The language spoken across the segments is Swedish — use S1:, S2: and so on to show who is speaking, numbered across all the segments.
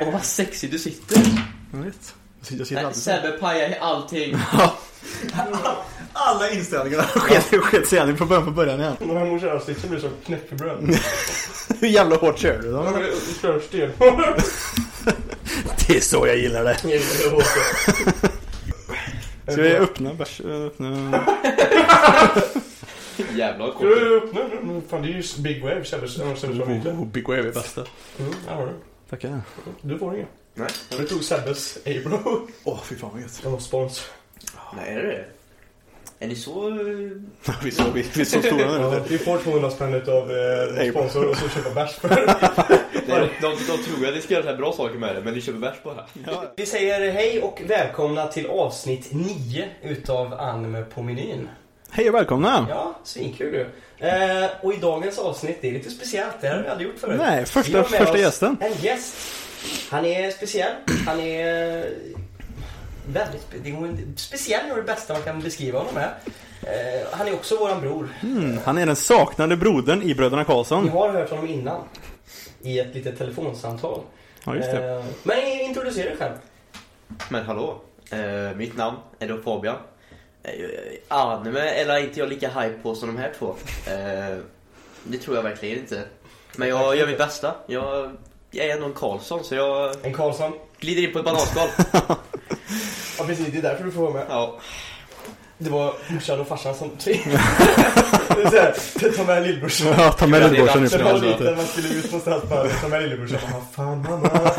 S1: Åh vad sexig du sitter.
S2: Jag vet. Jag sitter
S1: Nej,
S2: alltid så.
S1: Sebbe pajar allting.
S2: Alla inställningarna sket sket sig igen. Från början på början igen.
S3: De här morsavsnitten blir som knäckebröd.
S2: Hur jävla hårt kör
S3: De
S2: du då?
S3: är Körsten.
S2: Det är så jag gillar det. Ska vi öppna bärs? Öppna...
S1: Jävlar vad
S3: Ska du
S1: kort.
S3: öppna? den? Mm, Fan, det är ju Big Wave, Sebbes annars är det som inte.
S2: Big Wave är bästa.
S3: Mm, där har du.
S2: Tackar.
S3: Du får inga.
S1: Nej.
S3: Du tog Sebbes Abro.
S2: Åh, fy fan vad gött.
S3: Det var spons.
S1: Nej, är det det? Är ni så... eh,
S2: Vi är så, vi, vi är så stora nu.
S3: Ja,
S2: vet
S3: vi får 200 spänn utav eh,
S2: Abro.
S3: sponsor och så köpa bärs för.
S1: De, de, de tror att ni ska göra så här bra saker med det, men ni köper bärs bara.
S2: du. Ja.
S4: Vi säger hej och välkomna till avsnitt 9 utav Anime på menyn.
S2: Hej och välkomna!
S4: Ja, svinkul ju. Eh, och i dagens avsnitt, det är lite speciellt, det har vi aldrig gjort förut.
S2: Nej,
S4: Vi
S2: första,
S4: har med
S2: första
S4: oss
S2: gästen.
S4: En gäst. Han är speciell. Han är eh, väldigt spe- det går inte- speciell, är det bästa man kan beskriva honom med. Eh, han är också våran bror.
S2: Mm, han är den saknade brodern i Bröderna
S4: Ni
S2: Karlsson.
S4: har hört honom innan. I ett litet telefonsamtal.
S2: Ja, just det.
S4: Eh, men introducera dig själv.
S1: Men hallå, eh, mitt namn är då Fabian. Eh, anime eller inte jag lika hype på som de här två. Eh, det tror jag verkligen inte. Men jag gör mitt bästa. Jag, jag är ändå en Karlsson så jag
S4: En Karlsson.
S1: glider in på ett bananskal.
S3: Ja precis, det är därför du får vara med.
S1: Ja.
S4: Det var morsan och farsan som...
S3: Det är så här, Ta med lillbrorsan.
S2: Ja, ta med
S1: Ja, det är
S2: lillbrorsan nu
S1: dags
S2: för
S3: Sen var det
S2: helvete.
S3: liten, man skulle ut någonstans bara ta med lillebrorsan. Vad fan mamma.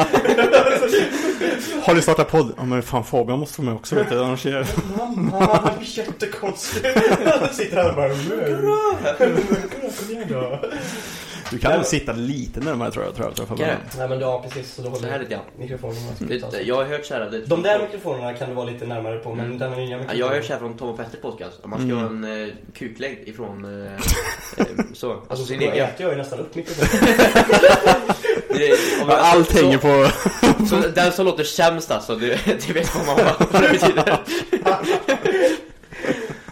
S2: Har du startat podd? Ja men fan Fabian måste vara med också vet du, annars är jag...
S3: Mamma, det blir jättekonstigt. Då sitter han och bara Kom igen då.
S2: Du kan nog sitta lite närmare tror jag, tror jag, tror jag. Fabian.
S4: Nej men ja, precis. Så då
S1: Så
S4: håller
S1: här
S4: jag
S1: lite grann.
S4: mikrofonen. här.
S1: Det- Jag har hört så här... Det,
S4: De där mikrofonerna kan du vara lite närmare på, men
S1: Mm.
S4: den här nya
S1: Ja,
S4: mikrofonen.
S1: Jag har hört så här från Tom och Petter podcast. Om man ska
S2: Mm.
S1: ha en eh, kuklängd ifrån... Eh, eh, så. Alltså
S4: Alltså,
S1: sin
S4: då
S1: egen.
S4: äter jag ju nästan upp mikrofonen.
S1: Det- om-
S2: Ja, Allt hänger på...
S1: Så, så den som låter sämst alltså, det, det vet vad man vad det betyder.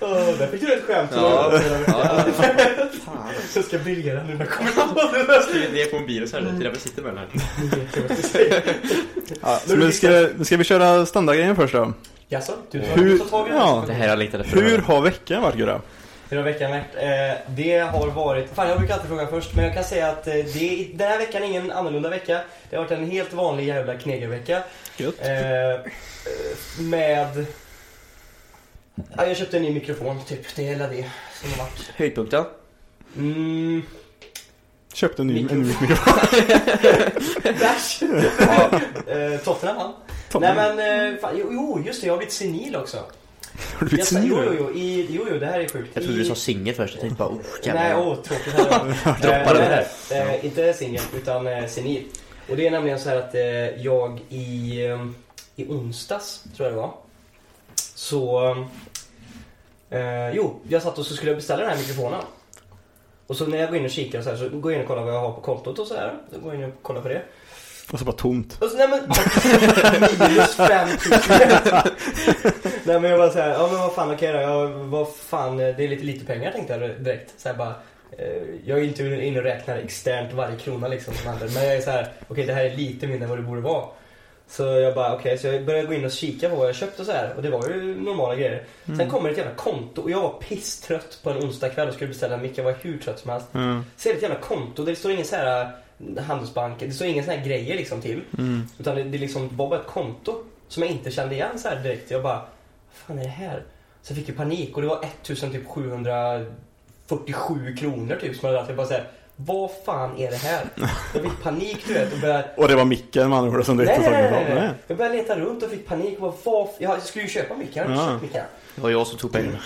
S3: Åh, Där fick du ett skämt.
S1: Ja. Ja,
S3: Jag ska briljera nu när jag kommer
S1: skriver ner på en bil och så här, det är därför jag sitter med den här.
S2: Ja, så nu ska, nu ska vi köra standardgrejen först då.
S4: Jaså? Du tar, du
S2: Hur,
S4: tar tag i det?
S2: ja,
S1: Det här jag letade efter.
S2: hur har veckan varit Gurra?
S4: Hur har veckan varit? Eh, det har varit... Fan, jag brukar alltid fråga först, men jag kan säga att eh, det är, den här veckan är ingen annorlunda vecka. Det har varit en helt vanlig jävla knegarvecka.
S2: Gött.
S4: Eh, eh, med... Ja, jag köpte en ny mikrofon, typ. Det är hela det som har varit.
S1: Höjdpunkten?
S4: Mm.
S2: Köpte en ny
S4: Mikrofon.
S2: en ny mikrofon.
S4: Bärs! Eh, Tottenham vann. Nej men, eh, fan, jo, jo just det, jag har blivit senil också.
S2: Har du blivit
S4: Jag sa- jo, jo,
S2: senil?
S4: jo, i, jo, jo, det här är sjukt.
S1: Jag trodde du sa singel först, jag tänkte bara oh jävlar.
S4: Nej, åh, tråkigt här var.
S1: Droppa det
S4: Eh,
S1: där.
S4: nej, eh, Inte singel, utan eh, senil. Och det är nämligen så här att eh, jag i, eh, i onsdags, tror jag det var, så... Eh, jo, jag satt och så skulle jag beställa den här mikrofonen. Och så när jag går in och kikar så, här, så går jag in och kollar vad jag har på kontot och så här. Så går jag in och kollar på det.
S2: Och så bara tomt.
S4: Alltså, nej men... Minus 5000. nej men jag bara såhär, ja men vad fan okej då. Jag, vad fan, det är lite lite pengar tänkte jag direkt. Så här bara, eh, jag är inte inne och räknar externt varje krona liksom som händer. Men jag är så här, okej det här är lite mindre än vad det borde vara. Så jag bara okej, så jag började gå in och kika på vad jag köpt och så här. Och det var ju normala grejer.
S2: Mm.
S4: Sen kommer ett jävla konto och jag var pisstrött på en onsdag kväll och skulle beställa en mick. Jag var hur trött som helst.
S2: Mm.
S4: Ser ett jävla konto, det står ingen så här eh, handelsbank, det står ingen sån här grejer liksom till.
S2: Mm.
S4: Utan det, det liksom var bara ett konto som jag inte kände igen så här direkt. Jag bara, vad fan är det här? Så jag fick ju panik och det var 1747 kronor typ som jag hade lagt. Jag bara såhär, vad fan är det här? Jag fick panik du vet och började
S2: Och det var micken man hörde som du
S4: Nej,
S2: inte
S4: nej,
S2: frågade
S4: nej,
S2: om.
S4: nej, nej. Jag började leta runt och fick panik. Och bara, vad f- jag skulle ju köpa micken, jag
S2: Ja.
S4: hade inte köpt micken.
S1: Det var jag som tog pengarna.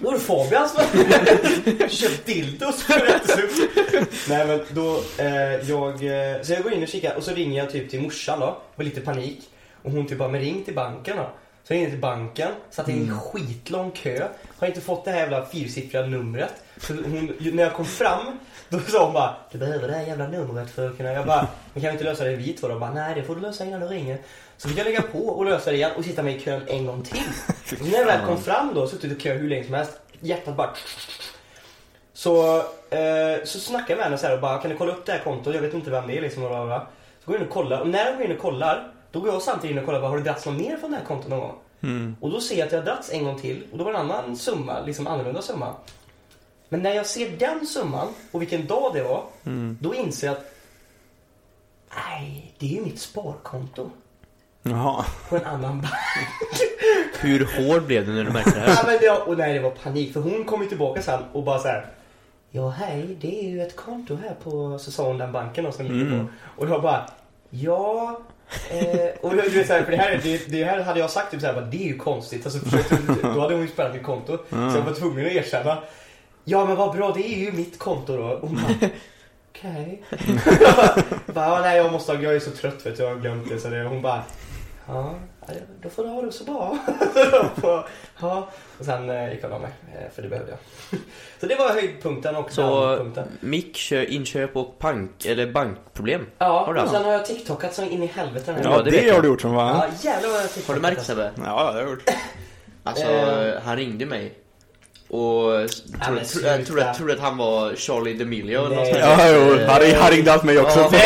S4: Då är det Fabian som har köpt dildos för rättsupp. Nej men då, eh, jag, eh, så jag går in och kikar och så ringer jag typ till morsan då, med lite panik. Och hon typ bara, men ring till banken då. Så jag ringer till banken, satt i en skitlång kö. Har inte fått det här jävla fyrsiffriga numret. Så hon, ju- när jag kom fram, då sa hon bara, du behöver det här jävla numret för att kunna... Jag bara, men kan vi inte lösa det vi två då? Hon Bara, nej det får du lösa innan du ringer. Så fick jag lägga på och lösa det igen och sitta med i kön en gång till. Och när jag väl kom fram då, suttit och kö hur länge som helst, hjärtat bara... Så, eh, så snackade jag med henne så här och bara, kan du kolla upp det här kontot? Jag vet inte vem det är liksom. Och bla, bla, bla. Så går jag in och kollar. Och när jag går in och kollar, då går jag samtidigt in och kollar bara, har det dragits någon mer från det här kontot någon gång?
S2: Mm.
S4: Och då ser jag att jag har dragits en gång till och då var det en annan summa, liksom annorlunda summa. Men när jag ser den summan och vilken dag det var,
S2: Mm.
S4: då inser jag att nej, det är ju mitt sparkonto
S2: Jaha.
S4: på en annan bank.
S1: Hur hård blev du när du märkte det
S4: Ja,
S1: här?
S4: men det, och nej, det var panik för hon kom ju tillbaka sen och bara så här. Ja, hej, det är ju ett konto här på, så sa hon den banken då, som ligger på. Och jag bara, ja. Eh, och du vet så här, för det här, det, det här hade jag sagt typ så här, bara, det är ju konstigt. Alltså, förstår du? då hade hon ju spärrat mitt konto. Så jag var tvungen att erkänna. Ja, men vad bra, det är ju mitt konto då. Och hon bara, okej. Jag bara, bara, "Ja, nej, jag måste ha, jag är så trött vet du, jag har glömt det. Så det hon bara, ja, då får du ha det så bra. ja. Och sen eh, gick jag och la mig, eh, för det behövde jag. så det var höjdpunkten och
S1: Så
S4: downpunkten.
S1: mick, kö- inköp och bank, eller bankproblem.
S4: Ja,
S1: har du
S4: och sen
S1: haft?
S4: har jag tiktokat så in i helvete den här
S2: Ja,
S1: Ja, det
S2: det,
S1: vet
S2: har
S1: jag.
S2: du gjort som va?
S4: Ja, jävlar vad jag tiktokat. alltså.
S1: Har du märkt Sebbe?
S2: Ja, det har jag gjort.
S1: Alltså,
S4: Eh.
S1: han ringde mig. Och s- trodde,
S4: men
S1: trodde, jag trodde,
S4: sluta.
S1: jag trodde att han var Charlie DeMilio eller något
S4: Nej.
S1: sånt där.
S2: Ja, jo. Han ring- Han ringde allt mig också.
S1: Ja.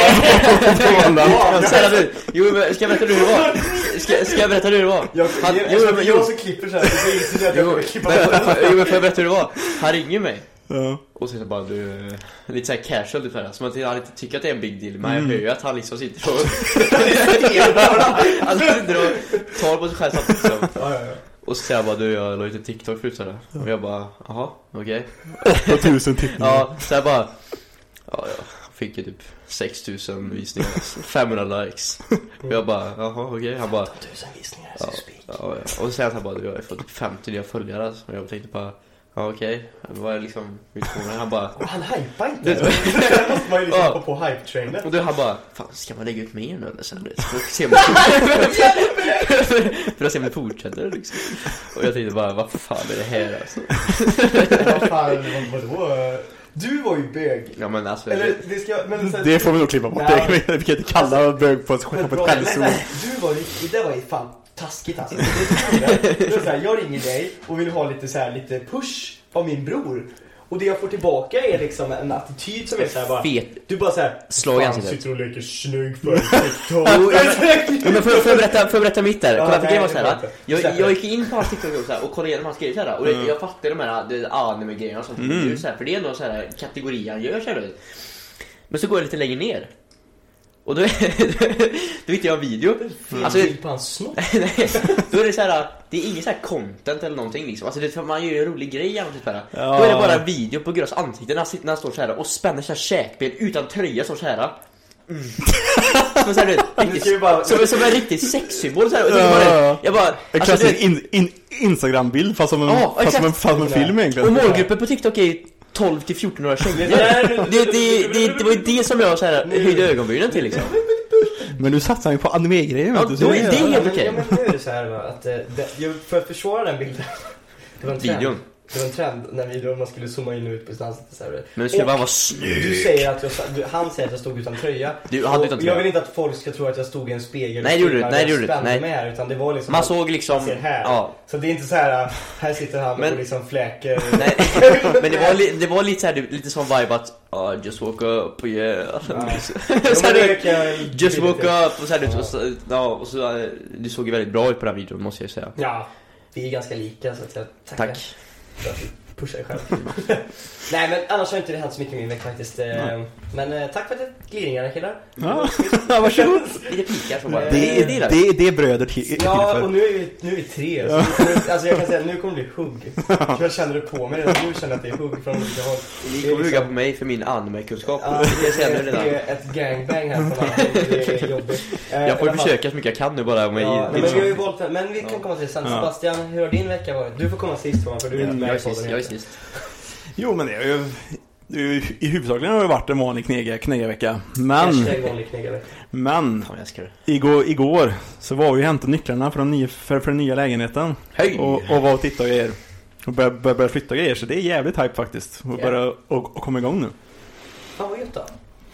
S2: Ja.
S1: Men snälla du, jo, men ska jag berätta hur det var? Ska, ska jag berätta hur det var?
S4: Jag,
S1: Han-
S4: jag,
S1: jo,
S4: jag,
S1: men-
S4: jag,
S1: jo.
S4: som klipper så här, så inser jag att jag
S1: Jo,
S4: kommer
S1: men,
S4: klippa
S1: får- jo, men får jag berätta hur det var? Han ringer mig.
S2: Ja.
S1: Och sen så bara du, lite såhär casual ungefär, som att han inte tycker att det är en big deal Men
S2: Mm.
S1: jag hör ju att han liksom sitter och Alltså sitter och tar på sig själv samtidigt liksom.
S4: Ja, ja, ja.
S1: Och så säger han bara du jag la ut en TikTok förut sådär Och jag bara jaha, okej
S2: Och tusen tittningar.
S1: Ja, så jag bara Ja, jag fick ju typ 6000 visningar, 500 likes Och jag bara jaha okej, han bara
S4: Tusen visningar,
S1: Ja,
S4: så spik.
S1: ja, ja. Och sen han bara, du har ju fått 50 nya följare alltså. Och jag tänkte bara, ja okej, vad är liksom utgången? Han bara,
S4: Han hajpar inte.
S1: Det-
S4: Där måste man ju liksom
S1: Ja.
S4: hoppa på hype-trainen.
S1: och du han bara, fan ska man lägga ut mer nu eller sen? Du vet, För att se om det- För att se om det fortsätter liksom. Och jag tänkte bara, vad fan är det här alltså?
S4: Vad fan, vad- vadå? Du var ju bög.
S1: Ja men alltså,
S4: Eller, det ska jag... Men, så här-
S2: Det får vi nog klippa bort.
S4: Ja.
S2: Det kan vi- Vi kan inte kalla bög på ett, på
S4: Men
S2: ett
S4: bra, Alltså, men,
S2: skällsord.
S4: men, du var ju, det var ju fan taskigt alltså. Det var det. Det var så här, jag ringer dig och vill ha lite, så här, lite push av min bror. Och det jag får tillbaka är liksom en attityd som är så här bara...
S1: fet
S4: Du bara såhär...
S1: slag i ansiktet.
S4: sitter och leker snygg på TikTok.
S1: Jo, ja, Ja, men får, jag- får, jag berätta, får jag berätta mitt där?
S4: Ja,
S1: Kolla, för
S4: nej, Mm.
S1: det var
S4: det
S1: såhär, va?
S4: går inte.
S1: jag,
S4: Släpp
S1: jag
S4: det.
S1: gick in på hans TikTok och, så här, och kollade igenom hans grejer såhär, och jag fattade de här det- anime-grejerna och sånt mm. nu, såhär, för det är ändå såhär kategori han gör såhär, du vet. Men så går jag lite längre ner. Och då, då hittar jag en video. Alltså,
S4: Bild på hans snopp.
S1: nej, då är det såhär, det är inget såhär content eller någonting liksom. Alltså, det, för man gör ju en rolig grej genom typ såhär.
S2: Ja.
S1: Då är det bara en video på Grös ansikte när han, sitter, när han står såhär och spänner sina käkben utan tröja, står såhär. Mm. Som en sån här, du vet,
S4: Nu ska vi bara...
S1: som, som en riktig sexsymbol såhär. Och så
S2: Ja.
S1: bara, jag bara...
S2: En
S1: Alltså,
S2: klassisk
S1: du,
S2: in, in, Instagram-bild fast som en,
S1: Ja,
S2: fast som en,
S1: exakt.
S2: fast som en film
S1: och
S2: egentligen.
S1: målgruppen på TikTok är ju 12 till 14-åriga tjejer.
S4: Det där-
S1: Det, det, det, det var ju det som jag så här, höjde ögonbrynen till liksom.
S2: Men nu satsar vi på anime-grejer
S1: Ja,
S2: vet du. så
S1: då är det-
S4: Ja,
S1: helt
S4: men-
S1: okej.
S4: Ja, men nu är det så här va, att... eh, det- jag- För att försvara den bilden. Det var en trend.
S1: Videon.
S4: Det var en trend när videon man skulle zooma in och ut på distans. Så här.
S1: Men det skulle
S4: Och-
S1: bara vara snygg.
S4: Du säger att jag, sa- du, han säger att jag stod utan tröja.
S1: Du hade
S4: Och
S1: utan
S4: Jag
S1: tröja.
S4: vill inte att folk ska tro att jag stod i en spegel
S1: Nej, det gjorde du inte. Nej, det gjorde du inte.
S4: och spände
S1: Nej.
S4: mig här. Utan det var liksom...
S1: Man såg liksom...
S4: ser här.
S1: Ja.
S4: Så det är inte så här, här sitter han
S1: Men-
S4: och liksom fläker.
S1: Nej, men det var, li, det var lite så här, du- lite sån vibe att oh, just woke up, yeah.
S4: Ja.
S1: Så
S4: Ja,
S1: här,
S4: men det
S1: du,
S4: kan jag
S1: just
S4: bidra
S1: woke
S4: till.
S1: up och så här, du, och så, ja, och så, eh, du såg ju väldigt bra ut på den här videon måste jag ju säga.
S4: Ja, vi är ganska lika så att jag tackar
S1: Tack.
S4: för att du pushar dig själv. Nej men annars har inte det hänt så mycket i min vecka faktiskt. Eh, Men eh, tack för att det glidningarna killar.
S2: Ja, varsågod.
S1: Lite pikar som bara...
S2: Det är,
S1: gillar vi.
S2: det är, det är bröder till, till
S4: Ja, och
S2: för.
S4: nu är vi, nu är vi tre. Så nu, alltså jag kan säga att nu kommer det bli hugg. Jag känner det på mig redan nu, känner jag att det är hugg från olika håll.
S1: Ni
S4: Det är
S1: kommer hugga
S4: liksom-
S1: på mig för min anime-kunskap.
S4: Ja,
S1: det kan jag säga nu
S4: det
S1: redan.
S4: är ett gangbang här på landet. Det är jobbigt. Eh,
S1: Jag får
S4: i alla
S1: ju
S4: fall.
S1: försöka så mycket jag kan nu bara. Med
S4: Ja, men,
S1: liksom.
S4: vi har ju valt, men vi kan komma till det sen.
S2: Ja.
S4: Sebastian, hur har din vecka varit? Du får komma sist Thomas, för du är inte
S1: Mm, jag är
S4: med i
S1: sist,
S4: podden.
S1: jag är
S4: egentligen.
S1: sist.
S2: Jo men det är ju... det är ju- I huvudsakligen har det varit en vanlig knega, knegavecka. Men,
S4: Hashtag vanlig knegavecka.
S2: men
S1: Fan, jag älskar det.
S2: igår, igår så var vi och hämtade nycklarna för den nya, för, för den nya lägenheten.
S1: Hej!
S2: Och, och var och tittade och grejer. Och började bör, bör flytta grejer så det är jävligt hype faktiskt. Och börja och, och komma igång nu.
S4: Fan vad gött då.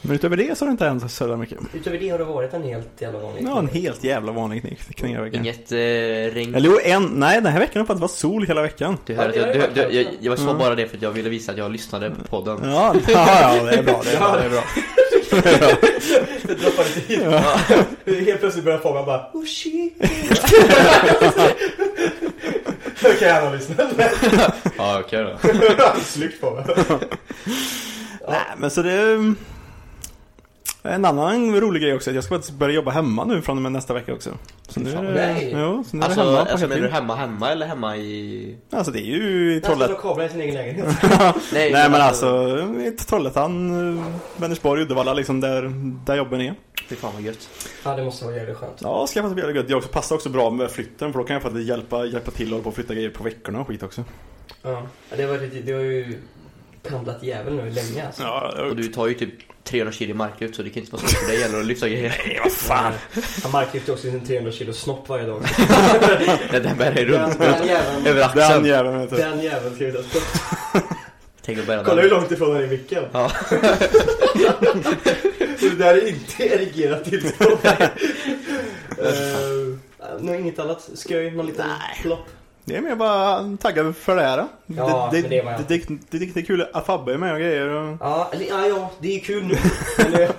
S2: Men utöver det så har det inte hänt så jävla mycket.
S4: Utöver det har det varit en helt jävla vanlig
S2: Ja, en helt jävla vanlig kne- knegavecka.
S1: Inget eh, regn.
S2: Eller jo, en, nej den här veckan har faktiskt varit sol hela veckan.
S1: Du hör att
S4: Ja,
S1: jag,
S4: det
S1: du,
S4: har
S1: du,
S4: jag
S1: jag, jag sa bara det för att jag ville visa att jag lyssnade på podden.
S2: Ja, ja, ja det är bra, det är bra, det är bra.
S4: Det droppar lite hit. Helt plötsligt börjar Fabian bara Oh shit. Okej, han har lyssnat.
S1: Ja, okej då.
S4: Slykt Fabian.
S2: Nej, men så det... är- En annan rolig grej också, är att jag ska faktiskt börja jobba hemma nu från och med nästa vecka också. Så nu är det,
S4: Nej.
S2: jo, så nu är det
S1: Alltså,
S2: hemma på
S1: alltså menar du
S2: heltid.
S1: hemma hemma eller hemma i...
S2: Alltså det är ju i
S4: Han
S2: Trollhättan.
S4: står och kablar i sin egen lägenhet.
S2: Nej men alltså, i Trollhättan, eh, Vänersborg, Uddevalla liksom där, där jobben är.
S1: Fy fan vad gött.
S4: Ja, det måste vara jävligt skönt.
S2: Ja, skaffa sig jävligt gött. Jag också passar också bra med flytten för då kan jag faktiskt hjälpa, hjälpa till och hålla på och flytta grejer på veckorna och skit också.
S4: Ja. Det, var lite, det har ju pendlat jävel nu länge alltså.
S2: Ja,
S1: Och du tar ju typ 300 kilo i marklyft så det kan inte vara svårt för dig heller att lyfta grejer.
S2: Nej, vad fan.
S4: Han marklyfter också sin 300 kilo snopp varje dag.
S1: Det där bär dig
S4: Den,
S1: runt.
S4: den jäveln.
S1: Över axeln.
S2: Den jäveln vet du.
S4: Den jäveln ska vi ta stopp.
S1: Tänk att bära
S4: Kolla
S1: den.
S4: hur långt ifrån den är micken.
S1: Ja.
S4: Så det där är inte erigerat tillstånd.
S1: Eh,
S4: uh, nu inget annat skoj, någon liten plopp.
S2: Det är mer bara taggad för det här. då.
S4: Ja,
S2: det,
S4: men det är vad jag-
S2: det, det, det, det är kul att Fabbe är med och grejer. Och...
S4: Ja, eller, ja, ja, det är kul nu. Men, eh,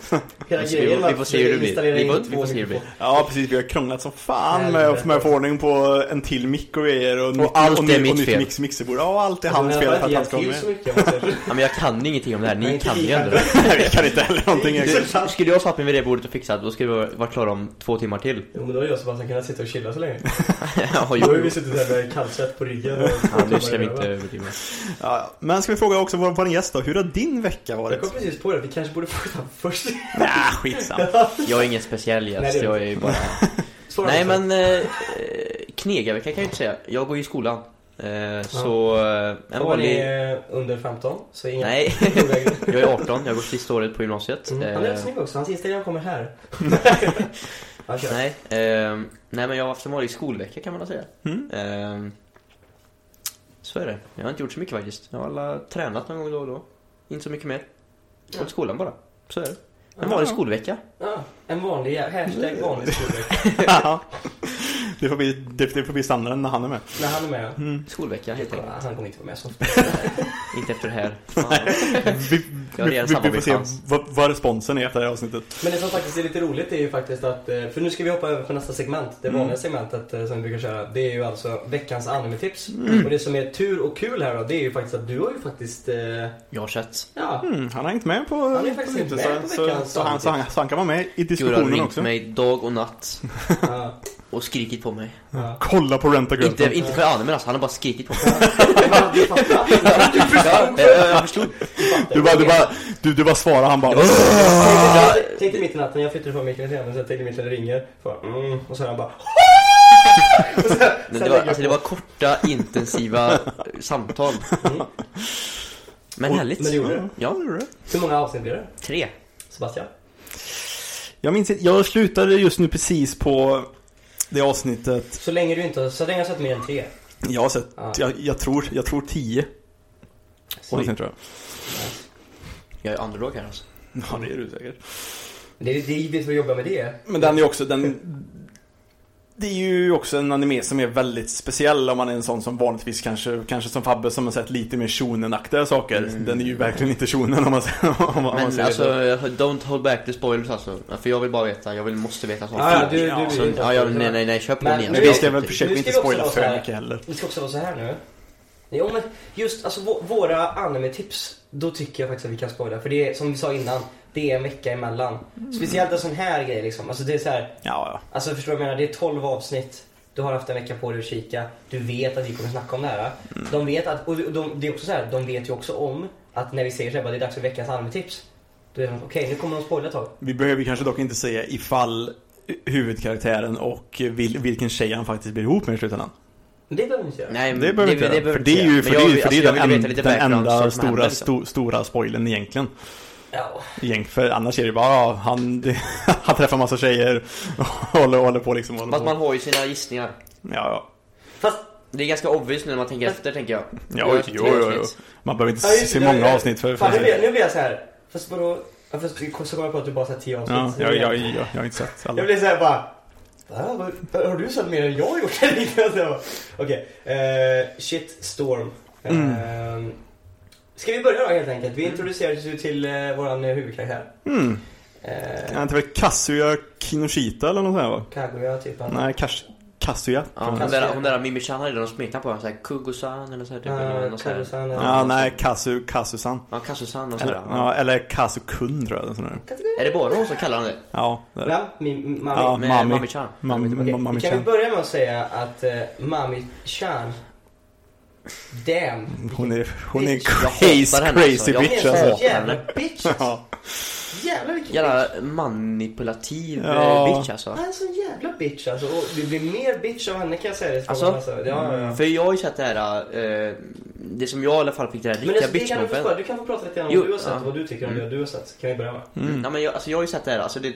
S4: Hela
S1: Vi får-
S4: grejen var
S1: vi får se hur det blir.
S4: installera
S1: Vi
S4: in
S1: får- vi får
S4: två
S1: se hur det blir.
S4: mikrofoner.
S2: Ja precis, vi har krånglat som fan med,
S4: Helvete.
S2: med att få ordning på en till mick och grejer och, nytt-
S1: allt
S2: och,
S1: är
S2: nytt-
S1: mitt
S2: och nytt
S1: fel.
S2: mix, mixerbord. Ja, allt är hans fel
S4: Jag
S2: för att
S4: har inte
S2: han
S4: hjälpt
S2: ska vara
S4: till
S2: med.
S4: så mycket. om det.
S1: Ja, men jag kan ingenting om det här. Ni
S4: Nej, inte
S1: kan ju
S4: vi
S1: ändå.
S2: Nej, vi kan inte heller någonting. egentligen.
S1: Du, skulle jag satt mig vid det bordet och fixat då skulle vi vara klara om två timmar till.
S4: Jo men då har jag och Sebastian kunnat sitta och chilla så länge.
S1: Ja,
S4: Då har
S1: jo.
S4: vi suttit där med kallsvett på ryggen och...
S1: Ja, nu ska vi inte överdriva.
S2: Ja, ja. men ska vi fråga också vår, vår gäst då, hur har din vecka
S4: Jag
S2: varit?
S4: kom precis på det, vi kanske borde fråga honom först.
S2: Nej, skitsamma.
S1: Jag är ingen speciell
S4: Nej, det
S1: gäst,
S4: är
S1: jag är ju bara...
S4: Svara
S1: Nej
S4: på det.
S1: men, eh, knegarvecka kan jag inte säga. Jag går ju i skolan. Eh, så, eh, en
S4: Om ni
S1: vanlig...
S4: är under 15 så inga...
S1: Nej,
S4: ovägen.
S1: jag är 18, jag går sista året på gymnasiet.
S4: Mm.
S1: Eh,
S4: Han är snygg också, hans Instagram kommer här. Ja, kör.
S1: nej, eh, nej men jag har haft en vanlig skolvecka kan man väl säga.
S2: Mm.
S1: Eh, så är det. Jag har inte gjort så mycket faktiskt. Jag har alla tränat någon gång då och då. Inte så mycket mer. Gått i skolan bara. Så är det. En vanlig
S2: Ja.
S1: skolvecka.
S4: Ja, en vanlig, jä- hashtag vanlig storlek.
S2: Ja. det, får bli, det, det får bli standarden när han är med.
S4: När han är med.
S1: Skolvecka helt enkelt.
S4: Han kommer inte vara med så ofta.
S1: Inte efter det här. Fan.
S2: Vi,
S1: Ja,
S2: vi,
S1: det är en
S2: vi, vi får se
S1: samarbetschans.
S2: vad, vad responsen är efter det här avsnittet.
S4: Men det som faktiskt är lite roligt är ju faktiskt att, eh, för nu ska vi hoppa över på nästa segment. Det vanliga segmentet eh, som vi brukar köra. Det är ju alltså veckans animetips. Och det som är tur och kul här då, det är ju faktiskt att du har ju faktiskt, eh,
S1: Jag har sett.
S4: ja.
S2: Mm, han har hängt med på...
S4: Han är faktiskt inte med på
S2: så, så,
S4: veckans
S2: så, han, så, han, så han kan vara med i
S1: Gud har
S2: diskussionen
S1: ringt
S2: också.
S1: mig dag och natt
S4: ja,
S1: och skrikit på mig.
S4: ja.
S2: Kolla på Rent a Girl.
S1: Inte, inte för anime alltså, han har bara skrikit på mig.
S4: Du fattar.
S1: Ja, eh, jag förstod.
S2: Du bara, du bara, du, du bara svarar, han bara...
S4: Tänk dig mitt i natten, jag flyttade på mikrofonen sen, så jag tänkte mitt när det ringer. Så, mm, och sen han bara Och sen- sen
S1: Det var,
S4: lägger jag
S1: alltså, det
S4: på.
S1: var korta, intensiva samtal.
S4: Mm.
S1: Men
S4: Men det
S1: härligt.
S4: gjorde det.
S1: Ja,
S4: Hur många avsnitt blir det?
S1: tre.
S4: Sebastian?
S2: Jag minns inte, jag slutade just nu precis på det avsnittet.
S4: Så länge du inte har, så länge jag har sett mer än tre.
S2: Jag har sett,
S4: Ja.
S2: jag, jag tror, jag tror tio.
S4: Så-
S2: avsnitt, tror jag.
S1: Jag är underdog här alltså.
S2: Ja, det är du säkert.
S4: Det är ju drivet för att jobba med det.
S2: Men den är ju också, den... Det är ju också en anime som är väldigt speciell om man är en sån som vanligtvis kanske, kanske som Fabbe som har sett lite mer shonen-aktiga saker.
S4: Mm.
S2: Den är ju verkligen inte shonen om man, om man, om man
S1: Men
S2: säger
S1: alltså,
S2: så.
S1: don't hold back the spoilers alltså. För jag vill bara veta, jag vill, måste veta sånt.
S4: Ja, ja, du, du,
S2: Ja,
S4: du,
S1: Så, ja, ja, nej, nej, nej, köp
S4: Men-
S1: den igen.
S2: Men vi ska
S1: Jag-
S2: väl försöka
S4: Nu
S2: inte
S4: ska vi också
S2: spoila
S4: vara så
S2: för
S4: här.
S2: mycket heller.
S4: Det ska också vara så här nu. Jo, men just alltså vå- våra animetips, då tycker jag faktiskt att vi kan spoila. För det är som vi sa innan, det är en vecka emellan. Speciellt en sån här grej liksom. Alltså det är så här,
S2: Ja, ja.
S4: alltså förstår du vad jag menar? Det är 12 avsnitt. Du har haft en vecka på dig att kika. Du vet att vi kommer snacka om det här. De vet att, och de, det är också så här, de vet ju också om att när vi säger så här, bara, det är dags för veckans animetips. Då är de okej, nu kommer de spoila ett tag.
S2: Vi behöver kanske dock inte säga ifall huvudkaraktären och vil, vilken tjej han faktiskt blir ihop med i slutändan.
S4: Men det behöver vi inte göra.
S1: Nej, men
S2: Det behöver vi inte göra. För det är ju
S1: Men
S2: för det
S1: jag
S2: är ju-
S1: vill-
S2: för det är
S1: alltså, jag
S2: den,
S1: vill
S2: en,
S1: veta lite
S2: den
S1: background,
S2: enda
S1: sånt som händer,
S2: stora,
S1: liksom.
S2: sto, stora spoilern egentligen.
S4: Ja.
S2: Egent- För annars är det bara, ja, han, det, han träffar massa tjejer och håller, håller på liksom. Håller
S1: Fast
S2: på.
S1: man har ju sina gissningar.
S2: Ja, ja.
S4: Fast
S1: Det är ganska obvious nu när man tänker efter, tänker jag.
S2: Ja,
S1: Det var
S2: jo,
S1: ett
S2: jo,
S1: tre
S2: jo, jo.
S1: avsnitt.
S2: Man behöver inte
S4: Ja, just
S2: se
S4: det,
S2: många
S4: det-
S2: avsnitt för, för
S4: Fan,
S2: att
S4: nu
S2: se.
S4: blir, nu blir jag så här. Fast vadå? Ja, fast vi kom- så kom jag på att du bara sett 10 avsnitt.
S2: Ja,
S4: Så
S2: jag,
S4: nu blir
S2: jag, jag, jag har inte sett alla.
S4: jag blir så här bara. Va? Vad- Har du sett mer än jag har gjort? Så jag bara, Okej. eh, shit storm.
S2: Mm.
S4: Ehm, Eh, ska vi börja då helt enkelt? Vi introduceras ju till eh, våran eh, huvudkaraktär.
S2: Mm.
S4: Eh,
S2: Han heter väl Kazuya Kinoshita eller något sånt här va?
S4: Kaguya typ. eller-
S2: Nej, Kas- Kazuya.
S1: Ja, hon där, hon där Mimmi Chan hade någon smeknamn på henne, såhär Kugo-san eller såhär typ. eller
S4: Ah,
S1: något så här.
S4: Kaguya-san,
S2: Ja, nej, Kazu, Kazu-san.
S1: Ja, Kazu-san och
S2: Eller,
S1: sådär.
S2: ja, eller Kazu-kun tror jag. eller sånt där.
S1: Är det bara hon som kallar honom det?
S2: Ja, det är det.
S4: Ja, min mamma.
S2: Ja,
S1: Med
S2: Mami.
S1: Mami-chan?
S2: Mam-
S4: Okej,
S2: mam- Mami
S4: kan vi
S2: Chan.
S4: börja med att säga att eh, Mami Chan Damn.
S2: Hon är, hon är
S4: Jag
S2: crazy,
S1: hatar henne, alltså.
S2: crazy
S1: Jag
S2: bitch
S1: hatar
S2: alltså.
S1: henne.
S4: Jävla bitch alltså.
S2: Ja.
S4: Jävlar vilken bitch.
S1: Jävla manipulativ eh,
S2: Ja.
S1: bitch alltså.
S4: Han är en sån jävla bitch alltså. Och det blir mer bitch av henne kan jag säga det.
S1: Alltså?
S4: alltså
S2: Mm.
S4: ja, ja.
S1: För jag har ju sett det här, eh, det som jag i alla fall fick det här
S4: Men
S1: riktiga
S4: alltså, det kan du, få,
S1: bitchmoppen.
S4: spara. du kan få prata lite grann om
S1: Jo,
S4: vad du har sett
S1: ja.
S4: och vad du tycker om
S1: Mm.
S4: det du har sett. Kan vi börja med?
S1: Mm. Nej, men jag, alltså jag har ju sett det här, alltså det,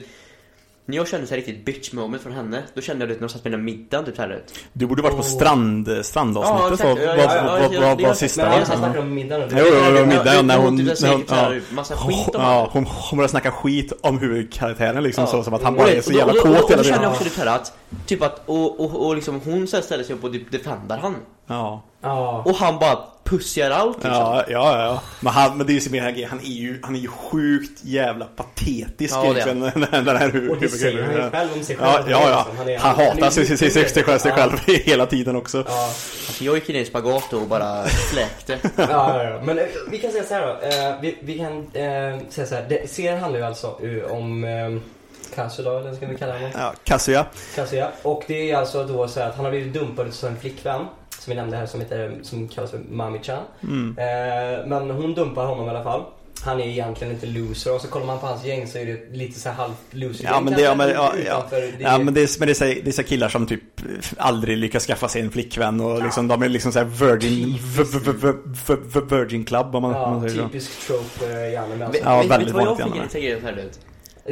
S1: när jag kände så här riktigt bitch moment från henne, då kände jag det när jag satt med den middagen typ såhär.
S2: Du borde varit på strand, strandavsnittet
S1: Ja,
S2: var,
S1: exakt. Ja, ja, ja, ja,
S2: var, var,
S1: ja,
S2: var,
S1: det
S2: var
S1: har-
S4: Men
S2: sista
S4: han
S1: alltså.
S2: va?
S4: snackar om middagen.
S2: Jo, jo, jo, middagen när hon...
S1: typ
S2: När hon ja.
S1: såhär, massa skit om
S2: Ja,
S1: henne.
S2: hon, hon började snacka skit om huvudkaraktären liksom
S1: Ja.
S2: så, som att han
S4: Och
S2: bara
S1: det-
S2: är så
S1: och då-
S2: jävla
S1: och då-
S2: kåt
S1: Och
S2: hela
S1: då kände jag
S2: tiden.
S1: också typ här att, typ att, och, och, och liksom hon sen ställer sig upp och typ defendar han.
S2: Ja,
S4: Ja.
S1: Och han bara pussar allt liksom.
S2: ja, ja. ja. Men, han, men det är ju så mer här han är ju, han är ju sjukt jävla patetisk
S1: Ja, det är
S2: egentligen, den, den här
S4: Och det säger han ju
S2: huvudkaraktären.
S4: själv om sig
S2: Ja,
S4: själv.
S2: ja,
S4: liksom.
S2: ja.
S4: är-
S2: Han
S4: är
S2: hatar sig,
S4: ju
S2: sig, sig, sig, sig, sig, sig
S4: Ja.
S2: själv hela tiden också.
S4: Ja.
S1: Alltså jag gick ner i spagat och bara fläkte.
S4: ja, ja, ja. Men eh, vi kan säga så här då. Eh, vi, vi kan eh, säga så här. Det, serien handlar ju alltså eh, om eh, Kanske då, eller ska vi kalla honom?
S2: Ja, Kazuya.
S4: Kazuya. Och det är alltså då så här att han har blivit dumpad av sin flickvän. Som vi nämnde här som, heter, som kallas för Mami-chan.
S2: Mm.
S4: Eh, men hon dumpar honom i alla fall. Han är egentligen inte loser och så kollar man på hans gäng så är det lite så här halvt loser
S2: Ja, men det- ja, men- ja, ja.
S4: Det,
S2: Ja men det är, men det är, så, det är så killar som typ aldrig lyckas skaffa sig en flickvän och liksom, de är liksom såhär virgin, v, v, v, v, v, v, virgin club om man, om man
S4: ja,
S2: säger så.
S4: typisk trope eh, i anime alltså.
S1: Vet-
S2: Ja,
S1: vet- Vet du
S2: väldigt
S1: vad jag
S2: vanligt
S1: fick
S2: gärna.
S1: integrerat här du vet?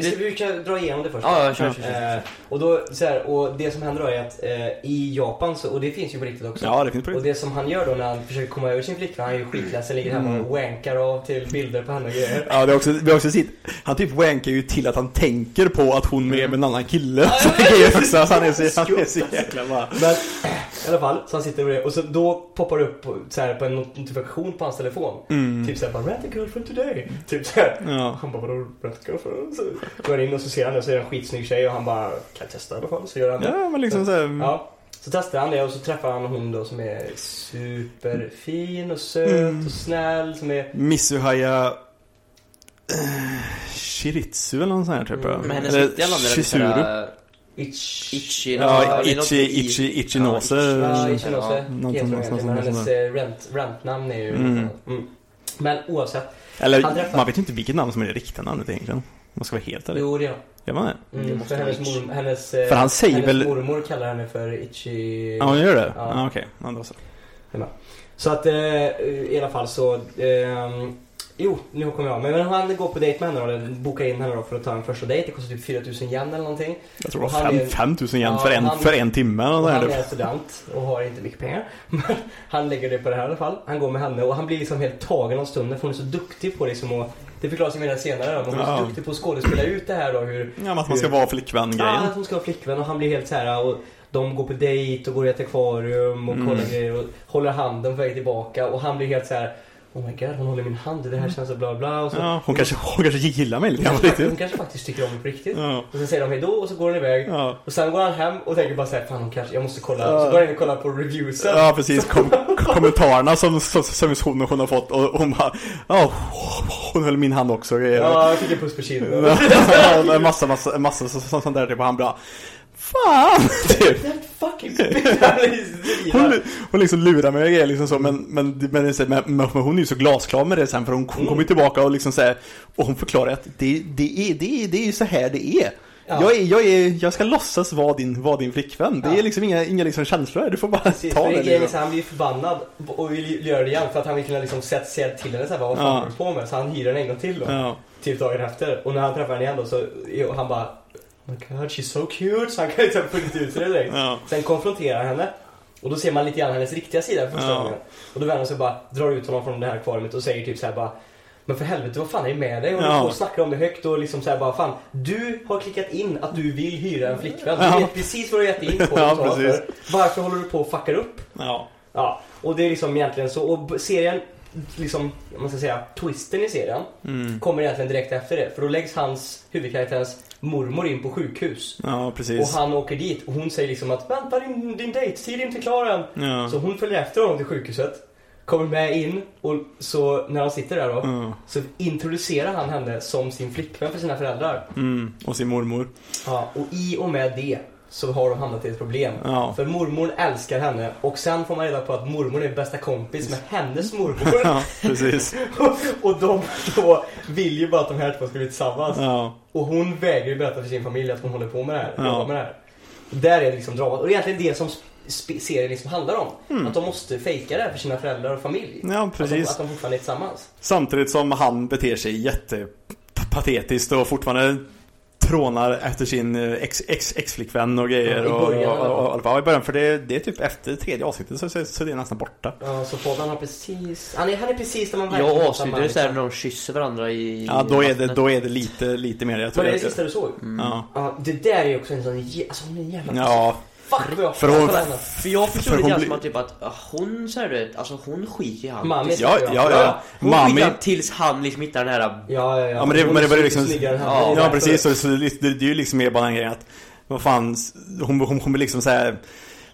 S4: Så Vi kan dra igenom det först.
S1: Ja, ja, kör, kör, kör.
S4: Eh, och, då, så här, och det som händer då är att eh, i Japan, så, och det finns ju på riktigt också.
S2: Ja det finns på
S4: Och
S2: riktigt.
S4: det som han gör då när han försöker komma över sin flickvän, han är ju skitledsen, ligger hemma
S2: Mm.
S4: och wankar av till bilder på henne och grejer.
S2: Ja, det är också, vi har också sett, han typ wankar ju till att han tänker på att hon är med en annan kille. Så det är också, han är så, han är så jäkla bara.
S4: Men i alla fall, så han sitter och det och så då poppar det upp på- så här, på en not- notifikation på hans telefon. Typ såhär bara 'Rent a girlfriend today' Typ såhär.
S2: Mm, Ja.
S4: Han bara 'Vadå rent a girlfriend?' Så går jag in och så ser han det så är det en skitsnygg tjej och han bara 'Kan jag testa i alla fall?' Så gör han det.
S2: Ja men liksom såhär.
S4: Ja. Så testar han det och så träffar han hon då som är superfin och söt
S2: Mm.
S4: och snäll som är...
S2: Misuhaya eh, Shiritsu eller något sånt här typ.
S4: Mm,
S1: Men hennes
S2: Eller
S1: riktiga namn är väl
S2: Shizuru.
S1: såhär,
S4: Itch...
S1: Ichi...
S2: Ja,
S1: eller något
S2: Ichi,
S1: i-
S2: Ichi,
S1: Ja,
S2: Ichinose.
S4: Ja,
S1: Mm.
S4: Ichinose.
S2: Någonting-
S4: Heter hon
S2: någonting
S4: egentligen, men
S2: sånt
S4: hennes eh, rent, rentnamn är ju...
S2: Mm.
S4: Mm. Men oavsett. Han
S2: Eller
S4: träffar-
S2: man vet ju inte vilket namn som är det riktiga namnet egentligen. Om Man ska vara helt ärlig.
S4: Jo, det är hon.
S2: Gör man det?
S1: Det
S4: Mm,
S1: måste
S4: för hennes,
S1: vara Ichi.
S4: mor, hennes, eh,
S2: För han säger
S4: hennes
S2: väl-
S4: mormor kallar henne för Ichi...
S2: Ja, hon gör det?
S4: Ja.
S2: Ja, okej. Ja, då så.
S4: Så att eh, i alla fall så... ehm, jo, nu kommer jag av mig. Men han går på dejt med henne då, eller bokar in henne då för att ta en första dejt. Det kostar typ 4000 yen eller någonting.
S2: Jag tror det
S4: Och
S2: var
S4: han är-
S2: fem- 5000 yen
S4: Ja,
S2: för, en,
S4: han-
S2: för en timme eller
S4: Och
S2: nåt
S4: han
S2: där. typ.
S4: är student och har inte mycket pengar. Men han lägger det på det här i alla fall. Han går med henne och han blir liksom helt tagen av stunden för hon är så duktig på liksom att... Det förklaras ju mer senare då, men hon är
S2: Ja.
S4: så duktig på att skådespela ut det här då hur...
S2: Ja, men att man ska vara
S4: Ja, alltså.
S2: flickvän-grejen.
S4: att hon ska ha flickvän och han blir helt så här och de går på dejt och går i ett akvarium och
S2: Mm.
S4: kollar grejer och håller handen på väg tillbaka och han blir helt så här Oh my god, hon håller min hand, det här känns så bla bla och så.
S2: Mm. Ja, hon, kanske, hon kanske gillar mig lite grann
S4: hon,
S2: på
S4: kanske, hon
S2: riktigt.
S4: kanske faktiskt tycker om mig på riktigt.
S2: Ja.
S4: Och sen säger de hejdå och så går hon iväg.
S2: Ja.
S4: Och sen går han hem och tänker bara såhär, fan hon kanske, jag måste kolla.
S2: Ja.
S4: Så går han in och kollar på reviewsen.
S2: ja, precis. Kom, kommentarerna som, som, som hon, hon har fått och hon bara Ja, hon höll min hand också. Ja.
S4: Ja, jag fick en puss på kinden.
S2: en massa, massa, en massa så- så- sånt där typ och han bara Fan! Typ.
S4: That fucking bitch. Han är
S2: Hon,
S4: så
S2: lu- hon liksom lurar mig och grejer liksom så men, men, men, det är så- men, men hon är ju så glasklar med det sen för hon, hon kommer
S4: Mm.
S2: ju tillbaka och liksom säger Och hon förklarar att det, det, är, det, är, det är ju så här det är
S4: Ja.
S2: jag, är, jag, är, jag ska låtsas vara din, vara din flickvän Det
S4: Ja.
S2: är liksom inga, inga liksom känslor här. du får bara
S4: Precis,
S2: ta
S4: för
S2: det
S4: det är
S2: liksom.
S4: liksom, han blir förbannad och vill göra det igen för att han vill kunna liksom sätta sig till henne såhär, vad fan
S2: Ja.
S4: håller du på med? Så han hyr henne en gång till då.
S2: ja.
S4: Typ dagen efter. Och när han träffar henne igen då så, och han bara Oh my god, she's so cute. Så han kan ju typ få lite ut sig direkt.
S2: Ja.
S4: Sen konfronterar han henne. Och då ser man lite grann hennes riktiga sida för första
S2: Ja.
S4: gången. Och då vänder hon sig och bara, drar ut honom från det här akvariet och säger typ så här bara men för helvete, vad fan är det med dig? Och
S2: Ja.
S4: ja. snackar om det högt och liksom såhär bara fan. Du har klickat in att du vill hyra en flickvän.
S2: Ja.
S4: Du vet precis vad du har gett dig in på. och
S2: Ja,
S4: betalat för.
S2: precis.
S4: Varför håller du på och fuckar upp?
S2: Ja.
S4: Ja, och det är liksom egentligen så. Och b- serien liksom, om man ska säga, twisten i serien
S2: Mm.
S4: kommer egentligen direkt efter det. För då läggs hans, huvudkaraktärens mormor in på sjukhus.
S2: Ja,
S4: Och
S2: precis.
S4: han åker dit och hon säger liksom att vänta din, din dejttid är inte klar än.
S2: Ja.
S4: Så hon följer efter honom till sjukhuset. Kommer med in och så när han sitter där då
S2: Ja.
S4: så introducerar han henne som sin flickvän för sina föräldrar.
S2: Mm. Och sin mormor.
S4: Ja, och i och med det så har de hamnat i ett problem.
S2: Ja.
S4: För mormor älskar henne och sen får man reda på att mormor är bästa kompis med hennes mormor.
S2: Ja, precis.
S4: och de då vill ju bara att de här två ska bli tillsammans.
S2: Ja.
S4: Och hon vägrar ju berätta för sin familj att hon håller på med det här.
S2: Ja.
S4: jobbar Med det här. Där är det liksom dramat. Och det är egentligen det som sp- serien liksom handlar om. Att de måste fejka det här för sina föräldrar och familj.
S2: Ja,
S4: Att, de,
S2: Mm. precis.
S4: att de fortfarande är tillsammans.
S2: Samtidigt som han beter sig jättepatetiskt och fortfarande trånar efter sin eh, ex, ex, ex-flickvän och grejer.
S4: Ja, i början,
S2: och,
S4: eller?
S2: och, och, ja, i början. För det, det är typ efter tredje avsnittet så, så, så det är nästan borta.
S4: Ja, så Fabian har precis... Han är, han är precis där man
S1: Jag och
S4: samma
S1: avsnittet är
S4: liksom.
S1: såhär när de kysser varandra i
S2: Ja, då är det,
S1: vattnet.
S2: då är det lite, lite mer. Jag
S4: Var
S2: tror
S4: det det
S2: att-
S4: sista du såg?
S2: ja.
S4: Ja, det där är ju också en sån... jä- Alltså hon är en jävla...
S2: ja,
S4: Fuck vad jag
S2: För
S4: hatar
S2: hon-
S4: henne.
S1: För jag förstod
S2: För
S1: lite
S2: hon
S1: grann
S2: blir-
S1: som att typ att ah, hon såhär du vet, alltså hon skiter i han.
S4: Mami
S2: Ja,
S4: säger
S2: ja,
S4: jag.
S2: ja.
S1: Hon
S2: Mami.
S1: skiter i han tills han liksom hittar den här...
S4: Ja, ja, ja.
S2: Ja, men det-
S4: Hon
S2: men det var
S4: är
S2: ju
S4: så
S2: liksom-
S4: mycket snyggare än han.
S1: Ja,
S4: Det är
S2: ja
S4: därför-
S2: precis. Så, så det, det, det är ju liksom mer bara den grejen att vad fan, s- hon, hon, hon blir liksom så här.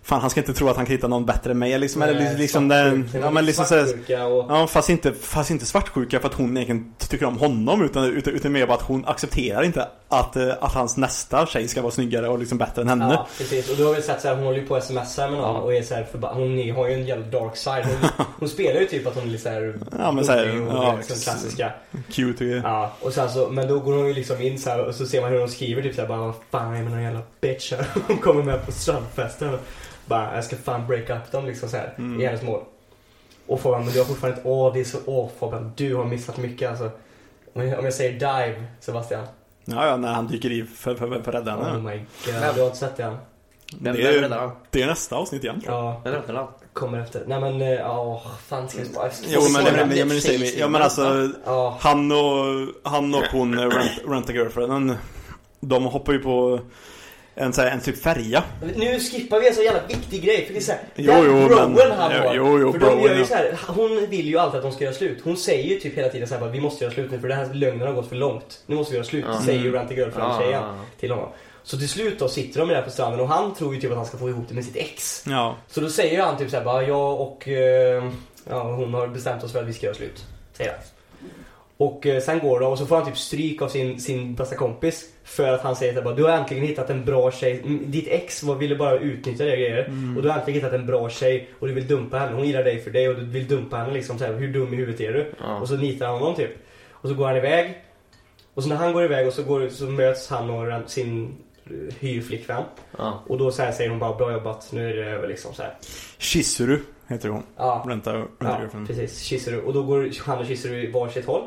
S2: Fan, han ska inte tro att han kan hitta någon bättre än mig liksom. Eller li-
S4: Nej,
S2: liksom den,
S4: svartsjuka.
S2: ja men liksom så här,
S4: Svartsjuka och...
S2: Ja, fast inte, fast inte svartsjuka för att hon egentligen tycker om honom utan, utan, utan mer bara att hon accepterar inte att, eh, att hans nästa tjej ska vara snyggare och liksom bättre än henne.
S4: Ja, precis. Och du har väl sett såhär, hon håller ju på och smsar med någon
S1: Ja.
S4: och är såhär förbannad. Hon är- har ju en jävla dark side. Hon, hon spelar ju typ att hon är lite såhär...
S2: Ja, men såhär,
S4: gubbig och
S2: ja,
S4: liksom
S2: ex-
S4: klassiska.
S2: Cute och
S4: Ja, och sen så, men då går hon ju liksom in så här och så ser man hur hon skriver typ såhär bara Vad fan är med någon jävla bitch här? Hon kommer med på strandfesten och bara jag ska fan break up dem liksom såhär
S2: Mm.
S4: i hennes mål. Och Fabian, men du har fortfarande inte, åh det är så, åh Fabian du har missat mycket alltså. Om jag, om jag säger dive Sebastian.
S2: ja, ja, när han dyker i för, för, för, för att rädda
S4: Oh
S2: henne.
S4: my god, du har inte sett det än.
S1: Vem
S2: Det är-
S1: räddar han?
S2: Det är nästa avsnitt igen.
S4: Ja,
S1: Vem räddar han?
S4: kommer efter. Nej men, eh, ja fan ska jag bara...
S2: Jo men, men, men, men, det säger vi. Ja, men alltså,
S4: Ja,
S2: han och, han och hon, eh, rent, rent a girlfrienden, de hoppar ju på en, så här, en typ färja.
S4: Nu skippar vi en så jävla viktig grej för det är såhär,
S2: Jo,
S4: den
S2: jo,
S4: broen
S2: men-
S4: han har.
S2: jo, jo,
S4: för de
S2: broen,
S4: gör ju
S2: ja.
S4: så här, hon vill ju alltid att de ska göra slut. Hon säger ju typ hela tiden såhär bara, vi måste göra slut nu för det här lögnen har gått för långt. Nu måste vi göra slut,
S1: Ja.
S4: säger ju Ranty Girlfriend
S1: Ja,
S4: tjejen
S1: ja, ja.
S4: till honom. Så till slut då sitter de där på stranden och han tror ju typ att han ska få ihop det med sitt ex.
S2: Ja,
S4: Så då säger han typ såhär bara, jag och eh, ja, hon har bestämt oss för att vi ska göra slut. Säger han. Och eh, sen går de och så får han typ stryk av sin, sin bästa kompis. För att han säger såhär bara, du har äntligen hittat en bra tjej. Mm, Ditt ex var, ville bara utnyttja dig och grejer. Mm.
S2: Mm.
S4: Och du har äntligen hittat en bra tjej och du vill dumpa henne. Hon gillar dig för dig och du vill dumpa henne liksom. Så här, hur dum i huvudet är du?
S1: Ja.
S4: Och så nitar han honom typ. Och så går han iväg. Och så när han går iväg och så, går, så möts han och den- sin eh, hyrflickvän.
S1: Ja.
S4: Och då så här säger hon bara bra jobbat, nu är det över liksom så här.
S2: Shizuru heter hon.
S4: Ja,
S2: Rent a, rent a
S4: ja
S2: girlfriend.
S4: precis. Kisseru. Och då går han och Kisseru varsitt håll.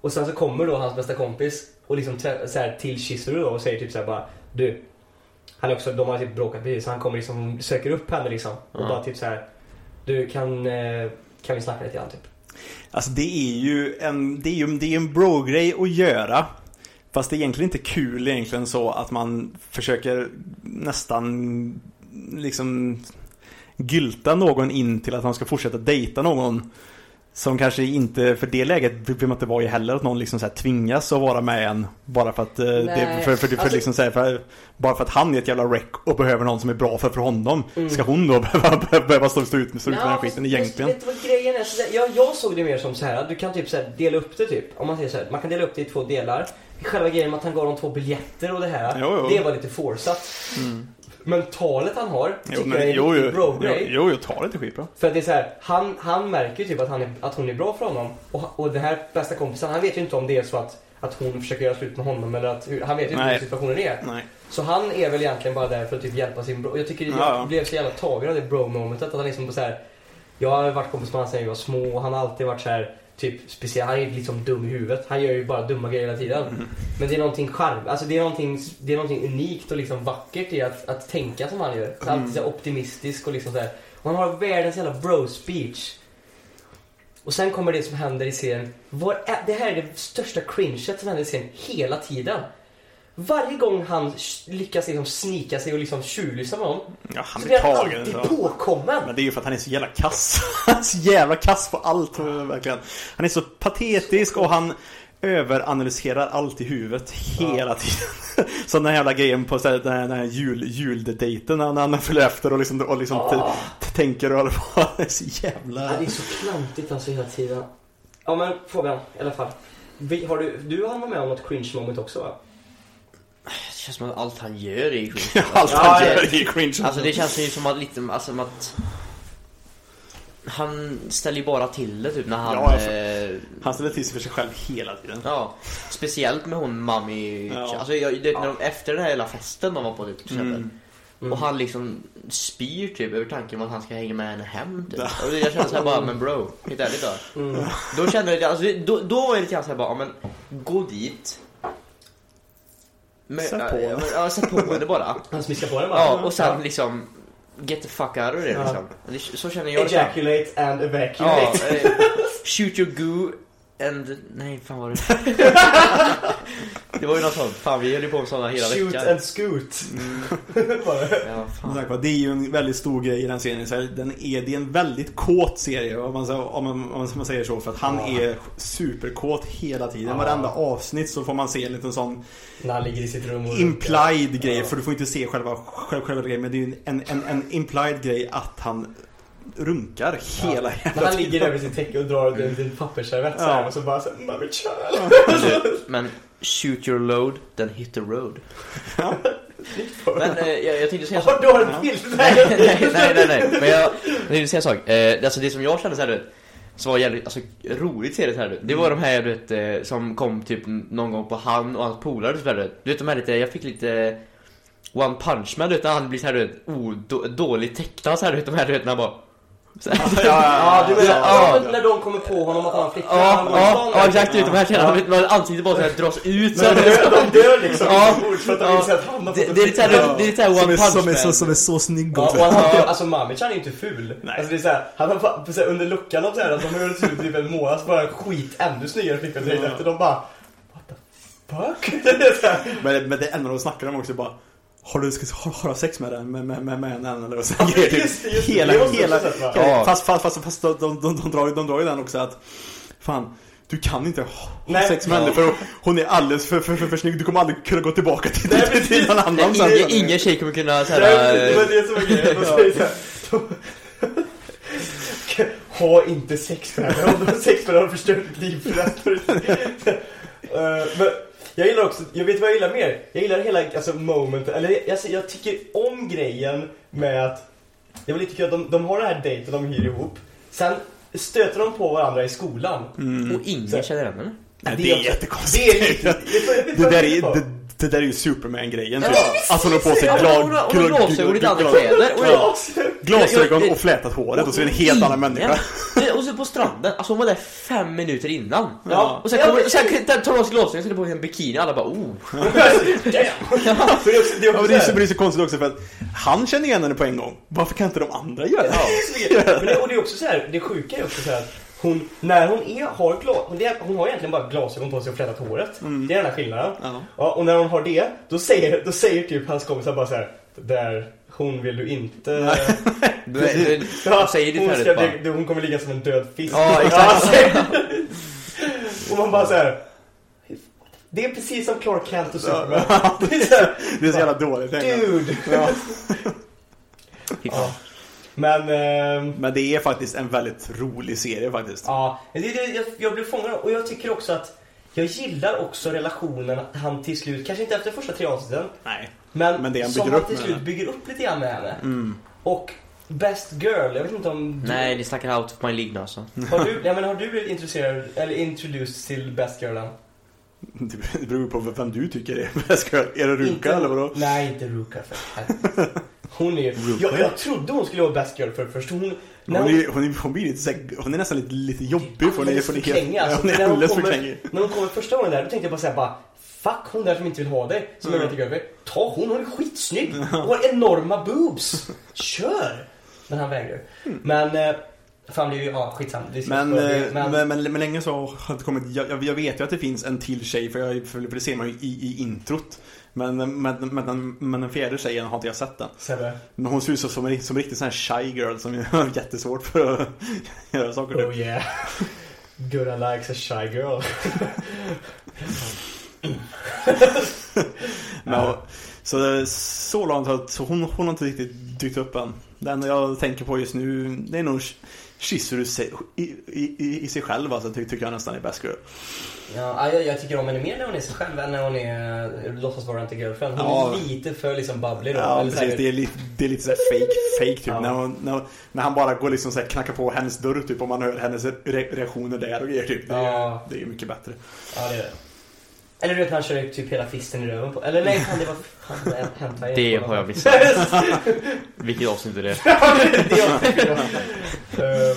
S4: Och sen så kommer då hans bästa kompis och liksom trä- så här, till Kisseru då och säger typ så här bara du. Han är också, de har typ bråkat precis så han kommer liksom söker upp henne liksom. Och
S1: Ja.
S4: bara typ så här. Du kan, eh, kan vi snacka lite grann typ.
S2: Alltså det är ju en, det är ju, det är en bro-grej att göra. Fast det är egentligen inte kul egentligen så att man försöker nästan liksom gylta någon in till att han ska fortsätta dejta någon. Som kanske inte, för det läget vill man inte vara i heller, att någon liksom så här tvingas att vara med en. Bara för att, eh, det,
S4: Nej,
S2: för, för, för,
S4: alltså-
S2: liksom så här, för, bara för att han är ett jävla wreck och behöver någon som är bra för, för honom.
S4: Mm.
S2: Ska hon då behöva, behöva stå, stå ut med stå ut med den
S4: Nja,
S2: här skiten
S4: fast-
S2: egentligen?
S4: Fast, vet du vad grejen är? Så där- Jag, jag såg det mer som så här. att du kan typ så här dela upp det typ. Om man säger så här, man kan dela upp det i två delar. Själva grejen med att han gav dem två biljetter och det här.
S2: Jo, jo.
S4: Det var lite forceat.
S2: Mm.
S4: Men talet han har
S2: Jo,
S4: tycker
S2: men,
S4: jag är
S2: jo,
S4: en
S2: jo,
S4: riktig
S2: jo,
S4: bro-grej.
S2: jo, jag tar det inte skitbra.
S4: För att det är så här, han, han märker ju typ att, han är, att hon är bra för honom. Och, ha- och den här bästa kompisen, han vet ju inte om det är så att, att hon försöker göra slut med honom eller att hur- han vet ju inte
S2: Nej.
S4: hur situationen är.
S2: Nej.
S4: Så han är väl egentligen bara där för att typ hjälpa sin bro. Jag tycker jag
S2: Ja, ja.
S4: blev så jävla tagen av det bro-momentet. Att han liksom bara så här. Jag har varit kompis med honom sedan jag var små och han har alltid varit så här. Typ speciell, han är liksom dum i huvudet. Han gör ju bara dumma grejer hela tiden.
S2: Mm.
S4: Men det är någonting charm, alltså det är någonting, det är någonting unikt och liksom vackert i att, att tänka som han gör. Så Alltid så här
S2: Mm.
S4: optimistisk och liksom så här. Och han har världens jävla bro-speech. Och sen kommer det som händer i serien. Var är, det här är det största cringet som händer i serien hela tiden. Varje gång han sh- lyckas liksom snika sig och liksom tjuvlyssna med honom
S2: Ja, han
S4: så
S2: blir
S4: blir han alltid
S2: tagen. så.
S4: påkommen.
S2: Men det är ju för att han är så jävla kass. Han är så jävla kass på allt, verkligen. Han är så patetisk och han överanalyserar allt i huvudet hela tiden. Som den här jävla grejen på så här, den här, den här jul, juldejten när han följer efter och liksom, och liksom
S1: typ-
S2: t- t- tänker och håller på. Han är så jävla...
S4: Ja, det är så klantigt alltså hela tiden. Ja men Fabian, i alla fall. Vi, har du, du har varit med om något cringe moment också va?
S1: Det känns som att allt han gör är cringe.
S2: Allt han
S1: Ja,
S2: gör
S1: det-
S2: är ju cringe.
S1: Alltså det känns ju som att lite, alltså som att han ställer ju bara till det typ när han...
S2: Ja, alltså.
S1: eh,
S2: Han ställer till sig för sig själv hela tiden.
S1: ja, speciellt med hon Mami...
S2: Ja.
S1: Alltså jag, det, när de, efter den här hela festen de var på typ, till exempel.
S4: Mm.
S1: Och han liksom spyr typ över tanken om att han ska hänga med henne hem typ.
S2: Ja.
S1: Och det- jag kände såhär bara, men bro, helt ärligt då.
S4: Mm.
S1: Då kände jag, alltså, det- då, då var jag lite grann såhär bara, ja, men gå dit. Men,
S2: Sätt på
S1: ja,
S2: henne.
S1: men, Ja, sätt på henne bara.
S4: Han smiskar på den bara.
S1: Ja, och sen liksom get the fuck out of there
S4: Ja.
S1: liksom. Det, så känner jag. liksom.
S4: Ejaculate and
S1: Ja,
S4: evacuate.
S1: eh, shoot your goo and... Nej, fan var det? det var ju något sånt. Fan, vi höll ju på med sådana hela
S4: Shoot
S1: veckan. Mm.
S4: and scoot. Bara.
S1: Ja,
S2: Som
S1: fan.
S2: sagt var, Det är ju en väldigt stor grej i den serien. Så här, den är, det är en väldigt kåt serie om man, om man, om man säger så. För att han är superkåt hela tiden.
S4: Ja.
S2: Varenda avsnitt så får man se en liten sån
S4: När han ligger i sitt rum och
S2: implied grej. För du får inte se själva, själva, själva grejen. Men det är ju en, en, en implied grej att han runkar hela
S4: När han ligger över sitt täcke och drar ut en liten pappersservett så
S2: Ja.
S4: här och så bara så här, Mami child.
S1: Men shoot your load, then hit the road. Men eh, jag, jag tänkte säga en sak.
S4: Vad då har du bild?
S1: nej, nej, nej, nej. Men jag, jag tänkte säga en sak. Eh, alltså det som jag kände så här, du vet, som var jävligt alltså, roligt serie så här, du vet, det var de här du vet, eh, som kom typ någon gång på han och hans polare. så här, Du vet. Du vet de här lite, jag fick lite One Punch Man, du vet när han blir så här, du vet, o, då, dåligt tecknad så här, du vet de här du vet när han bara så här.
S4: Ja, du menar
S1: Ja.
S4: ja, men när de kommer på honom att han har flickvän?
S1: Ja,
S4: han går
S1: ja,
S4: ifrån
S1: ja,
S4: det.
S1: exakt, du vet de här tjejerna, ja. ansiktet bara så här dras ut så här,
S4: Men
S1: du
S4: de
S1: vet.
S4: dör- De dör liksom
S1: Ja.
S4: inombords för att de
S1: Ja.
S4: inser att han har
S1: det,
S4: fått en
S1: det är lite
S4: flickvän.
S1: såhär, det är lite såhär One
S2: Som är,
S1: Punch
S2: som, är,
S1: Man
S2: så, som är så snygg
S4: Ja,
S2: också.
S4: och han, alltså Mamichan är ju inte ful.
S2: Nej.
S4: Alltså det är så här, han har fa- så här, under luckan och sådär, alltså, de hör typ typ en månad så bara skit ännu snyggare flickor direkt efter. De bara What the fuck? Det är så här,
S2: Men, men det enda de snackar om också är bara har du, ska, har, har du sex med den? Med, med, med, med henne eller så
S4: Ja, just det, just det.
S2: Hela,
S4: Det måste
S2: hela,
S4: jag också säga.
S2: hela
S1: Ja.
S2: Fast, fast, fast, fast de, de, de, de, drar, ju- de drar ju den också att Fan, du kan inte ha
S4: Nej.
S2: sex med henne för hon är alldeles för, för, för, för snygg Du kommer aldrig kunna gå tillbaka till,
S4: Nej,
S2: till, till
S4: precis.
S2: någon annan sen.
S1: Ingen, ingen tjej kommer kunna
S4: det är- det
S1: såhär...
S4: var det som är grejen. De säger så här, de- Ha inte sex med henne. Om du har sex med henne har du förstört ditt liv för resten. Eh, men jag gillar också, jag vet vad jag gillar mer? Jag gillar hela alltså, moment, eller jag, jag, jag tycker om grejen med att Det var lite kul att de, de har den här dejten de hyr ihop Sen stöter de på varandra i skolan
S2: Mm.
S1: Och ingen
S4: Så-
S1: känner henne. eller?
S2: Nej,
S4: Det
S2: det är
S4: är-
S2: jättekonstigt
S4: Det är lite,
S2: Det där är, det, det där är ju Superman-grejen typ. Att hon har på sig
S1: Ja,
S2: glad-
S1: hon har- hon har
S2: glad-
S1: glasögon och lite
S2: glad-
S1: andra kläder. Och jag- Jag-
S2: Glasögon
S1: jag-
S2: och flätat håret och så är det en helt
S1: Och
S2: annan människa
S1: ingen- Och så på stranden, alltså hon var där fem minuter innan.
S2: Ja.
S1: Och sen, kommer, och sen tar hon av sig glasögonen och sätter på sig en bikini alla bara oh.
S4: Så det är också, det är
S2: Ja,
S4: också
S2: men det, är
S4: så
S2: så,
S4: här-
S2: men det är så konstigt också för att han känner igen henne på en gång. Varför kan inte de andra göra det?
S4: Men det, och det är också så här, det sjuka är också så här att hon, när hon är, har glas, hon, det, hon har egentligen bara glasögon på sig och flätat håret. Det är den här skillnaden.
S2: Ja.
S4: och när hon har det, då säger, då säger typ hans kompisar bara så här, där, hon vill du inte...
S1: Du, du, du,
S4: Ja,
S1: hon säger det
S4: hon,
S1: till
S4: ska,
S1: henne bara.
S4: bli, hon kommer ligga som en död fisk.
S1: Ja, exakt.
S4: och man bara så här. Det är precis som Clark Kent och Superman. Det är så här,
S2: Det är så jävla dåligt. egentligen.
S4: dude!
S2: Ja.
S1: Fy fan.
S4: Ja. Men... ehm,
S2: Men det är faktiskt en väldigt rolig serie faktiskt.
S4: Ja, det, det, jag, jag blev fångad av- och jag tycker också att jag gillar också relationen att han till slut, kanske inte efter första tre avsnitten,
S2: Nej.
S4: men,
S2: Men det han
S4: som
S2: bygger
S4: han
S2: upp
S4: till
S2: med
S4: slut
S2: henne.
S4: bygger upp lite grann med henne.
S2: Mm.
S4: Och Best Girl, jag vet inte om du,
S1: Nej, ni snackar out of my league nu alltså.
S4: har, du, ja, men har du blivit intresserad eller introduced till Best Girl än?
S2: Det beror på vem du tycker är bäst. Är det Ruka eller vadå?
S4: Nej, inte Ruka för helvete. Hon är ju... Jag, jag trodde hon skulle vara Best Girl för först. Hon,
S2: Hon är, hon, är, hon, blir lite, så här- hon är nästan lite, lite jobbig. För hon är,
S4: alldeles
S2: för
S4: för
S2: hon är,
S4: krängig
S2: helt,
S4: alltså.
S2: hon är
S4: När hon
S2: alldeles för
S4: kommer-
S2: krängig.
S4: När hon kommer första gången där, då tänkte jag bara såhär bara Fuck hon där som inte vill ha dig, som mm. jag tycker över. Ta hon, hon är skitsnygg! Hon har enorma boobs! Kör! Men han vägrar Men, eh, fan det är ju, ja skitsamma. Det är
S2: Men,
S4: skitbra.
S2: eh, men, men, men länge så har det kommit. Jag, jag, jag vet ju att det finns en till tjej för, jag, för det ser man ju i, i introt. Men, eh, men, men, men den fjärde tjejen har inte jag sett den.
S4: Sebbe.
S2: Men hon ser ut som, som en som en riktig sån här shy girl som har jättesvårt för att göra saker. typ.
S4: Oh yeah. Gurra likes a shy girl.
S2: Men, och- så, det är så långt har så hon, hon har inte riktigt dykt upp än. Det enda jag tänker på just nu det är nog Sh- Shizuru se- i, i, i, i sig själv alltså, ty, tycker jag nästan är bäst girl.
S4: Ja, jag, jag tycker om henne mer när hon är sig själv än när hon är eh, låtsas vara inte girlfriend. Hon
S2: Ja.
S4: är lite för liksom bubbly då.
S2: Ja,
S4: Eller så här-
S2: precis. Det är, li, det är lite så här fake, fake typ.
S4: Ja.
S2: När, hon, när, hon, när han bara går liksom så här knackar på hennes dörr typ och man hör hennes re, reaktioner där och grejer typ. Det är,
S4: Ja.
S2: det är mycket bättre.
S4: Ja, det är det. Eller du vet när han kör typ hela fisten i röven på... Eller nej, fan, det var... Fan, det var- hämta
S1: Det
S4: igen.
S1: har jag missat. Vilket avsnitt är det?
S4: Ja, det- det har jag. Ehm,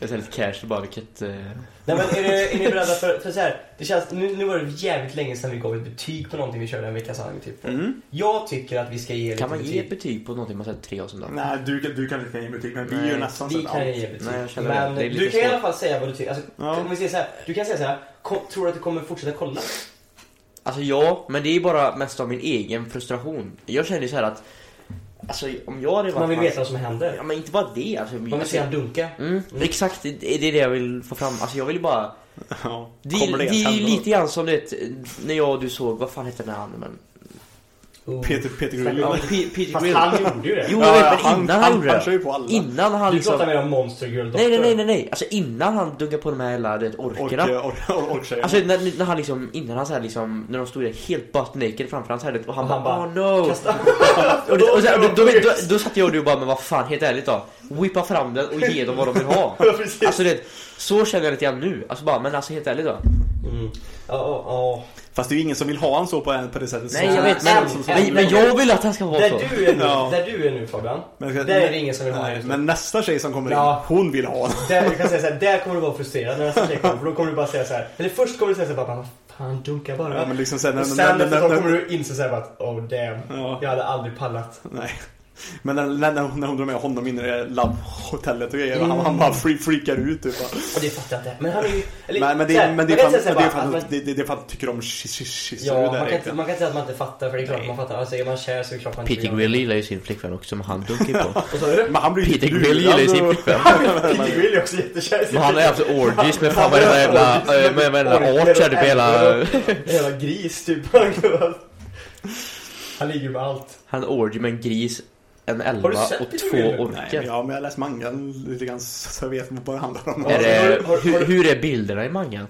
S1: Jag är lite cash bara vilket... eh,
S4: Nej men är, det, är ni beredda för, för så här, det känns, nu, nu var det jävligt länge sedan vi gav ett betyg på någonting vi körde en vecka sedan. Typ.
S2: Mm.
S4: Jag tycker att vi ska ge lite
S1: Kan man ge
S4: betyg.
S1: ett betyg på någonting man sett tre avsnitt av?
S2: Nej, du, kan- du kan inte ge mig betyg men vi är ju
S1: Nej,
S2: nästan
S4: Vi
S2: sett allt.
S4: kan ge betyg.
S1: Nej, jag känner
S4: men
S1: det. Det är lite
S4: du kan i
S1: svårt.
S4: alla fall säga vad du tycker. Alltså,
S2: Ja.
S4: om vi säger så här, du kan säga så här, "Ko- tror du att du kommer fortsätta kolla?
S1: Alltså ja, men det är bara mest av min egen frustration. Jag känner ju så här att... Alltså om jag hade varit...
S4: Man vill veta vad som händer.
S1: Ja men inte bara det. Alltså,
S4: Man vill
S1: alltså,
S4: se han dunka.
S1: mm,
S4: Mm.
S1: Exakt, det det är det jag vill få fram. Alltså jag vill ju bara...
S2: Ja.
S1: Det, är-
S2: Kommer
S1: det,
S2: ens
S1: är ju
S2: hända?
S1: lite grann som du vet, när jag och du såg, vad fan hette den här men...
S4: Oh.
S2: Peter, Peter Grill.
S1: Ja, P- Peter
S4: Fast
S1: Grill.
S4: han gjorde ju det.
S1: Jo, jag vet, men innan han gjorde
S2: han, han
S1: det.
S2: kör ju på alla.
S1: Innan han
S4: du
S1: liksom...
S4: pratar mer om Monster Girl Doctor.
S1: Nej, nej, nej, nej, nej. Alltså innan han dunkar på de här hela du vet,
S2: Ork,
S1: orkerna.
S2: ork, ork, orktjejerna.
S1: Alltså när, när han liksom, innan han så här liksom, när de stod där helt butt naked framför hans här och han,
S4: Och han
S1: bara
S4: bara,
S1: oh no.
S4: Kasta.
S1: Och, det, och så, då, då, då, då satt jag och du och bara men vad fan helt ärligt då. Whippa fram den och ge dem vad de vill ha.
S4: Ja, precis.
S1: Alltså det, så känner jag lite grann nu. Alltså bara men alltså helt ärligt då.
S4: Mm. Ja, ja, ja.
S2: Fast det är ju ingen som vill ha en så på, en, på det sättet.
S1: Nej
S2: så,
S1: jag vet men,
S2: som- som-
S1: men, men jag vill att han ska vara så.
S4: Där du är nu,
S2: Ja.
S4: där du är nu Fabian.
S2: Men-
S4: där är det ingen som vill ha
S2: Nej,
S4: dig.
S2: men nästa tjej som kommer
S4: Ja.
S2: in, hon vill ha en.
S4: Där, jag kan säga så här, där kommer du vara frustrerad när nästa tjej kommer. För då kommer du bara säga så här. Eller först kommer du säga så här, bara, "Vad fan dunka bara.
S2: Ja, men liksom sen,
S4: och sen efter ett tag kommer du inse så här, bara, att, oh damn.
S2: Ja.
S4: Jag hade aldrig pallat.
S2: Nej. Men när, när, när hon- när hon drar med honom in i det där hotellet och grejer, han, han
S4: Mm.
S2: bara free, freakar ut typ. bara.
S4: Och det fattar jag inte. Men han är ju... Eller,
S2: Men, men det
S4: så
S2: är
S4: här,
S2: men det är
S4: man
S2: fan-
S4: kan inte säga
S2: men det är
S4: så här bara,
S2: fan
S4: att
S2: att-
S4: man-
S2: det- det- det är för att du tycker om Shizuru
S4: Ja, man
S2: där
S4: kan, inte,
S2: egentligen.
S4: man kan inte säga att man inte fattar för det är klart man fattar. Alltså är man kär så är det klart man inte
S1: Peter
S4: vill-
S1: Grill gillar ju sin flickvän också men han dunkar på.
S4: Vad sa du?
S2: Men han blir ju
S1: Peter
S2: lurad
S1: Grill gillar ju sin
S2: och-
S1: flickvän.
S4: Peter Grill "Äh, är också jättekär i sin
S1: Men han har ju haft orgies med fan varenda jävla, eh, med varenda art här typ hela...
S4: Jävla gris typ. Han ligger med allt.
S1: Han orgy med en gris, en elva
S4: du sett
S1: och
S4: det,
S1: två
S4: Julia?
S2: Nej,
S1: orker.
S2: men jag, men jag har läst mangan lite grann så jag vet vad det handlar om.
S4: Ja.
S1: Är det,
S4: Har- har-
S1: hur,
S4: har-
S1: hur är bilderna i mangan?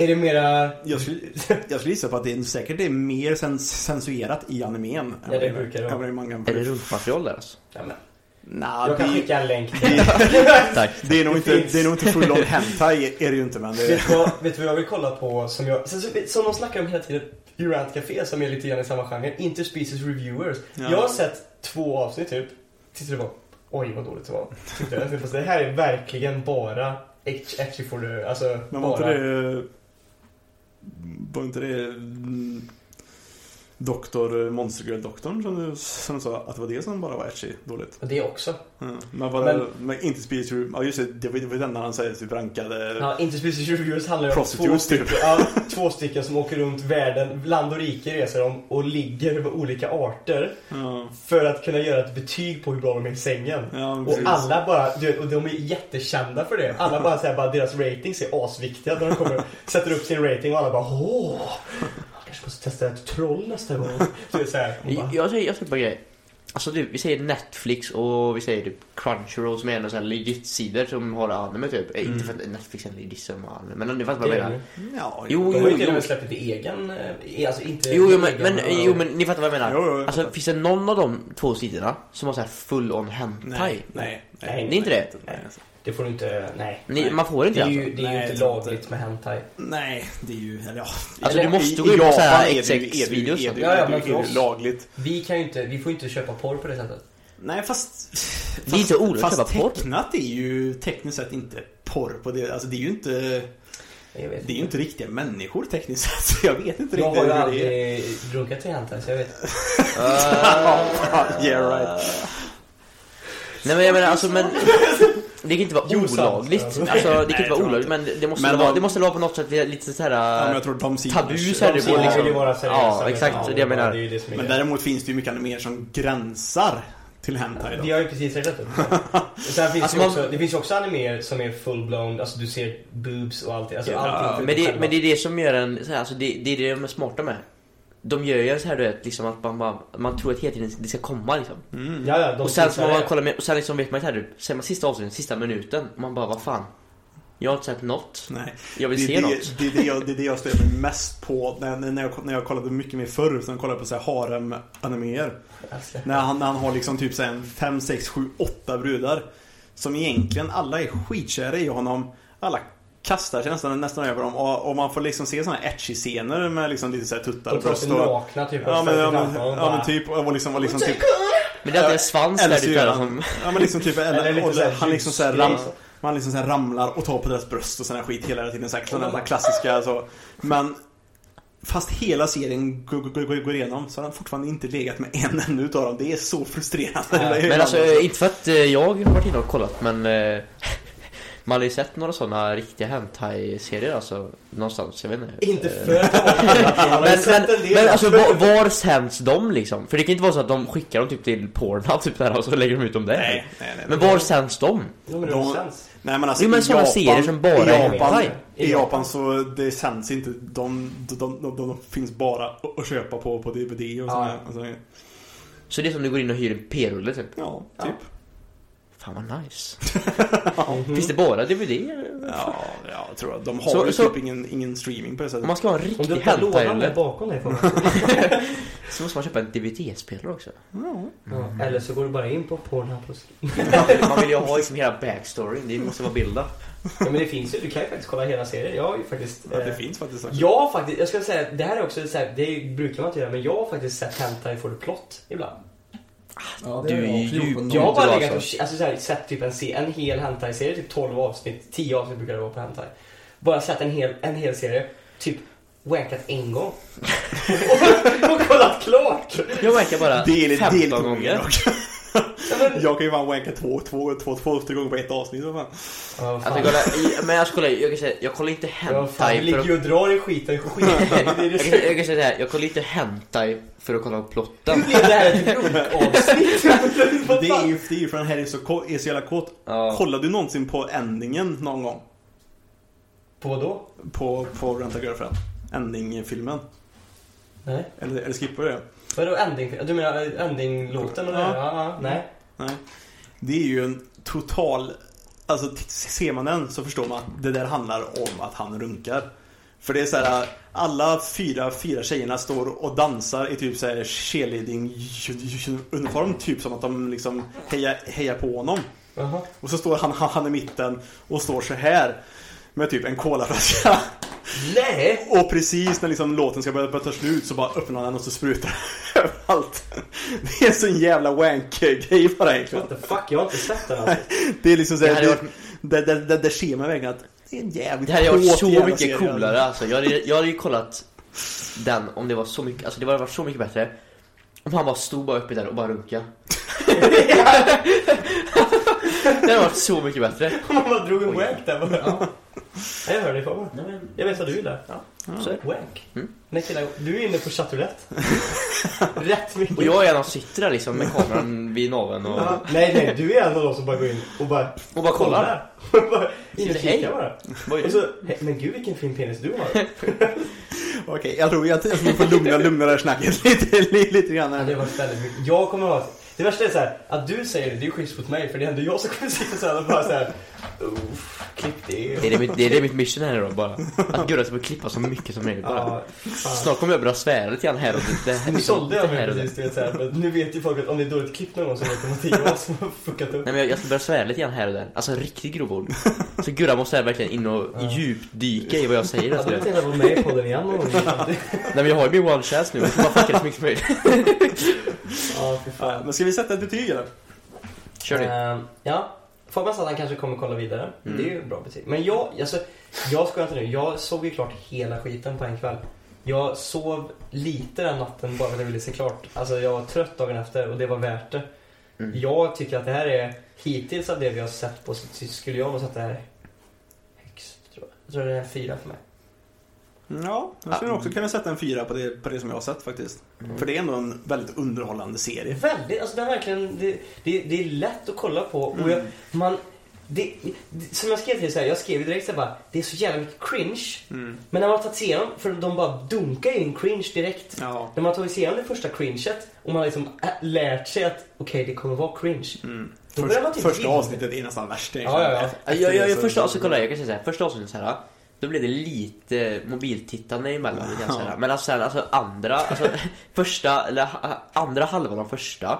S4: Är det mera...
S2: Jag skulle, jag skulle gissa på att det är, säkert det är mer sen, censurerat i animen. än vad
S4: det brukar det vara.
S2: än vad är i mangan.
S1: Är det rumpmaterial där alltså?
S4: Ja, men,
S2: Nah,
S4: jag kan
S2: det,
S4: skicka en länk till
S1: Tack.
S2: det är nog
S4: Det
S2: inte,
S4: finns.
S2: det är nog inte full on hentai är det ju inte men det
S4: vet, du vad, vet du vad jag vill kolla på som jag... Sen, så- som de snackar om hela tiden i Rant Café som är lite grann i samma genre. Interspecies Reviewers.
S2: Ja.
S4: Jag har sett två avsnitt typ. Tills det var... Oj vad dåligt det var. Tyckte jag. Fast det här är verkligen bara... act- Actually for the... Alltså
S2: Men var
S4: bara...
S2: inte det... Var inte det... mm, Doktor Monstergirl-doktorn som du som du sa att det var det som bara var etchy dåligt.
S4: Och det också.
S2: Ja. Men, var det, men inte Speech Room. Ja just det, det var det var den där han säger typ rankade...
S4: Ja, Interspecies Reviewers handlar ju om två
S2: Prostitutes, typ.
S4: stycken, ja, två stycken som åker runt världen, land och rike reser de och ligger över olika arter
S2: Ja.
S4: för att kunna göra ett betyg på hur bra de är i sängen.
S2: Ja, men
S4: Och
S2: precis.
S4: alla bara, du vet, och de är jättekända för det. Alla bara säger bara deras ratings är asviktiga när de kommer, sätter upp sin rating och alla bara åh, jag kanske måste testa ett troll nästa gång. Så det är så här, och bara,
S1: Jag, jag säger, jag säger bara grejer. Alltså du, vi säger Netflix och vi säger typ Crunchyroll som är en sån här legit-sidor som har anime typ. Eh, Inte för att Netflix är en legit som har anime, men du fattar vad jag menar.
S2: Ja,
S1: Jo,
S4: de har ju till och
S1: jo.
S4: med släppt lite egen, eh, alltså inte
S1: Jo, jo, men,
S4: egen,
S1: men,
S4: eh,
S1: jo, men ni fattar vad jag menar.
S2: Jo, jo, jag
S1: alltså
S2: fattar.
S1: finns det någon av de två sidorna som har så här full on hentai?
S2: Nej, nej, nej.
S1: Det är inte det?
S2: Nej, alltså.
S4: Det får du inte, nej.
S1: Ni, man får inte
S4: Det är
S1: det alltså?
S4: ju, det är ju
S2: Nej,
S4: inte
S2: det är inte.
S4: lagligt med hentai.
S2: nej, det är ju... Eller ja.
S1: Alltså, du måste
S2: I-
S1: gå
S2: i
S1: in på så här
S2: Japan är det ju- är det ju-
S1: XX-videos.
S2: är det ju-
S4: Ja, ja,
S2: är det
S4: men
S2: ju-
S4: för
S2: är det
S4: oss.
S2: ju lagligt.
S4: Vi kan ju inte, vi får inte köpa porr på det sättet.
S2: Nej fast...
S1: Det är inte olagligt att
S2: Fast
S1: köpa porr.
S2: tecknat är ju tekniskt sett inte porr på det. Alltså det är ju inte...
S4: Jag vet
S2: Det är ju inte riktiga människor tekniskt sett. Så jag vet inte
S4: Jag har ju
S2: riktigt hur det är.
S4: aldrig runkat till hentai så jag vet inte.
S2: Ja, yeah right.
S1: Nej men jag menar alltså men... Det kan inte vara
S4: Jo, sant.
S1: olagligt. Alltså, det kan
S2: nej,
S1: inte vara
S2: jag
S1: olagligt, men det måste,
S2: Men
S1: väl vara,
S2: vad-
S1: det måste väl vara på något sätt lite så
S2: Ja, men
S1: här...
S2: jag tror de sidorna-
S1: tabu så är det
S4: De
S1: på
S4: vill
S1: liksom.
S4: ju vara seriösa,
S1: Ja,
S4: men-
S1: exakt, det är det jag menar.
S4: Det är ju det som är
S2: Men
S4: grejen.
S2: däremot finns det ju mycket mer som gränsar till hentai då.
S4: Vi har ju precis rätt upp. Sen finns
S1: Alltså,
S4: det, ju
S1: man-
S4: också, det finns ju också animer som är full-blown, alltså du ser boobs och allt det. Alltså,
S2: Ja,
S4: allting
S1: Men
S4: förutom
S1: det,
S4: själva-
S1: men det är det som gör en, så här, alltså det, det är det de är smarta med. De gör ju så här du vet, liksom att man, bara, man tror att hela tiden det ska komma liksom.
S2: Mm.
S4: ja, ja, de
S1: Och sen så
S4: tittar
S1: man
S4: där.
S1: kollar med, och sen liksom vet man inte här du, ser man sista avsnittet, sista minuten, man bara vad fan. Jag har inte sett något.
S2: Nej.
S1: Jag vill
S2: Det,
S1: se
S2: är
S1: något.
S2: det, det, är det, jag, det är det jag stör mig mest på när, när, jag, när jag kollade mycket mer förr. Sen kollade jag på så här harem-animéer.
S4: Alltså.
S2: När han, när han har liksom typ 5, 6, 7, 8 brudar. Som egentligen alla är skitkära i honom. Alla kastar sig nästan, nästan över dem. Och, och man får liksom se sådana här etchy scener med liksom lite så här tuttar
S4: De
S2: och
S4: tar sig
S2: bröst. Och,
S4: nakna typ.
S2: ja, men, ja, men,
S4: och bara-
S2: ja men typ. Och liksom, och liksom typ
S1: Men det är alltid en svans
S2: eller
S1: där
S2: så
S1: du
S2: gör
S1: tar
S2: han-
S1: som...
S2: Ja men liksom typ, eller,
S4: Eller lite
S2: och
S4: så här
S2: han liksom såhär
S4: ljusgrej,
S2: ram,
S4: så.
S2: Man liksom såhär ramlar och tar på deras bröst och sån här skit hela tiden, såhär sån här klassiska så. Men Fast hela serien går, går, går, går igenom så har han fortfarande inte legat med en enda utav dem. Det är så frustrerande.
S4: Nej,
S2: Eller hur?
S1: Men alltså inte för att eh, jag har varit inne och kollat men eh, man har ju sett några sådana riktiga hentai-serier alltså någonstans, jag vet inte.
S4: Inte
S1: Eh,
S4: för att de har
S1: Men,
S4: sett en
S1: men,
S4: del.
S1: men alltså var, var sänds de liksom? För det kan inte vara så att de skickar dem typ till Pornhub typ där och så lägger de ut dem där.
S2: Nej, nej, nej.
S1: Men var sänds de?
S4: Jo, men det
S2: de-
S4: har sens.
S2: nej men alltså
S1: Jo, men
S2: i
S1: såna
S2: Japan-
S1: serier som bara
S2: i
S1: är
S2: Japan,
S1: hentai.
S2: I Japan så det sänds inte. De, de, de, de, de finns bara att- att köpa på, på DVD och
S4: Ja.
S2: sådär. Alltså,
S1: Så det är som du går in och hyr en p-rulle typ?
S2: ja, typ.
S1: Fan vad nice.
S4: Mhm.
S1: Finns det bara DVD? eller?
S2: Ja, ja jag tror jag. De har
S1: Så-
S2: ju
S1: så-
S2: typ ingen, ingen streaming på det sättet.
S1: Om man ska ha en
S4: Om
S1: riktig
S4: du öppnar lådan där
S1: hentai-rulle
S4: bakom dig folk.
S1: så måste man köpa en DVD-spelare också. Mm.
S4: Ja, Eller så går du bara in på Pornhub och
S1: Man vill ju ha liksom hela backstoryn, det måste vara bildat.
S4: Ja men det finns ju, du kan ju faktiskt kolla hela serien. Jag har ju faktiskt...
S2: Ja, det
S4: eh,
S2: finns faktiskt saker.
S4: Jag har faktiskt, jag ska säga att det här är också så här, det brukar man inte göra men jag har faktiskt sett Hentai for the plot ibland.
S1: Du är ju djup.
S4: Jag har
S1: Inte
S4: bara
S1: bra,
S4: legat och
S1: alltså.
S4: alltså, så här, sett typ en, se- en hel Hentai-serie, typ 12 avsnitt, 10 avsnitt brukar det vara på Hentai. Bara sett en hel, en hel serie, typ wankat en gång. och, och kollat klart!
S1: Jag verkar bara
S2: Del,
S1: 15
S2: del,
S1: gånger.
S4: Ja, men,
S2: Jag kan ju fan wanka två, två, två, två, tre gånger på ett avsnitt. vad Fan.
S4: ja, fan.
S1: Alltså, kolla, i- men jag kollar, jag kan säga, jag kollar inte
S4: Ja, fan, du
S1: hentai för
S4: ligger
S1: att...
S4: ju och drar i skiten. skiten. Det är
S1: Jag
S4: det
S1: kan, jag kan säga det här, jag kollar inte hentai för att kolla på plotten.
S4: Det här är ett runkavsnitt. Vad
S2: Det är
S4: fan?
S2: ju det är ju för den här är så, ko- är så jävla kåt.
S1: Ja.
S2: Kollade du någonsin på endingen någon gång?
S4: På då?
S2: På, på Rent a Girlfriend? Ending-filmen?
S4: Nej.
S2: Eller, eller skippar du det?
S4: Vadå ending? Du menar eh, ending-låten? eller?
S2: Ja.
S4: Ja. ja, nej.
S2: Nej. Det är ju en total... Alltså t- ser man den så förstår man att det där handlar om att han runkar. För det är så här, alla fyra, fyra tjejerna står och dansar i typ så här cheerleading uniform typ som att de liksom hejar, hejar på honom.
S4: Jaha.
S2: Och så står han, han, han i mitten och står så här med typ en colaflaska.
S4: Nej!
S2: Och precis när liksom låten ska börja, börja ta slut så bara öppnar han den och så sprutar det överallt. Det är en sån jävla wank-grej bara egentligen.
S4: What the fuck, jag har inte sett den alltså.
S2: Det är liksom
S1: Det
S2: såhär,
S1: hade
S2: det,
S1: varit-
S2: där, där, där, där ser man verkligen att det är en jävligt
S1: Det här hade varit
S2: kåt
S1: så
S2: jävla
S1: mycket
S2: serie.
S1: coolare alltså. jag, hade, jag hade ju kollat den om det var så mycket, alltså det hade varit så mycket bättre om han bara stod bara uppe där och bara runka. det hade varit så mycket bättre.
S4: Man bara drog en wank där bara. Ja. Nej, jag hör dig Fabian. Jag vet vad du gillar. Ja.
S1: Så är det.
S4: Wank.
S1: Mm.
S4: Nej killar, du är inne på chattroulette. Rätt mycket.
S1: Och jag är en av som sitter där liksom med kameran vid naveln och,
S4: Ja. Nej, nej, du är en av dem som bara går in och bara
S1: och bara kollar.
S4: kollar. Bara in och
S1: Hej.
S4: kikar bara.
S1: Vad är
S4: Och
S1: det?
S4: så, "Hej, men gud vilken fin penis du har.
S2: Okej, jag tror jag, jag tror vi får lugna, lugna det här snacket lite, lite, lite grann.
S4: Ja,
S2: Här.
S4: det var väldigt mycket. Jag kommer ha... Det värsta är så här, att du säger det, det är ju schysst mot mig för det är ändå jag som kommer sitta såhär och bara såhär... "Uff, Klipp det.
S1: Det är det, mitt, det är det mitt mission här idag bara. Att Gurra ska få klippa så mycket som möjligt bara.
S4: Ja, fan.
S1: Snart kommer jag börja svära lite grann här och dit. Det här,
S4: Nu sålde jag
S1: det
S4: mig
S1: här och det.
S4: precis, du vet såhär. men Nu vet ju folk att om det är dåligt klipp någon gång så vet de att det är jag som har fuckat upp.
S1: Nej men jag, jag ska börja svära lite grann här och där. Alltså riktigt grovord. Så Gurra måste här verkligen in och
S4: Ja.
S1: djupdyka i vad jag säger.
S4: Hade
S1: Alltså.
S4: du inte velat vara med i podden igen någon gång? Ja,
S1: Nej men jag har ju min one chance nu. Jag ska bara fucka det så mycket som möjligt.
S4: fy fan.
S2: Ja, Men ska vi sätta ett betyg eller?
S1: Kör du. Mm.
S4: Ehm, ja. Fabian sa att han kanske kommer kolla vidare. Det är ju ett bra betyg. Men jag, alltså, jag skojar inte nu. Jag såg ju klart hela skiten på en kväll. Jag sov lite den natten bara för att jag ville se klart. Alltså jag var trött dagen efter och det var värt det.
S1: Mm.
S4: Jag tycker att det här är, hittills av det vi har sett på, så skulle jag nog sätta det här högst tror jag. Jag tror det är fyra för mig.
S2: Ja, Mm. jag skulle också kunna sätta en fyra på det, på det som jag har sett faktiskt. För det är ändå en väldigt underhållande serie.
S4: Väldigt, alltså det är verkligen, det, det, det är lätt att kolla på
S1: Mm.
S4: och jag, man, det, det, som jag skrev till dig, jag skrev ju direkt så här bara, det är så jävla mycket cringe.
S2: Mm.
S4: Men när man har tagit sig igenom, för de bara dunkar ju in cringe direkt.
S2: Ja.
S4: När man har tagit sig igenom det första cringet och man har liksom äh, lärt sig att okej, det kommer vara cringe. Då börjar man
S2: Först,
S4: typ
S2: första
S4: gilla det.
S2: avsnittet är nästan värst.
S4: Ja, ja, ja.
S1: Ja, Jag, jag, jag, första avsnittet, kolla jag kan säga så här, första avsnittet så här. Då blev det lite mobiltittande emellan kan jag säga. Men alltså, sen, alltså andra, alltså första, eller ha- andra halvan av första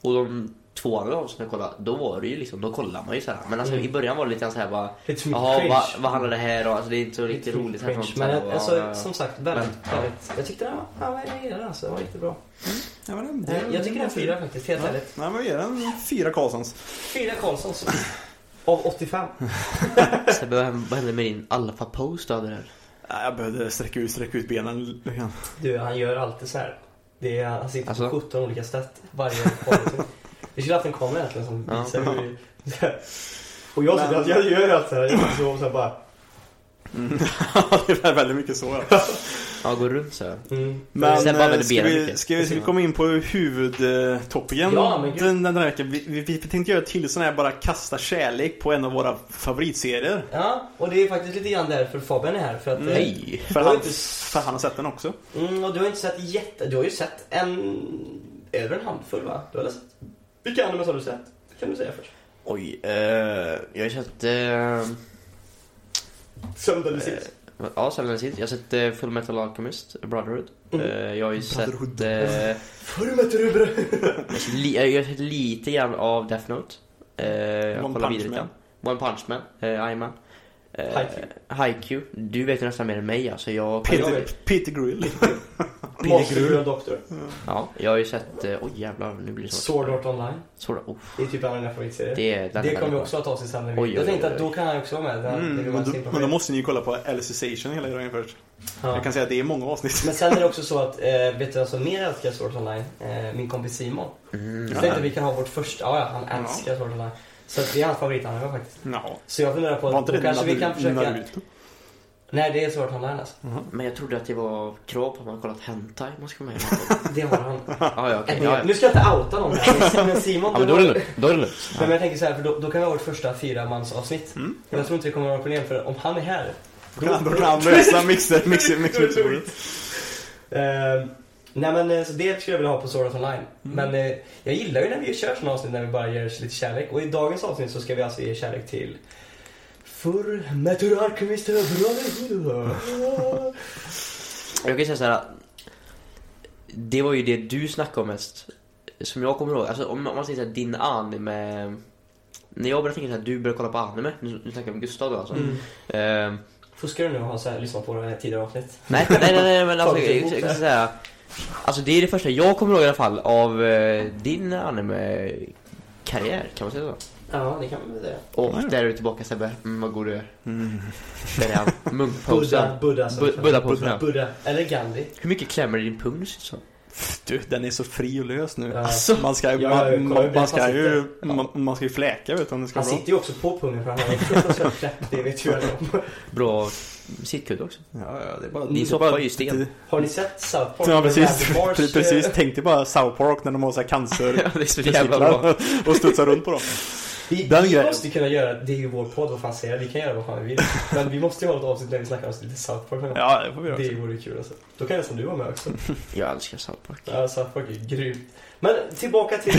S1: och de två andra avsnitten jag kollade, då var det ju liksom, då kollar man ju så här. Men alltså
S4: Mm.
S1: i början var det lite så här bara,
S4: Lite för mycket
S1: jaha
S4: cringe.
S1: vad, vad handlar det här om? Alltså det är inte så riktigt
S4: Lite
S1: roligt.
S4: cringe.
S1: här, från-
S4: Men alltså,
S1: Ja,
S4: som sagt, väldigt, väldigt. Jag tyckte den var, ja, jag gillade den alltså. Den var riktigt bra.
S2: Ja, men den-
S4: Jag,
S2: den-
S4: jag tycker den är fyra faktiskt, helt
S2: Ja.
S4: ärligt.
S2: Nej, men vi ger den fyra Karlssons.
S4: Fyra Karlssons. Av 85.
S1: ja. Sebbe, vad hände- vad hände med din alfa-post du hade där?
S2: Nej, Jag behövde sträcka ut, sträcka ut benen lite grann.
S4: Du, han gör alltid så här. Det är, han sitter
S1: Alltså?
S4: på 17 olika sätt varje avsnitt. Vi skulle haft en kamera egentligen som
S1: Ja.
S4: visar hur Och jag sitter
S2: Men-
S4: alltid, jag gör allt så här. Jag sitter så här bara.
S2: Ja, det är väldigt mycket så. Ja.
S1: Ja, gå runt så här.
S4: Mm.
S2: Men
S1: Sen bara
S2: eh,
S1: använder
S2: ska
S1: benen
S2: vi,
S1: mycket.
S2: ska, vi, ska vi komma in på huvudtopiken
S4: Ja, men gud.
S2: den, den här veckan? Vi, vi, vi tänkte göra ett till sån här bara kasta kärlek på en av våra favoritserier.
S4: Ja, och det är faktiskt lite grann därför Fabian är här. För att, eh,
S1: Nej!
S2: För
S4: Jag har
S2: han,
S4: inte-
S2: för han har sett den också.
S4: Mm, och du har inte sett jätte... Du har ju sett en... Över en handfull va? Du har väl sett? Vilka animes har du sett? Det kan du säga först.
S1: Oj, eh, jag har sett... eh,
S4: Sömn eller
S1: Eh, Ja, sen eller sist. Jag har sett eh, Full Metal Alchemist, Brotherhood.
S4: Mm.
S1: Eh, jag har ju
S2: Brotherhood.
S1: sett... Eh,
S4: Förr mötte du bröd.
S1: li, eh, jag har sett lite grann av Death Note. Eh, jag
S2: One
S1: kollar
S2: Punch
S1: vidare
S2: Man.
S1: lite. One Punch Man. Eh, Aiman. Eh,
S4: Haikyuu.
S1: Haikyuu. Du vet ju nästan mer än mig alltså. Jag,
S4: jag
S2: Peter,
S4: vet.
S2: Peter Grill.
S4: Monster och Doktor.
S1: ja, jag har ju sett... Eh, oj jävlar, nu blir det svårt.
S4: Sword Art Online.
S1: Sword Art. Oh,
S4: Det är typ en av mina favoritserier. Det,
S1: det är den här
S4: kommer
S1: människan.
S4: jag också att ta sig sen. när vi-
S1: Oj, oj,
S4: Jag tänkte
S1: oj,
S4: att
S1: oj.
S4: då kan han också vara med. Den, det
S2: Mm,
S4: vill
S2: men,
S4: man
S2: då,
S4: se på
S2: men då
S4: mig.
S2: måste ni ju kolla på Alicization hela grejen först.
S4: ja.
S2: Jag kan säga att det är många avsnitt.
S4: Men sen är det också så att, eh, vet du vem som mer älskar Sword Art Online? Eh, min kompis Simon.
S1: Mm.
S4: Jag tänkte att vi kan ha vårt första, ja, ja han älskar Sword Art Online. Så att det är hans favoritanime faktiskt.
S2: Ja.
S4: Så jag funderar på
S2: Var
S4: att
S2: inte
S4: då
S2: det
S4: kanske vi
S2: Naru-
S4: kan försöka...
S2: Naruto?
S4: Nej, det är Sword Art Online alltså.
S1: Men jag trodde att det var krav på att man kollat Hentai. Man ska vara med.
S4: Det har han.
S1: ah, ja, okej. ja, ja.
S4: Nu ska jag inte outa någon här, men Simon...
S1: Ja, men då är det lugnt. Då är det lugnt.
S4: Nej, men jag tänker så här, för då, då kan vi ha vårt första fyramansavsnitt.
S2: Mm.
S4: Men jag tror inte det kommer vara några problem, för om han är här...
S2: Då kan han lösa mixer, mixer, mixer, mixer.
S4: Eh, nej men eh, så det skulle jag vilja ha på Sword Art
S2: Mm.
S4: Online. Men eh, jag gillar ju när vi kör sådana avsnitt när vi bara ger lite kärlek. Och i dagens avsnitt så ska vi alltså ge kärlek till Förr Meteor Alchemist Brotherhood.
S1: Jag kan säga så här. Det var ju det du snackade om mest. Som jag kommer ihåg. Alltså om man säger så här, din anime. När jag började tänka så här, du började kolla på anime. Nu, nu snackar jag med Gustav då alltså. Ehm,
S4: Fuskar du nu och har så här, lyssnat på det här tidigare avsnitt?
S1: nej, nej, nej, nej, men alltså,
S4: Tagit
S1: jag,
S4: emot
S1: jag, jag
S4: det.
S1: kan säga. Alltså det är det första jag kommer ihåg i alla fall av eh, din anime karriär kan man säga så.
S4: Ja, det kan man väl säga.
S1: Och
S2: Ja, ja.
S1: där är du tillbaka Sebbe. Mm, vad god du är.
S2: Mm.
S1: Där är han. Munkposen.
S4: Buddha, Buddha, som-
S1: Bu- Buddha-posen, ja.
S4: Buddha. Eller Gandhi.
S1: Hur mycket klämmer i din pung ser det ut som?
S2: Du, den är så fri och lös nu.
S4: Ja.
S2: Alltså, man ska ju,
S4: Ja, ja, ja,
S2: man,
S4: kolla hur
S2: man,
S4: bra
S2: ska
S4: han
S2: ju, man, man ska ju fläka vet du om det ska
S4: Han
S2: vara bra.
S4: sitter ju också på pungen för han har ju fruktansvärt fläpp, det vet ju alla om.
S1: Bra sittkudde också.
S2: Ja, ja, det är bara...
S1: Din soppa är ju sten.
S4: Har ni sett South Park?
S2: Ja precis,
S4: Randy Marsh,
S2: Pre- precis.
S4: eh,
S2: Tänk dig bara South Park när de har så här cancer
S1: Ja, det är så jävla bra.
S2: testiklar och studsar runt på dem.
S4: Vi,
S2: Den
S4: vi
S2: grejen.
S4: måste kunna göra, det är ju vår podd, vad fan säger jag? Vi kan göra vad fan vi vill. Men vi måste ju ha ett avsnitt där vi snackar om lite South Park. Ja,
S2: Ja, det får vi göra.
S4: det vore ju kul alltså. Då kan nästan du vara med också.
S1: Jag älskar South Park.
S4: Ja, South Park är grymt. Men tillbaka till...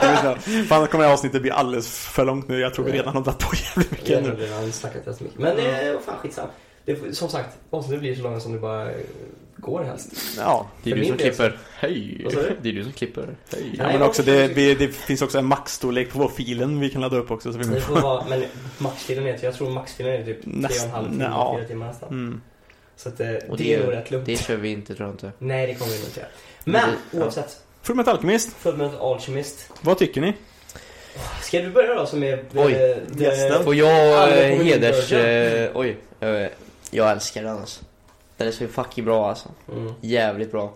S2: Fan, kommer det här avsnittet bli alldeles för långt nu. Jag tror vi redan har dragit på jävligt
S4: Jag
S2: mycket
S4: har
S2: nu.
S4: redan snackat rätt mycket. Men eh, vad fan skitsamma. Det, får- som sagt, avsnittet blir så långa som det bara eh, går helst.
S2: Ja.
S1: Det är du
S4: För min
S1: som
S4: del så-
S1: klipper. Hej!
S4: Vad sa du?
S1: Det är du som klipper. Hej!
S2: Ja, men också det, vi, det finns också en maxstorlek på vår filen vi kan ladda upp också. Så
S4: Det
S1: Mm.
S2: vi,
S4: får vara, men maxfilen är, jag tror maxfilen är typ 3,5
S2: Nästan,
S4: timmar,
S2: ja.
S4: 4 timmar nästan.
S2: mm.
S4: Så att, eh, det,
S1: Och
S4: är nog rätt lugnt.
S1: Det kör vi inte tror jag inte.
S4: Nej, det kommer vi nog inte göra.
S1: Men
S4: Men
S1: det- ja.
S4: oavsett,
S2: Fullmetal Alchemist,
S4: Fullmetal Alchemist.
S2: vad tycker ni?
S4: Ska du börja då som är... eh,
S1: Oj,
S4: gästen.
S1: Får jag
S4: Alla
S1: eh,
S4: kommer
S1: heders...
S4: in i
S1: Eh, oj. Eh, jag älskar den alltså. Den är så fucking bra alltså.
S4: Mm.
S1: Jävligt bra.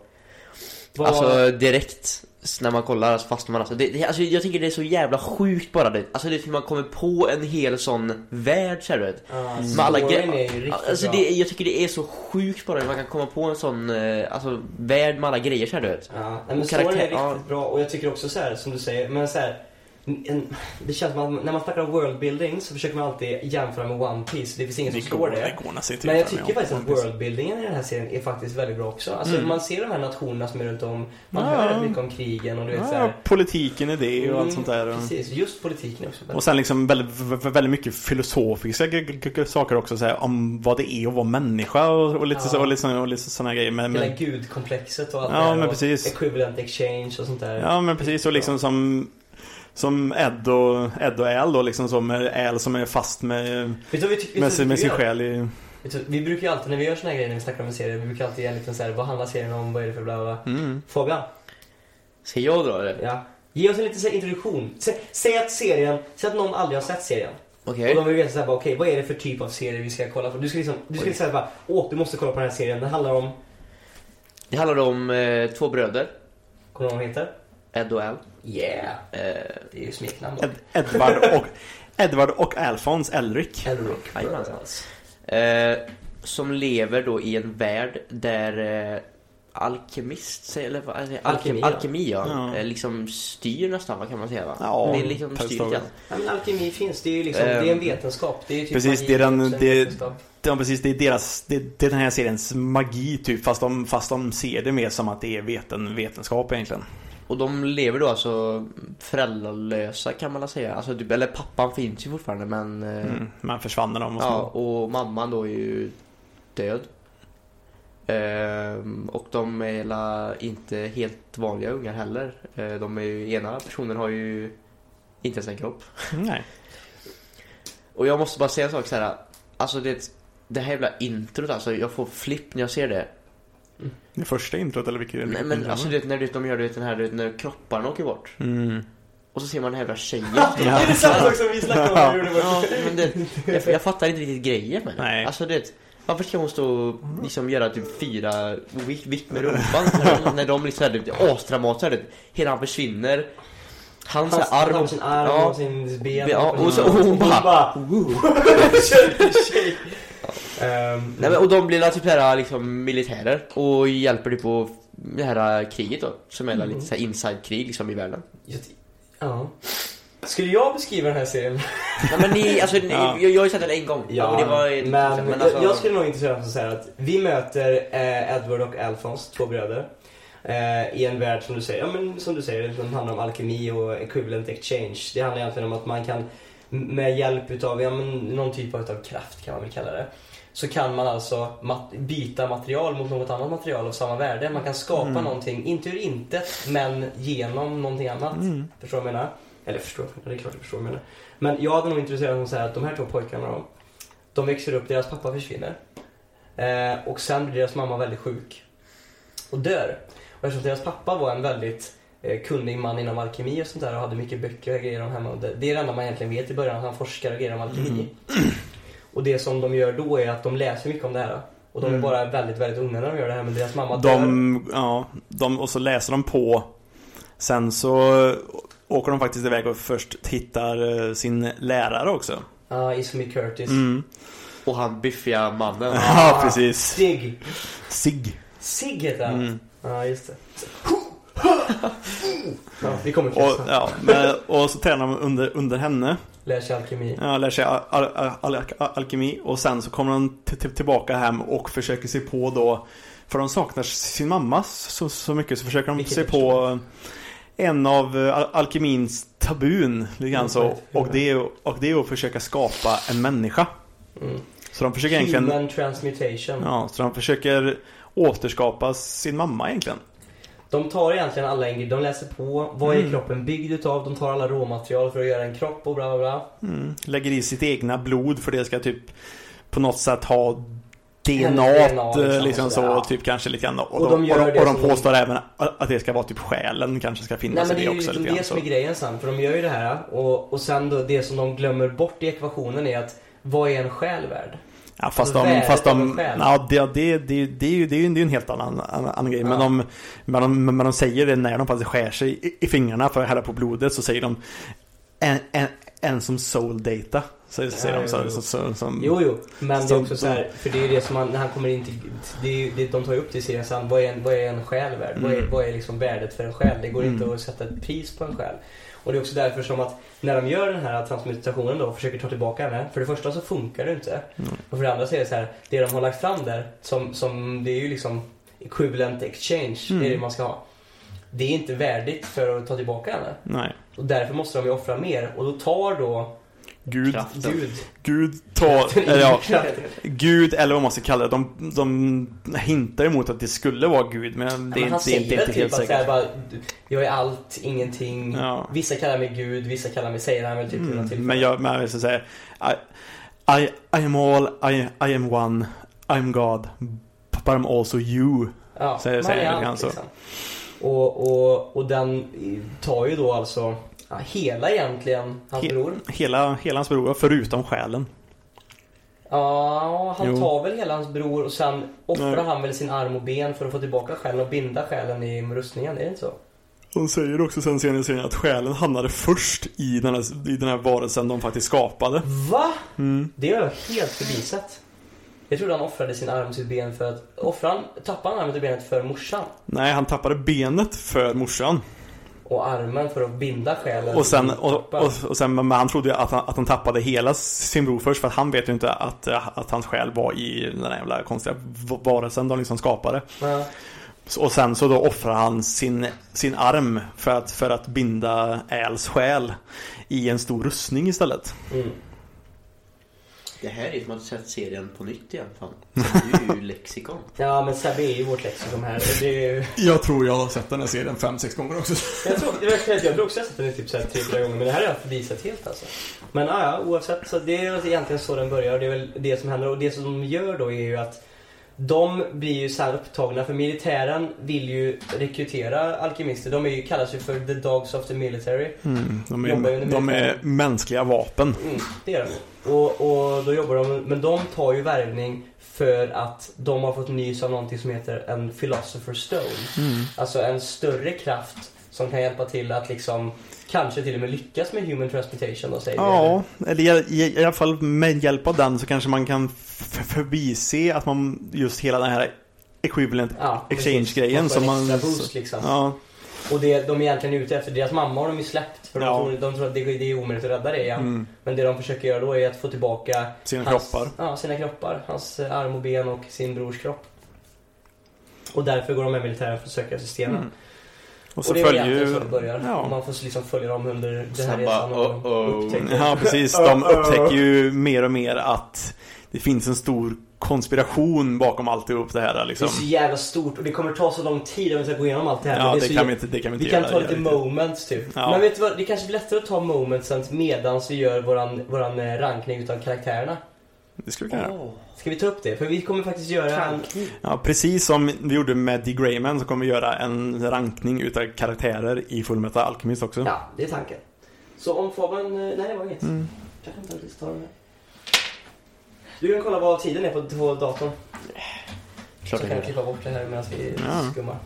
S4: Vad,
S1: Alltså direkt. s- när man kollar alltså fastnar man alltså. Det, det, alltså. Jag tycker det är så jävla sjukt bara det. Alltså det är typ man kommer på en hel sån värld så här, du vet.
S4: Ah,
S1: Med alla
S4: storyn
S1: gre-
S4: är ju riktigt
S1: alltså
S4: bra.
S1: det, jag tycker det är så sjukt bara hur man kan komma på en sån eh, alltså, värld med alla grejer så här, du vet.
S4: Ja, nej, men
S1: Och
S4: storyn är
S1: karaktär-
S4: riktigt
S1: ja.
S4: bra och jag tycker också så här som du säger, men så här, en, det känns som att när man snackar om worldbuilding så försöker man alltid jämföra med One Piece. Det finns ingen som
S2: Det
S4: slår
S2: går,
S4: det.
S2: det går nästan inte
S4: Men jag
S2: utan, ja.
S4: tycker faktiskt att worldbuildingen i den här serien är faktiskt väldigt bra också. Alltså
S2: Mm.
S4: man ser de här nationerna som är runt om, man
S2: Ja.
S4: hör mycket om krigen och du vet så
S2: Ja,
S4: här.
S2: politiken i det och allt
S4: Mm,
S2: sånt där. och-
S4: Precis, just politiken också.
S2: Och sen liksom väldigt, väldigt mycket filosofiska g- g- g- saker också så här, om vad det är att vara människa och, och lite,
S4: Ja.
S2: så, och lite, så- och lite sådana grejer. Men,
S4: Hela
S2: men,
S4: gudkomplexet och allt
S2: Ja,
S4: det här
S2: men
S4: och
S2: precis.
S4: equivalent exchange och sånt där.
S2: ja men precis, och liksom som som Ed och, Ed och Al då liksom som Al som är fast med,
S4: Vet du vad vi tycker?
S2: med, sin, med sin själ i...
S4: Vet du, vi brukar ju alltid när vi gör såna här grejer när vi snackar om en serie, vi brukar alltid ge en liten så här, vad handlar serien om, vad är det för bla bla bla.
S2: Mm.
S4: Fabian,
S1: Ska jag dra det?
S4: ja. Ge oss en liten så här introduktion. Sä, säg att serien, säg att någon aldrig har sett serien.
S1: Okej.
S4: Och de vill veta såhär, okej vad är det för typ av serie vi ska kolla på? Du ska liksom, du ska
S1: Oj.
S4: inte säga bara, åh du måste kolla på den här serien, den handlar om,
S1: Det handlar om eh, två bröder,
S4: kommer du ihåg vad den heter?
S1: Ed och Al.
S4: Yeah!
S1: Eh,
S4: Det är ju smeknamn då.
S2: Ed, Edvard och Edvard och Alfons Elric.
S4: Elric.
S1: Jajamän. Eh, som lever då i en värld där eh, alkemist, säger- eller vad säger
S4: Alkemi,
S1: alkemi,
S4: ja.
S1: alkemi ja.
S2: Ja.
S1: Eh, liksom styr nästan, vad kan man säga va?
S2: Ja,
S1: det är liksom
S2: per
S1: styr
S2: story.
S1: lite grann.
S4: Ja, men alkemi finns, det är ju liksom,
S1: Ehm,
S4: det är en vetenskap. Det är ju typ
S2: precis, det är den-
S4: också en
S2: det-
S4: vetenskap.
S2: Ja precis, det är deras, det, det är den här seriens magi typ fast de, fast de ser det mer som att det är veten, vetenskap egentligen.
S1: Och de lever då alltså föräldralösa kan man väl säga. Alltså, typ, eller pappan finns ju fortfarande men eh,
S2: Mm. Man försvann när de var små.
S1: Ja, och mamman då är ju död. Ehm, och de är la inte helt vanliga ungar heller. Eh, de är ju, ena personen har ju inte ens en kropp.
S2: Nej.
S1: Och jag måste bara säga en sak så här. Alltså det, det här jävla introt alltså, jag får flipp när jag ser det.
S2: Det första introt eller vilket?
S1: Nej,
S2: vilket
S1: men
S2: program?
S1: alltså du vet, när du vet, de gör du vet, den här du vet, när kropparna åker bort.
S2: Mm.
S1: Och så ser man den här jävla tjejen.
S4: Det är samma sak som vi snackade om när vi gjorde
S1: Ja, men det, jag, jag fattar inte riktigt grejen med det.
S2: Nej. Mm.
S1: Alltså det, varför ska hon stå och liksom göra typ fyra vick, vick med rumpan när, när de liksom är lite asdramatiska? Hela han försvinner. Hans,
S4: Han
S1: Hans
S4: arm,
S1: arm...
S4: har sin arm
S1: ja.
S4: och sin ben.
S1: Ja, och så- och hon bara-
S4: Ehm,
S1: Nej, men, och de blir typ så här, liksom militärer och hjälper typ på det här äh, kriget då. Som är
S4: Mm.
S1: lite så här inside-krig liksom i världen.
S4: jag ty- ja. Skulle jag beskriva den här serien?
S1: Nej men ni, alltså ni,
S2: Ja.
S1: jag, jag har ju sett den en gång. och det var, ju-
S4: men,
S1: men
S4: jag,
S1: alltså,
S4: jag skulle nog inte säga så här att vi möter eh, Edward och Alphonse, två bröder. Eh, I en värld som du säger, ja, men, som du säger, som handlar om alkemi och equivalent exchange. Det handlar egentligen om att man kan med hjälp utav ja, men, någon typ av utav kraft kan man väl kalla det. Så kan man alltså mat- byta material mot något annat material av samma värde. Man kan skapa någonting, inte ur intet, men genom någonting annat. Förstår du vad jag menar? Eller förstår, ja, det är klart jag förstår vad jag menar. Men jag hade nog intresserat mig så här att de här två pojkarna då, de växer upp, deras pappa försvinner. Eh, och sen blir deras mamma väldigt sjuk. Och dör. Och eftersom deras pappa var en väldigt eh, kunnig man inom alkemi och sånt där och hade mycket böcker och grejer om hemma. Och det, det är det enda man egentligen vet i början, han forskar och grejer om alkemi.
S2: Mm.
S4: Och det som de gör då är att de läser mycket om det här. Och de är
S2: Mm.
S4: bara väldigt, väldigt unga när de gör det här men deras mamma dör.
S2: De, ja, de, och så läser de på. Sen så åker de faktiskt iväg och först hittar eh, sin lärare också.
S4: Ja, Ismi Ah, Curtis.
S2: Mm.
S1: Och han biffiga mannen.
S2: Ja, precis.
S4: Sig.
S2: Sig.
S4: Sig heter han.
S2: Mm.
S4: Ja, just det. Ja, vi kommer
S2: Och,
S4: klättra.
S2: ja, men, och så tränar de under, under henne.
S4: Lär sig alkemi.
S2: Ja, lär sig al, al, al, al, alkemi. Och sen så kommer de t- t- tillbaka hem och försöker sig på då. För de saknar sin mamma så, så mycket så försöker de
S4: Vilket
S2: sig
S4: jag
S2: på en av eh, al, alkemins tabun. Lite grann så. Och det, är, och det är att försöka skapa en människa.
S4: Mm.
S2: Så de försöker egentligen
S4: Human transmutation.
S2: Ja, så de försöker återskapa sin mamma egentligen.
S4: De tar egentligen alla ingredienser. De läser på. Vad är
S2: Mm.
S4: kroppen byggd utav? De tar alla råmaterial för att göra en kropp och bla bla bla.
S2: Mm. Lägger i sitt egna blod för det ska typ på något sätt ha DNA,
S4: Hennes
S2: -t,
S4: DNA, liksom,
S2: liksom så,
S4: ja.
S2: typ kanske lite grann. Och,
S4: Och de
S2: de,
S4: gör
S2: och, de,
S4: det
S2: och de
S4: som-
S2: påstår även att det ska vara typ själen kanske ska
S4: Nej
S2: finnas
S4: men
S2: i
S4: det
S2: det
S4: är ju
S2: också.
S4: liksom
S2: Lite grann,
S4: det som
S2: så.
S4: är grejen sen. För de gör ju det här och, och sen då det som de glömmer bort i ekvationen är att vad är en själ värd?
S2: Ja, fast
S4: Alltså,
S2: de,
S4: värdet
S2: fast
S4: av en
S2: de,
S4: själ.
S2: ja, det, det, det, det, är ju, det är ju en det är ju en helt annan, annan, annan grej. Men, de, men, de, men de säger det när de faktiskt skär sig i, i fingrarna för att hälla på blodet så säger de en, en, en som soul data. Så, så säger
S4: Ja,
S2: de så,
S4: jo,
S2: så, så, som,
S4: Jo, jo, men det är
S2: Som-
S4: också så här, för det är ju det som han, när han kommer in till, det är ju det de tar upp det i serien sen, vad är en, vad är en själ värd? Vad, är,
S2: Mm.
S4: vad är liksom värdet för en själ? Det går inte
S2: Mm.
S4: att sätta ett pris på en själ. Och det är också därför som att när de gör den här transmutationen då och försöker ta tillbaka henne, för det första så funkar det inte.
S2: Mm.
S4: Och för det andra så är det så här, det de har lagt fram där, som, som det är ju liksom equivalent exchange, det är det
S2: Mm.
S4: man ska ha. Det är inte värdigt för att ta tillbaka henne.
S2: Nej.
S4: Och därför måste de ju offra mer. Och då tar då
S2: Gud,
S1: Kraften.
S4: Gud
S2: Gud tar, eller ja,
S4: kraften.
S2: Gud eller vad man ska kalla det. De, de hintar emot att det skulle vara Gud men det
S4: Ja,
S2: är
S4: men han
S2: inte, det
S4: säger
S2: är inte,
S4: väl
S2: inte
S4: typ
S2: helt
S4: att säga
S2: säkert.
S4: bara, jag är allt, ingenting.
S2: Ja.
S4: Vissa kallar mig Gud, vissa kallar mig, säger han väl typ vid något
S2: Mm,
S4: tillfälle.
S2: men jag, men jag vill så säga I, I, I am all, I, I am one, I am God, but I'm also you.
S4: ja,
S2: säger-
S4: man
S2: säger
S4: är
S2: han lite
S4: allt,
S2: grann så.
S4: liksom. Och, och, och den tar ju då alltså ja, hela egentligen hans
S2: He-
S4: bror.
S2: Hela, hela hans bror, förutom själen.
S4: Ja, han
S2: Jo.
S4: tar väl hela hans bror och sen offrar
S2: Nej.
S4: han väl sin arm och ben för att få tillbaka själen och binda själen i rustningen, är det inte så?
S2: De säger också sen senare i serien att själen hamnade först i den här, i den här varelsen de faktiskt skapade.
S4: Va?
S2: Mm.
S4: Det har jag helt förbisett. Jag trodde han offrade sin arm och sitt ben för att... Offrar han, tappade han armen och benet för morsan?
S2: Nej, han tappade benet för morsan.
S4: och armen för att binda själen.
S2: Och sen,
S4: i
S2: och,
S4: kroppen.
S2: och, och sen men han trodde ju att han, att han tappade hela sin bror först för att han vet ju inte att, att hans själ var i den där jävla konstiga v- varelsen de liksom skapade.
S4: Ja.
S2: Så- Och sen så då offrar han sin, sin arm för att, för att binda Äls själ i en stor rustning istället.
S4: Mm.
S1: Det här är som att sett serien på nytt igen fan. Det är ju lexikon.
S4: ja, men Sebbe är ju vårt lexikon här. Och Det är ju...
S2: Jag tror jag har sett den här serien fem sex gånger också.
S4: jag, tror, det verkar, jag tror också jag har sett den i typ så här tre, fyra gånger, men det här har jag förvisat helt alltså. Men ja, ja, oavsett, så det är väl egentligen så den börjar och det är väl det som händer. Och det som de gör då är ju att de blir ju så här upptagna, för militären vill ju rekrytera alkemister. De är ju, kallas ju för the dogs of the military.
S2: Mm, de,
S4: Jobbar ju under
S2: är, de är mänskliga vapen.
S4: Mm, det gör de. Och, och då jobbar de, men de tar ju värvning för att de har fått nys av någonting som heter en philosopher stone.
S2: Mm.
S4: Alltså en större kraft som kan hjälpa till att liksom kanske till och med lyckas med human transmutation då säger vi.
S2: Ja, eller i, i, i alla fall med hjälp av den så kanske man kan f- förbise att man just hela den här equivalent
S4: Ja,
S2: exchange-grejen
S4: precis. Man får
S2: som
S4: en
S2: man-
S4: extra Boost, liksom.
S2: Ja,
S4: Och det de egentligen är ute efter, deras mamma har de ju släppt för
S2: Ja.
S4: de, tror, de tror att det, det är omöjligt att rädda det igen.
S2: mm.
S4: Men det de försöker göra då är att få tillbaka
S2: sina
S4: hans,
S2: kroppar.
S4: Ja, sina kroppar. Hans eh, arm och ben och sin brors kropp. Och därför går de med militären för att söka systemen.
S2: Mm. Och
S4: Och,
S2: så
S4: det är väl
S2: följer
S4: egentligen
S2: ju...
S4: så det börjar.
S2: Ja.
S4: Man får liksom följa dem under den här
S1: Sen bara,
S4: resan och
S1: oh, oh.
S4: upptäcker.
S2: ja, precis. De upptäcker ju mer och mer att det finns en stor konspiration bakom alltihop det här
S4: Det är
S2: liksom.
S4: så jävla stort och det kommer ta så lång tid om vi ska gå igenom allt det här.
S2: Ja,
S4: men
S2: det
S4: är så
S2: kan
S4: jä-
S2: vi inte, det kan vi inte
S4: vi kan
S2: göra.
S4: ta lite
S2: riktigt.
S4: moments typ.
S2: Ja.
S4: Men vet du vad, det kanske blir lättare att ta momentsen medan vi gör våran, våran eh, rankning utav karaktärerna.
S2: Det skulle vi kunna göra.
S4: Ska vi ta upp det? För vi kommer faktiskt göra en...
S2: Ja, precis som vi gjorde med D. Grayman så kommer vi göra en rankning utav karaktärer i Fullmetal Alchemist också.
S4: Ja, det är tanken. Så om Fabian... eh, Nej, det var inget.
S2: Mm.
S4: Jag kan inte ens ta den här. Du kan kolla vad tiden är på på datorn.
S1: Klart
S4: så
S1: jag
S4: kan jag
S1: gör.
S4: klippa bort det här medan vi
S2: Ja.
S4: skummar.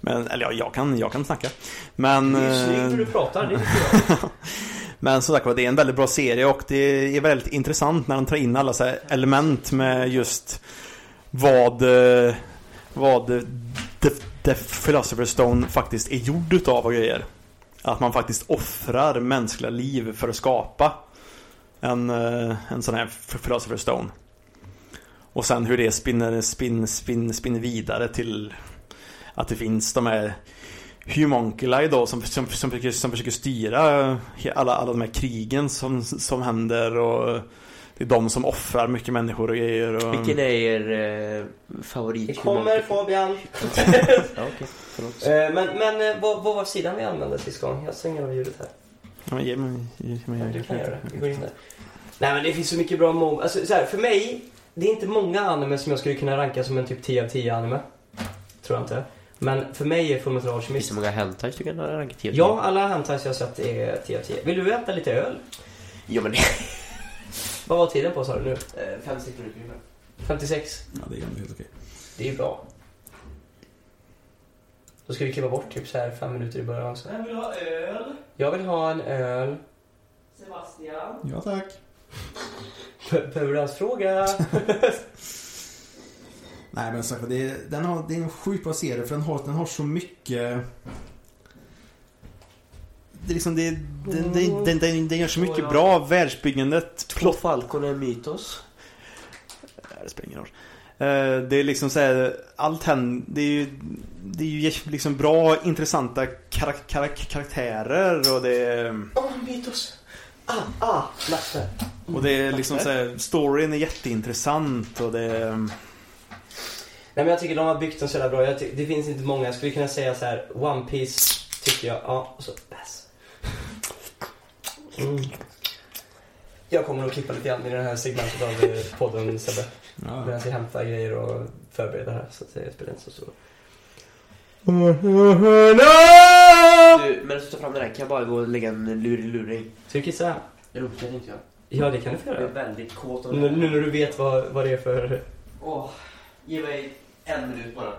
S2: Men, eller ja, jag kan, jag kan snacka. Men,
S4: Det är ju snyggt hur du
S2: eh,
S4: pratar, det tycker jag.
S2: men som sagt var, det är en väldigt bra serie och det är väldigt intressant när de tar in alla så här element med just vad, eh, vad The, The Philosopher's Stone faktiskt är gjord utav och grejer. Att man faktiskt offrar mänskliga liv för att skapa en, eh, en sån här Philosopher's Stone. Och sen hur det spinner, spin, spin, spinner vidare till att det finns de här Humonculi då som, som, som, försöker, som försöker styra he- alla, alla de här krigen som, som händer och det är de som offrar mycket människor och grejer. Och...
S1: Vilken är er eh, favorit?
S4: Det kommer Fabian.
S1: Ja, okej. Förlåt.
S4: Eh, Men, men eh, vad, vad var sidan vi använde sist gång? Jag stänger av ljudet här.
S2: Ja, men ge mig, ge mig,
S4: Ja, du kan göra det. Vi går in där. Nej men det finns så mycket bra mom... Alltså så här, för mig, det är inte många anime som jag skulle kunna ranka som en typ 10 av 10 anime. Tror jag inte. Men för mig är Fullmetal
S1: Finns
S4: Alchemist...
S1: det många hentais du kan ranka till?
S4: Ja, alla hentais jag har sett är 10 av 10. Vill du äta lite öl?
S1: Ja men
S4: Vad var tiden på sa du nu?
S1: Eh, 56 minuter ungefär.
S4: 56?
S2: Ja, det är ändå helt okej.
S4: Det är ju bra. Då ska vi klippa bort typ så här fem minuter i början. Så.
S1: Jag vill ha öl.
S4: Jag vill ha en öl.
S1: Sebastian.
S2: Ja, tack.
S4: Be- Behöver du hans fråga?
S5: Nej men sagt, det är, den har, det är en sjukt bra serie för den har, den har så mycket...
S2: Det är liksom, det, den, den, den, den, den gör så mycket bra. Världsbyggandet,
S1: Två Falcon och en Mytos.
S2: Nej, det spelar ingen roll. Eh, Det är liksom så här, allt händer. Det är ju, det är ju liksom bra, intressanta karak- karak- karaktärer och det är,
S4: Åh, oh, mytos! Ah, ah, laxar.
S2: och det är liksom så här, storyn är jätteintressant och det är,
S4: Nej men jag tycker de har byggt den så jävla bra. Jag ty- det finns inte många. Jag skulle kunna säga så här, One Piece tycker jag. Ja, och så bass. Mm. Jag kommer att klippa lite grann i den här segmentet av eh, podden Sebbe. Medan jag hämtar grejer och förbereder här. Så att det spelar inte så stor roll.
S1: Du, medan du tar fram den här kan jag bara gå och lägga en lurig luring.
S4: Ska vi kissa?
S1: Det luktar inte jag.
S4: Ja det kan du få
S1: Jag är
S4: göra.
S1: väldigt kåt av
S4: Nu, nu när du vet vad, vad det är för...
S1: Åh, ge mig en minut bara.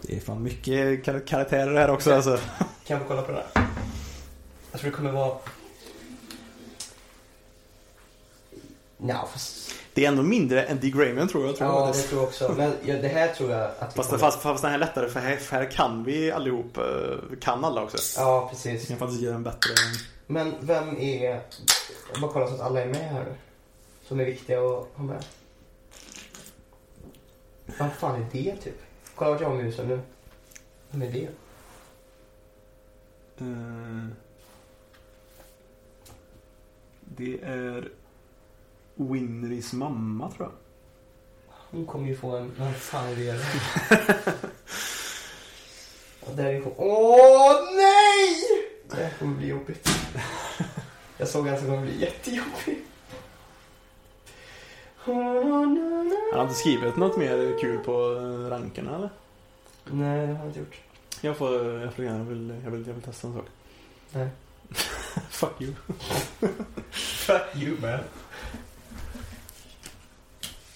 S2: det är fan mycket kar- karaktärer här också alltså.
S4: Kan vi kolla på den här? Jag tror det kommer vara... Nja, fast...
S2: Det är ändå mindre än Dick Grayman tror jag. Tror
S4: Ja,
S2: jag.
S4: det tror jag också. Men ja, det här tror jag att vi
S2: Fast,
S4: kommer-
S2: fast, fast den här är lättare för här, för här kan vi allihop, eh, kan alla också.
S4: Ja,
S2: Vi
S4: precis.
S2: kan faktiskt göra en bättre.
S4: Men vem är... Jag bara kollar så att alla är med här nu. Som är viktiga att ha med. Vad fan är det typ? Kolla vart jag har musen nu. Vem är det?
S2: Eh, Det är Winrys mamma tror jag.
S4: Hon kommer ju få en... Vem fan är det? Och där är hon. Åh nej! Det här kommer bli jobbigt. Jag såg att det kommer bli jättejobbigt.
S2: Han har inte skrivit något mer kul på eh, rankerna eller?
S4: Nej, det har jag inte gjort.
S2: Jag får, jag får jag vill, jag vill, jag vill testa en sak.
S4: Nej.
S2: Fuck you.
S4: Fuck you man.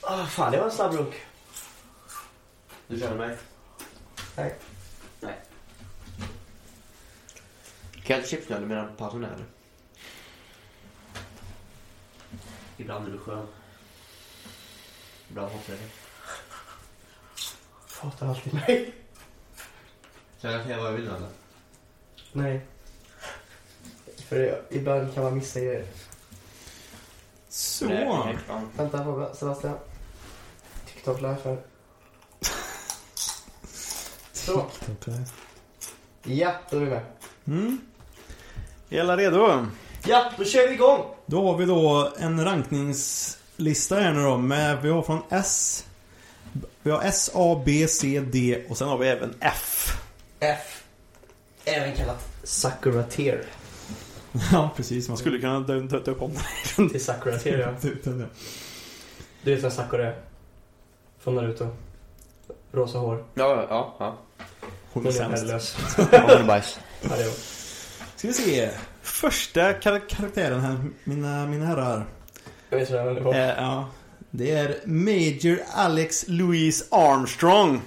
S4: Ah, fan, det var en snabb runk.
S1: Du känner mig?
S4: Nej.
S1: Nej. Kan jag äta chips nu eller menar du pausen här eller? Ibland är du skön. Ibland hatar jag dig.
S4: Hatar alltid mig.
S1: Så jag kan säga vad jag vill nu eller?
S4: Nej. För det- ibland kan man missa grejer.
S2: Så.
S1: Nej, okej, ja.
S4: Vänta, fråga. Sebastian. TikTok live här. Så. Ja, då är vi med.
S2: Mm. Är alla redo?
S4: Ja, då kör vi igång!
S5: Då har vi då en rankningslista här nu då. Med, vi har från S. Vi har S, A, B, C, D
S2: Och sen har vi även F.
S4: F. Även kallat Sakura Tear.
S5: Ja, precis. Man
S2: Man skulle
S5: skulle...
S2: kunna dö- dö- döpa om det.
S4: Det är Sakura Tear, ja. Du vet vem Sakura är? Från Naruto. Rosa hår.
S1: Ja, ja, ja.
S2: Hon
S4: Hon är värdelös.
S1: Ja, men bajs.
S4: Ja, det är hon.
S5: Ska vi se. Första kar- karaktären här, mina, mina herrar.
S4: Jag vet redan vem det
S2: Eh,
S4: var.
S2: ja. Det är Major Alex Louise Armstrong.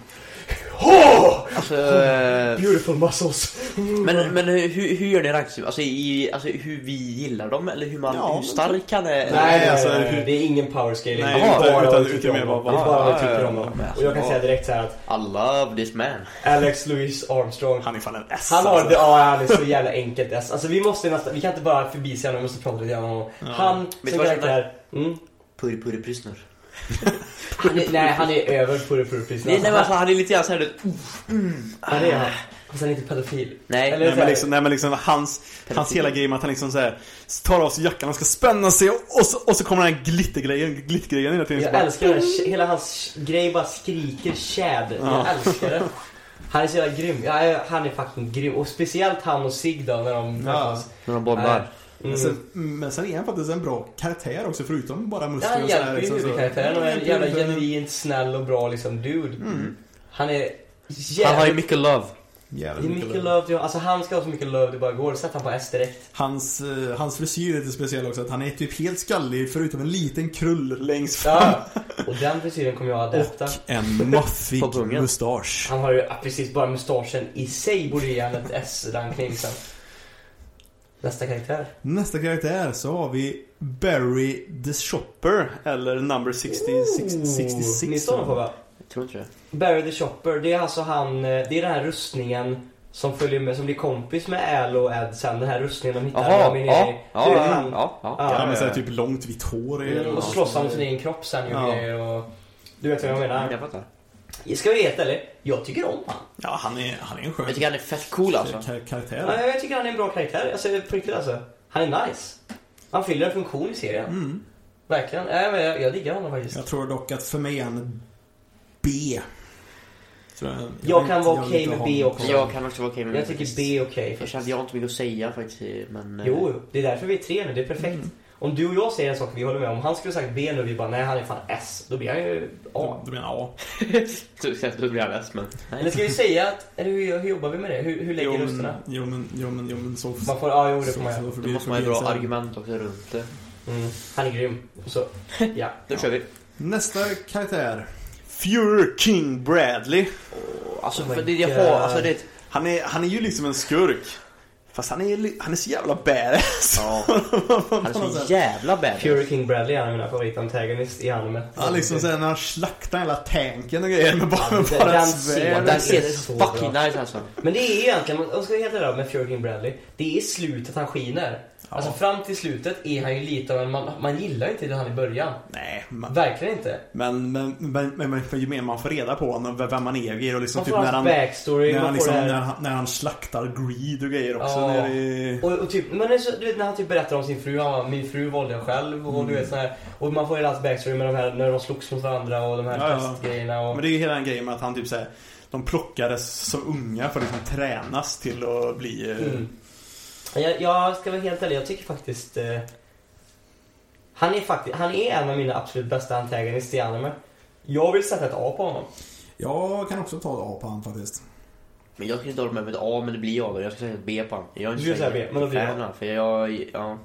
S1: Alltså, eh,
S4: Beautiful muscles.
S1: men, men hur, hur gör ni rankning? Alltså, i, alltså hur vi gillar dem eller hur, man,
S2: Ja,
S1: hur
S2: men-
S1: stark han är?
S4: Nej,
S2: alltså,
S4: alltså,
S2: hur-
S4: det är ingen power scaling.
S2: Nej,
S4: Det är
S2: utan-
S4: bara
S2: utan-
S4: vad vi tycker
S2: utan
S4: om
S2: mer
S4: dem.
S2: bara-
S4: Det är bara vad vi
S2: Ja,
S4: tycker
S2: ja,
S4: om
S2: ja.
S4: dem.
S1: Men alltså,
S4: Och jag kan säga direkt så här att
S1: I love this man.
S4: Alex Louis Armstrong.
S2: Han är fan en S
S4: Han har,
S2: alltså.
S4: ja han är så jävla enkelt S. Alltså vi måste nästan, vi kan inte bara förbise honom, vi måste prata lite grann om honom. Han,
S1: du
S4: som
S1: vad jag
S4: karaktär, mm,
S1: Purri purri prysnor.
S4: han är, nej han är över Purre Purre Prinsen.
S1: Nej, nej men
S4: Alltså,
S1: alltså han är lite grann såhär du.
S4: han, han är han. Fast han är inte pedofil.
S1: Nej.
S4: Eller-
S2: Nej men, liksom, nej men liksom hans, hans hela grej med att han liksom så här, tar av sig jackan och ska spänna sig och, och, så, och så kommer den här glittergrejen, glittergrejen hela tiden. Så
S4: Jag
S2: bara,
S4: älskar den, här- hela hans grej bara skriker tjäd. Jag älskar det. Han är så jävla grym. Ja, han är fucking grym. Och speciellt han och Sig då när de träffas.
S1: När de bollar.
S4: Nej. Mm.
S2: Alltså,
S5: Sen, Alltså, men sen är han faktiskt en bra karaktär också förutom bara
S4: Ja,
S5: muskler
S4: han
S5: och så här,
S4: hjälper ju
S5: liksom, så-
S4: huvudkaraktären och är
S2: Mm.
S4: en
S5: Ja,
S4: jävla
S5: men-
S4: genuint snäll och bra liksom dude. Han är
S1: Han har ju
S4: jävligt...
S1: mycket love.
S5: Jävligt
S4: Det är mycket
S5: love.
S4: love, till- alltså han ska ha så mycket love det bara går. Sätt han på S direkt.
S5: Hans, eh, hans frisyr är lite speciell också. Att han är typ helt skallig förutom en liten krull längst fram.
S4: Ja. Och den frisyren kommer jag att adapta.
S5: Och en maffig
S1: På pungen.
S5: mustasch.
S4: Han har ju ja, precis bara mustaschen i sig borde ge han ett S-rankning sen. Nästa karaktär.
S5: Nästa karaktär så har vi Barry the Shop.
S2: Burr, eller number 60, 60
S5: 66
S4: Ni står honom på va?
S1: Jag tror inte det.
S4: Barry the Chopper, det är alltså han, eh, det är den här rustningen som följer med, som blir kompis med Al och Ed sen. Den här rustningen de hittar när
S1: Jaha,
S4: de är
S1: ja,
S4: nere i-
S1: ja,
S4: det är
S1: ja,
S4: han.
S1: ja, Mm. ja.
S4: Ja,
S5: Ja, men såhär typ långt vitt hår är det.
S4: Mm, Och så slåss han mot sin egen kropp sen
S5: Ja.
S4: och grejer och... Du vet vad jag menar?
S1: Jag fattar.
S4: Ska vi veta eller? Jag tycker om han.
S5: Ja, han är, han är en skön
S1: Jag tycker han är fett cool alltså.
S5: kar-
S4: Ja,
S5: karaktär.
S4: jag tycker han är en bra karaktär. Alltså på riktigt alltså. Han är nice. Han fyller en funktion i serien.
S5: Mm.
S4: Verkligen. Ja, men jag, jag diggar honom faktiskt.
S5: Jag tror dock att för mig är han B. Tror jag, jag
S4: Jag
S5: vet
S4: kan
S5: inte,
S4: vara
S5: jag vill
S4: okej
S5: inte
S4: med
S5: ha
S4: B
S5: honom
S4: också.
S5: kvar.
S1: Jag kan också vara okej
S5: Mm.
S1: med
S4: Jag tycker B är okej.
S1: Jag känner att jag har inte mycket att säga faktiskt, men... eh,
S4: Jo, det är därför vi är tre nu. Det är perfekt.
S5: Mm.
S4: Om du och jag säger en sak vi håller med om, han skulle sagt B nu och vi bara nej han är fan S, då blir han ju A.
S5: Ja, du menar A.
S1: Du säger att du typ, blir alldeles, men...
S4: Eller ska vi säga att, eller hur, hur jobbar vi med det? Hur, hur lägger
S5: Jo men,
S4: rösterna?
S5: jo men, jo men, jo men så...
S4: Man får, ja jo
S5: så-
S4: det får man göra.
S5: så- så
S1: Då
S5: blir-
S1: måste
S5: så
S1: man ju
S5: blir
S1: ha
S5: det
S1: bra
S5: så här.
S1: argument också runt det.
S4: Mm. Han är grym. Så, ja.
S1: Då kör vi.
S5: Nästa karaktär.
S2: Fury King Bradley.
S1: Alltså,
S4: Oh my
S1: för det, jag
S4: God.
S1: har, alltså det är ett...
S2: Han är, han är ju liksom en skurk. Fast han är, li- han är så jävla badass.
S1: Ja. Han är så jävla bad.
S4: Fury King Bradley är en av mina favoritantagonist i anime.
S5: Ja, liksom såhär när han slaktar hela tanken och grejer med bara, med
S4: den-
S5: bara
S4: den
S5: ett svärd.
S4: scenen.
S1: Den ser
S4: Det är
S1: så
S4: så
S1: fucking
S4: bra.
S1: nice alltså.
S4: Men det är egentligen, om jag ska vara helt ärlig med Fury King Bradley, det är slutet han skiner. Alltså fram till slutet är han ju lite av en, man, man gillar inte det han i början.
S2: Nej, man,
S4: Verkligen inte.
S2: men, men, men, men, men ju mer man får reda på honom, vem vem han är och liksom
S4: Man
S2: typ
S4: får
S2: när
S4: hans
S2: han...
S4: backstory,
S2: När
S4: man
S2: han,
S4: får
S2: liksom,
S4: det här-
S2: när, han, när han slaktar greed och grejer också.
S4: Ja.
S2: När det...
S4: Och, och typ, men det är så, du vet när han typ berättar om sin fru, han bara, min fru valde jag själv och du vet så här. Och man får hela hans backstory med de här, när de slogs mot varandra och de här
S2: Ja, ja.
S4: testgrejerna och...
S2: Men det är ju hela den grejen med att han typ såhär, de plockades som unga för att liksom tränas till att bli... eh,
S4: Mm. Jag, jag ska vara helt ärlig, jag tycker faktiskt... Eh, han är faktiskt, han är en av mina absolut bästa antagonister i anime. Jag vill sätta ett A på honom.
S5: Jag kan också ta ett A på han faktiskt.
S1: Men jag skulle inte hålla med om ett A, men det blir jag då. Jag ska säga ett B på han. Jag är inte
S4: Du vill
S1: så
S4: säga B, men då blir det
S1: jättefan av han, För jag, ja.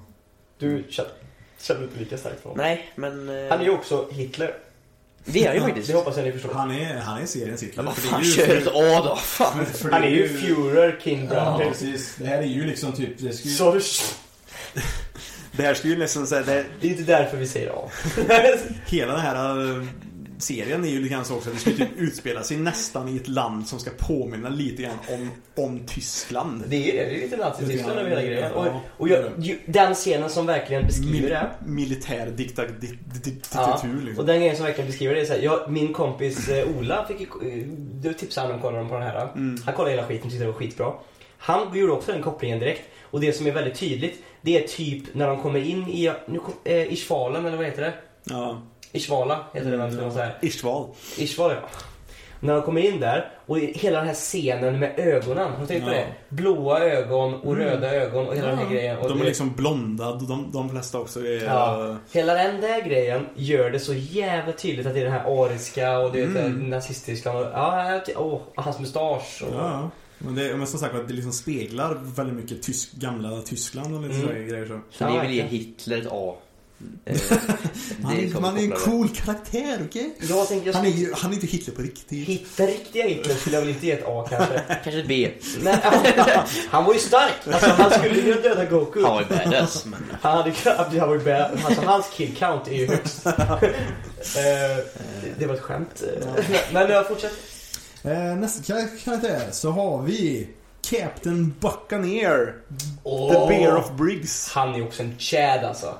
S4: Du känner, känner inte lika starkt för honom.
S1: Nej, men... eh,
S4: Han är ju också Hitler.
S1: Det är jag ju faktiskt.
S4: Det hoppas jag ni förstår.
S5: Han är, han är seriens Hitler.
S1: Men vad
S5: för det är
S1: fan,
S5: ju-
S1: kör ett A då. Fan.
S5: för- för det
S4: Han är
S5: är
S4: ju Führer King
S5: Ja,
S4: Brandon.
S5: precis. Det här är ju liksom typ... Det ska ju...
S4: Så du...
S2: Det här skulle ju liksom säga, det,
S4: Det är inte därför vi säger A.
S2: hela den här eh, serien är ju lite grann så också att det skulle typ utspela sig nästan i ett land som ska påminna lite grann om, om Tyskland.
S4: Det är ju det. Det är lite Nazityskland över hela grejen. Och,
S2: Ja.
S4: och jag, ju, den scenen som verkligen beskriver
S2: Mil,
S4: det.
S2: militär dikta, di, di, di,
S4: Ja.
S2: diktatur
S4: Och
S2: liksom.
S4: den grejen som verkligen beskriver det är så här, jag, Min kompis eh, Ola fick ju- eh, då tipsade han om kollade på den här.
S2: Mm.
S4: Han kollade hela skiten och tyckte det var skitbra. Han gjorde också den kopplingen direkt. Och det som är väldigt tydligt, det är typ när de kommer in i nu, kom- eh, Ishvalen, eller vad heter det?
S2: Ja.
S4: Ishvala heter det väl?
S2: Mm,
S4: ska man säga.
S2: Ishval.
S4: Ishval, ja. När de kommer in där och hela den här scenen med ögonen. Har du tänkt på
S2: Ja. Mm.
S4: det? Blåa ögon och röda ögon och hela den här grejen. Och
S2: De
S4: det-
S2: är liksom blonda, de, de flesta också är...
S4: Ja. Hela den där grejen gör det så jävla tydligt att det är den här ariska och det är mm. nazistiska. Och, ja, jag ty- åh, hans mustasch. Och,
S5: Ja, ja. men, det, men som sagt att det liksom speglar väldigt mycket tysk, gamla Tyskland och lite
S4: Mm.
S5: sådana grejer. Så.
S1: Så ni vill ge Hitler ett A. Eh, det
S5: Han, är,
S1: kommer
S5: han är en
S1: koppla
S5: cool karaktär, okej?
S4: Jag tänker jag
S5: Han, är
S4: skulle
S5: ju- han är inte Hitler på riktigt.
S4: hitta riktiga Hitler skulle jag väl inte ge ett A kanske.
S1: det. Kanske ett B.
S4: Men, han var ju stark! Alltså han skulle ju döda Goku.
S1: Han var ju badass, men...
S4: Han hade knappt, han var ju bad. Alltså hans kill count är ju högst. Eh, det- det var ett skämt. Men jag fortsätter.
S5: Eh, nästa kar- karaktär så har vi Captain Buccaneer.
S2: The Bear of Briggs.
S4: Han är också en chad alltså.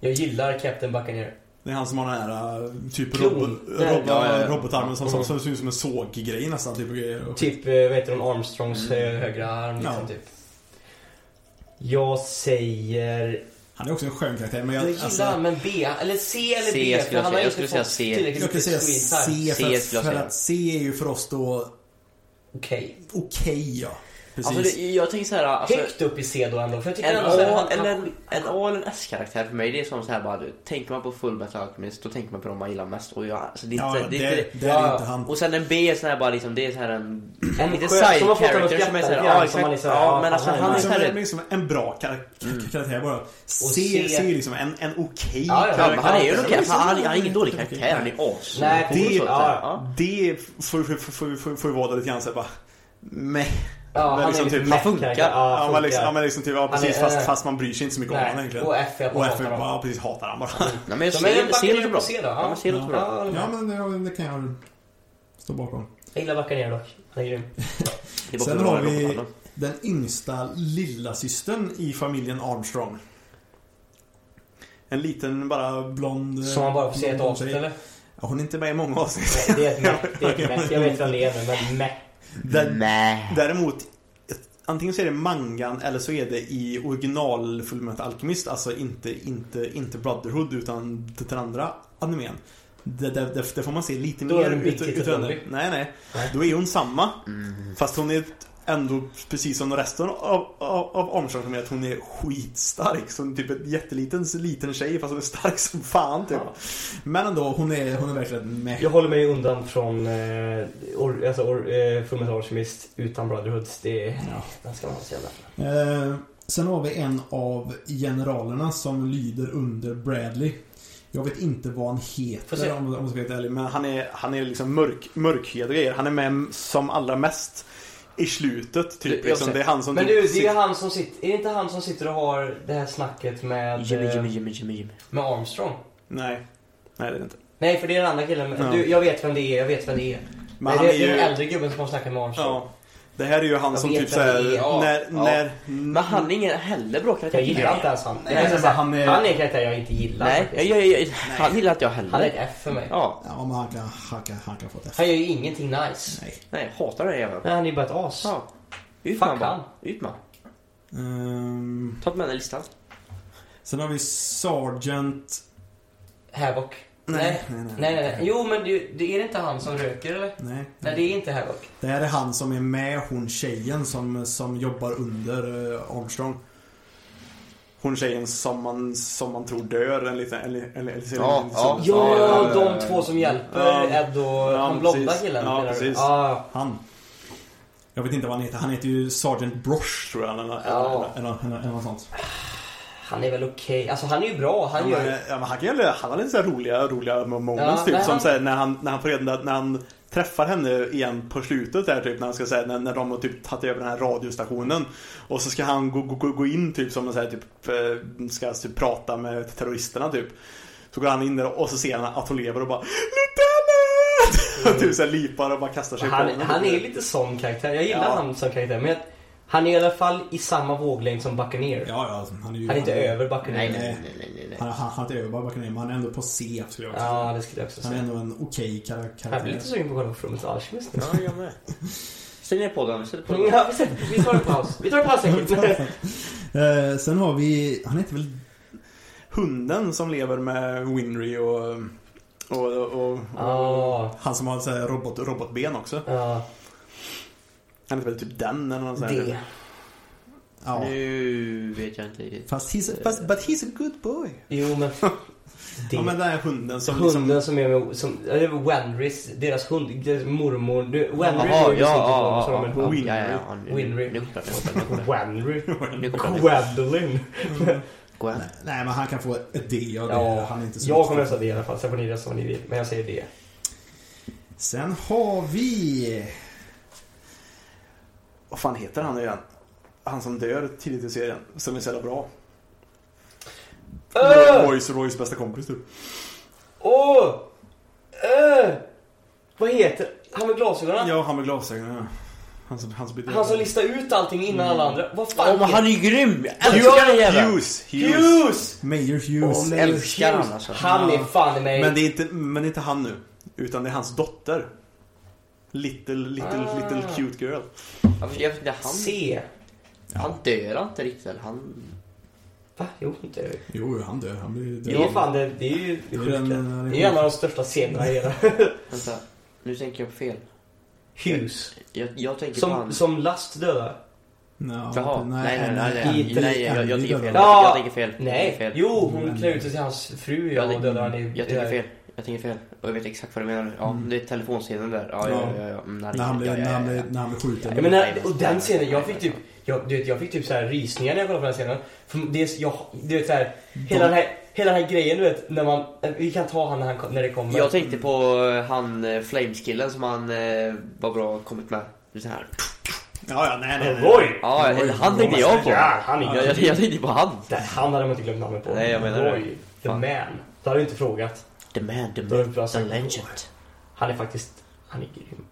S4: Jag gillar Captain Buccaneer.
S2: Det är han som har den här eh, typ
S4: Klon.
S2: robot,
S4: Nej.
S2: robot,
S1: Ja, ja, Mm. ja.
S2: robotarmen som, som, som ser ut som en såggrej nästan. Typ, och grejer. Och-
S4: Typ, eh, vad heter hon, Armstrongs eh,
S1: Mm.
S4: högra arm liksom,
S5: Ja.
S4: typ. Jag säger...
S5: Han är också en skön karaktär men jag,
S4: Jag gillar
S5: alltså,
S4: men B. Eller C eller
S1: C
S4: B. för
S1: skulle jag säga.
S4: han har
S1: Jag
S4: inte
S1: skulle
S4: fått
S1: säga C.
S4: tillräckligt
S5: jag kan
S4: mycket
S5: säga
S4: screen
S5: C
S4: time.
S5: för
S1: C
S5: att,
S1: skulle jag
S5: för
S1: säga.
S5: att C är ju för oss då
S4: Okej.
S5: okej ja. precis.
S1: Alltså, det, jag tänker så här, alltså,
S4: Högt upp i C då ändå. För jag tycker
S1: en
S4: ändå så här,
S1: A,
S4: han- han-
S1: eller en, en A eller en S-karaktär för mig, det är som så här bara, du, tänker man på Full Metal Alchemist, då tänker man på de man gillar mest. Och jag, alltså, det är
S5: ja,
S1: inte,
S5: det,
S1: det är inte,
S5: det är
S4: ja,
S5: inte han.
S1: och sen en B är sån här bara liksom, det är så här en, en lite
S4: skön- som
S1: side
S4: har fått honom
S1: character
S4: att
S1: som är såhär,
S4: skratta lite grann,
S1: ja
S4: som
S1: exakt,
S4: man liksom,
S1: ja
S4: ja,
S1: men alltså
S4: fan,
S1: han är Mm.
S5: Liksom,
S1: såhär,
S5: liksom en bra karak- karaktär bara.
S4: se-
S5: Se, se liksom en, en okej
S4: Ja, ja,
S1: ja,
S5: karaktär.
S1: men han är ju en okej,
S5: Liksom,
S1: han, han, han är ingen dålig
S5: okej.
S1: karaktär, han är as.
S4: Nej,
S1: Cool
S2: det-
S1: och så, så här, ja.
S2: Det får får- får- får- får ju vara lite grann såhär bara... Meh.
S4: Ja, han är
S2: liksom
S4: lite
S2: typ-
S4: mätt
S1: han funkar.
S4: karaktär. Ja,
S2: Ja, men liksom, ja,
S4: funkar.
S2: men liksom typ, ja precis.
S4: är- eh,
S2: fast, fast man bryr sig inte så mycket om
S4: Nej,
S2: honom egentligen.
S4: och F är jag
S2: Och
S4: bara
S2: F,
S4: hatar Mm.
S2: ja precis, hatar han bara.
S1: Nej men jag
S4: Så, men
S1: ser,
S4: jag
S1: ser
S4: backar
S1: låter
S4: ner
S1: bra.
S4: på C då,
S1: Ja,
S4: ja.
S1: men ser låter bra.
S4: Ja,
S5: Ja, men det, det kan jag stå bakom.
S4: Jag gillar Backar ner dock. Han är grym.
S1: Det är bara
S5: Sen
S1: bra
S5: har vi-
S1: i låtarna.
S5: Den yngsta lilla systern i familjen Armstrong.
S2: En liten bara...
S5: Blond...
S4: Som man bara får se
S2: Mm,
S4: ett
S5: blond
S4: avsnitt
S5: tjej.
S4: eller?
S2: Ja, Hon är inte med i många avsnitt.
S4: Nej, det är ett mätt. Det är ett mätt. Jag vet vem det är nu, men mätt.
S2: Den-
S1: Nej.
S2: Däremot, ett- antingen så är det mangan eller så är det i original Fullmetal Alchemist, alltså inte, inte, inte Brotherhood utan den andra animen. Det, det, det, det får man se lite
S4: Då är
S2: mer
S4: det en big
S2: ut,
S4: titted
S2: utöver-
S4: zombie.
S2: Nej, nej.
S4: Nej.
S2: Då är hon samma. Fast hon är ändå precis som resten av, av, av Armstrong som är att hon är skitstark. Så hon är typ en jätteliten så liten tjej fast hon är stark som fan typ.
S5: Men ändå, hon är, hon är verkligen med.
S4: Jag håller mig undan från eh, or, alltså, or, eh, Fullmetal Alchemist utan Brotherhoods. Det är...
S5: Ja.
S4: Den ska man ha så jävla...
S5: Eh, sen har vi en av generalerna som lyder under Bradley. Jag vet inte vad han
S4: Får se.
S5: heter om, om jag ska vara helt ärlig.
S2: Men han är, han är liksom mörk, mörkhyad och grejer. Han är med som allra mest i slutet
S1: Jag
S2: typ.
S1: ser.
S2: Liksom. Det är han som
S4: Men
S2: typ
S4: du, det är ju
S2: sitter-
S4: han som sitter... Är det inte han som sitter och har det här snacket med,
S1: Jimmy,
S4: eh,
S1: Jimmy, Jimmy, Jimmy, Jimmy.
S4: med Armstrong?
S2: Nej. Nej, det är det inte.
S4: Nej, för det är den andra killen.
S2: Ja.
S4: Du, jag vet vem det är, jag vet vem det är.
S2: Men
S4: Nej,
S2: han
S4: det
S2: är
S4: är, den
S2: ju...
S4: äldre gubben som har snackat med Armstrong.
S2: Ja. Det här är ju han
S4: Jag
S2: som
S4: vet
S2: typ
S4: vem det
S2: såhär...
S4: är, ja.
S2: När,
S1: Ja.
S2: när...
S1: Men han är ingen heller bra karaktär.
S4: Jag gillar inte ens han.
S5: Nej,
S4: Nej,
S5: men
S4: så här,
S5: han
S4: han,
S5: är-
S4: är... en karaktär jag inte gillar.
S1: Nej, jag,
S4: faktiskt.
S1: jag, jag, han gillar inte jag heller.
S4: Han är ett F för mig.
S1: Ja,
S5: Ja, men han kan, han kan, han kan få det.
S4: Han gör ju ingenting nice.
S5: Nej.
S1: nej, jag hatar den jäveln.
S4: Nej, han är ju bara ett as.
S1: Ja. Ut med
S4: Fuck
S1: han bara.
S4: han.
S1: Ut med han.
S5: Ehm,
S1: Ta inte med den i listan.
S5: sen har vi Sergeant...
S4: Havoc. Nej.
S5: nej, nej.
S4: Nej, nej, nej. Jo, men det, det är det inte han som röker eller?
S5: Nej.
S4: Nej, det är inte Havoc.
S5: Det här är han som är med hon tjejen som, som jobbar under eh, Armstrong.
S2: Hon tjejen som man, som man tror dör. En liten... En, en, en, en,
S1: Ja, ja.
S4: Ja,
S1: ja, ja,
S4: de två som hjälper
S2: Ja.
S4: Ed och han blonda
S2: precis.
S4: killen.
S2: Ja,
S4: menar du?
S2: precis.
S4: Ja,
S5: Han. Jag vet inte vad han heter. Han heter ju Sergeant Brosh tror jag. Eller, eller,
S4: Ja.
S5: eller, eller, eller något sånt.
S4: han är väl okej. Alltså han är ju bra. Han
S2: Han,
S4: gör...
S2: är, ja, men han, kan, ju- han har lite så här roliga, roliga moments
S4: Ja,
S2: typ.
S4: men
S2: Som
S4: han-
S2: så här, när, han, när han får reda när han träffar henne igen på slutet där typ. När han ska säga när, när de har typ tagit över den här radiostationen. Och så ska han gå, gå- gå, gå in typ som en så här, typ eh, ska typ, prata med terroristerna typ. Så går han in där och så ser han att hon lever och bara Lieutenant! Och typ så här lipar och bara kastar sig på
S4: han,
S2: honom.
S4: han är lite sån karaktär. Jag gillar
S2: Ja.
S4: han som karaktär. Men jag- han är i alla fall i samma våglängd som Buccaneer.
S5: Ja, ja. Han är ju...
S4: Han är inte över Buccaneer.
S1: Nej, nej, nej, nej, nej, nej.
S5: Han, han, han är inte över Bacanem, men han är ändå på C skulle jag säga.
S4: Ja, det skulle jag också
S5: Han är
S4: säga.
S5: ändå en okej kar-
S4: Jag blir
S5: karaktär.
S4: lite sugen på att kolla på Frommet Alchemist nu.
S1: Ja, jag med. Stäng ner podden, vi sätter på den.
S4: Ja, vi sätter- vi tar en paus. Vi tar en paus säkert.
S5: Eh, sen har vi... Han heter väl...
S2: Hunden som lever med Winry och, och, och, och
S4: Ja.
S5: Han som har så här robot...
S2: robot, robotben också.
S4: Ja,
S2: Han heter väl typ den eller något sånt där.
S4: det.
S5: Ja.
S1: Nu vet jag inte riktigt.
S5: Fast he's... a-
S2: But, but he's a good boy.
S4: Jo, men...
S2: Ja
S4: Det.
S2: men den här hunden som liksom...
S4: Hunden som är med, som, ja, det är Wenrys, deras hund, deras mormor. Du,
S1: Jaha,
S4: Wenry var
S1: ja,
S4: ju sin
S1: ja,
S4: son som
S1: ja.
S4: har en
S1: ja,
S4: hund.
S1: ja, ja, ja. Nu-
S4: Winry.
S1: Nu kopplar jag, nu kopplar jag.
S4: Wenry?
S1: Nu kopplar jag.
S4: Gwendolyn?
S1: Gå hem.
S5: Nej, nej, men han kan få ett D av det.
S4: Ja,
S5: han är inte så
S4: jag kommer rösta det i alla fall. Sen får ni rösta vad ni vill. Men jag säger det.
S5: Sen har vi...
S2: Vad fan heter han nu igen? Han som dör tidigt i serien. Som är så jävla bra.
S4: Öh!
S2: Roys och Roys bästa kompis typ.
S4: Åh! Öh! Vad heter han med glasögonen?
S2: Ja, han med glasögonen. ja. Han som, han som blir
S4: Han som listar ut allting innan alla andra. Vad fan
S1: Åh, Mm. men han
S4: heter
S1: är ju grym! Jag älskar den jäveln!
S2: Hughes! Hughes!
S4: Hughes!
S5: Major
S4: Åh,
S5: Hughes.
S4: men
S1: Älskar
S4: Hughes.
S1: han alltså.
S4: Han är
S2: Ja.
S4: fan i mig.
S2: Men det är inte, men det är inte han nu. Utan det är hans dotter. Little, little,
S4: Ah.
S2: little cute girl.
S1: Jag vet inte, han...
S4: C.
S1: Han dör inte riktigt eller? Han...
S4: Va? Jo, inte det.
S5: Jo, jo, han dör. Han blir...
S4: Det är ju fan det. Det är ju
S5: Det
S4: det är
S5: är
S4: sjukt.
S5: den-
S4: det.
S5: den- den-
S4: Det är ju en av de största scenerna i hela.
S1: Vänta. Nu tänker jag på fel.
S4: Hughes.
S1: Jag, jag tänker på
S4: Som,
S1: han...
S4: som last dödar.
S5: Nå,
S1: Jaha, nej, nej, nej, nej,
S4: Inte-
S1: nej, jag, jag tycker fel.
S4: Ja.
S1: Jag tycker fel. Jag tycker
S4: Nej,
S1: fel.
S4: jo hon klär ut sig till hans fru ja, och dödar han i...
S1: Jag tycker fel. Jag tycker fel. Och jag vet exakt vad du menar nu. Ja,
S5: Mm.
S1: det är telefonscenen där. Ja, ja, ja. ja, Mm, nej,
S5: När han blir,
S1: ja, ja,
S5: när han
S1: ja, ja.
S5: blir, när han blir skjuten.
S4: Ja, men när, och den scenen, jag fick typ, jag, du vet, jag fick typ så här rysningar när jag kollade på den scenen. För det, är- jag, du vet så här, hela den här, hela den här grejen du vet, när man, vi kan ta han när, han, kom- när det kommer.
S1: Jag tänkte på eh, han eh, Flames-killen som han eh, var bra kommit med. Det är Så här.
S5: Ja, ja, nej, nej. nej.
S4: Roy!
S1: Ja,
S5: Oj,
S1: eller han
S5: vad
S1: tänkte jag på.
S4: Ja, Ah, han är
S1: Jag, jag, jag tänkte på han.
S4: Det, han hade man inte glömt namnet på.
S1: Nej, jag menar det.
S4: Roy, the
S1: Fan.
S4: man. Då hade du inte frågat.
S1: The man, the
S4: Då hade du
S1: myth,
S4: bara
S1: the
S4: sagt
S1: legend.
S4: Han är faktiskt, han är grym.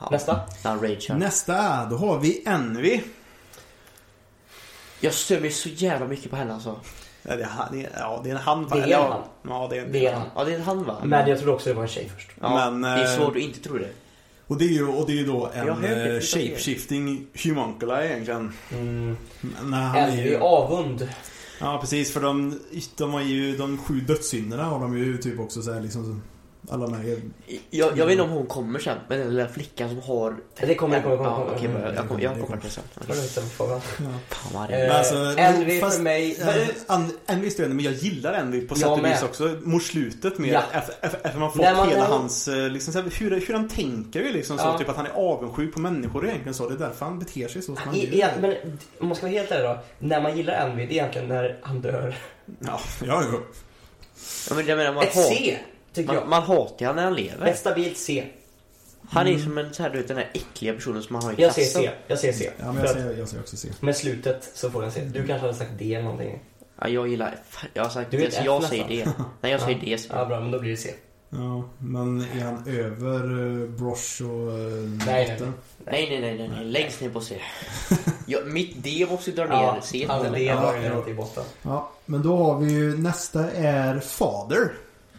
S1: Ja,
S4: Nästa.
S1: när han ragear.
S5: Nästa, då har vi Envy.
S1: Jag stör mig så jävla mycket på henne alltså.
S2: Ja, det, är han, det är- ja, det är en hand va?
S4: Det är
S2: Eller,
S4: en
S2: ja.
S4: hand.
S2: Ja, det är en
S4: Det är han.
S1: Ja, det är han va?
S4: Men jag trodde också det var en tjej först.
S1: ja,
S2: Men,
S1: det är
S2: eh,
S1: svårt att inte tro det.
S2: Och det är ju, och det är ju då
S1: Jag har
S2: en
S1: hört det,
S2: eh,
S1: det är-
S2: shape-shifting homuncula egentligen.
S4: Mm.
S2: När han är
S4: Elvy,
S2: ju,
S4: avund.
S5: Ja, precis. För de, de har ju de sju dödssynderna har de ju typ också så här, liksom alla de här...
S1: Jag, jag vet inte om hon kommer sen, men den lilla flickan som har...
S4: Det kommer, det kommer, det kommer.
S1: Ja,
S4: kommer.
S1: okej,
S4: Mm.
S1: men jag kommer, jag kommer till sen.
S4: Har du inte frågan?
S5: Ja.
S1: Fan vad
S4: Eh,
S1: arg.
S2: alltså,
S4: Elvy
S2: fast-
S4: för mig...
S2: en, en viss del, men jag gillar Envy på
S4: Jag
S2: sätt och
S4: med.
S2: vis också. Mot slutet mer.
S4: Ja.
S2: Efter, efter, efter man fått
S4: När man-
S2: hela
S4: när-
S2: hans... eh, Liksom, så här, hur, hur han tänker ju liksom
S4: Ja.
S2: så. Typ att han är avundsjuk på människor egentligen så. Det är därför han beter sig så som han
S4: I,
S2: gör.
S4: igen, men om man ska vara helt ärlig då. När man gillar Envy, det är egentligen när han dör.
S2: Ja, ja, ja.
S1: Ja, men jag menar, man,
S4: Ett
S1: hat,
S4: C, tycker
S1: man,
S4: jag.
S1: man hatar ju när han lever.
S4: Ett stabilt C.
S1: Han är som en, så här, du vet, den där äckliga personen som man har i
S4: Jag ser
S1: klassen.
S4: C. Jag ser C.
S5: Ja, men
S4: För
S5: jag
S4: att
S5: ser, jag ser också C.
S4: med slutet så får den C. Du kanske hade sagt D eller någonting.
S1: Ja, jag gillar F. Jag har sagt
S4: Du vet
S1: det, så
S4: F
S1: jag
S4: nästan.
S1: säger det. Nej, jag säger det. säger
S4: Ja,
S1: jag.
S4: bra, men då blir det C.
S5: Ja, men är han över eh, Brosh och... eh,
S4: nej,
S5: Nate?
S4: nej.
S1: Nej, nej, nej, nej, nej. Längst ner på C. Jag, mitt D måste ju dra
S4: Ja,
S1: ner. C.
S4: alltså,
S1: eller?
S4: D
S5: Ja,
S4: var ju
S5: ja.
S4: inte i botten.
S5: Ja, men då har vi ju nästa är Father.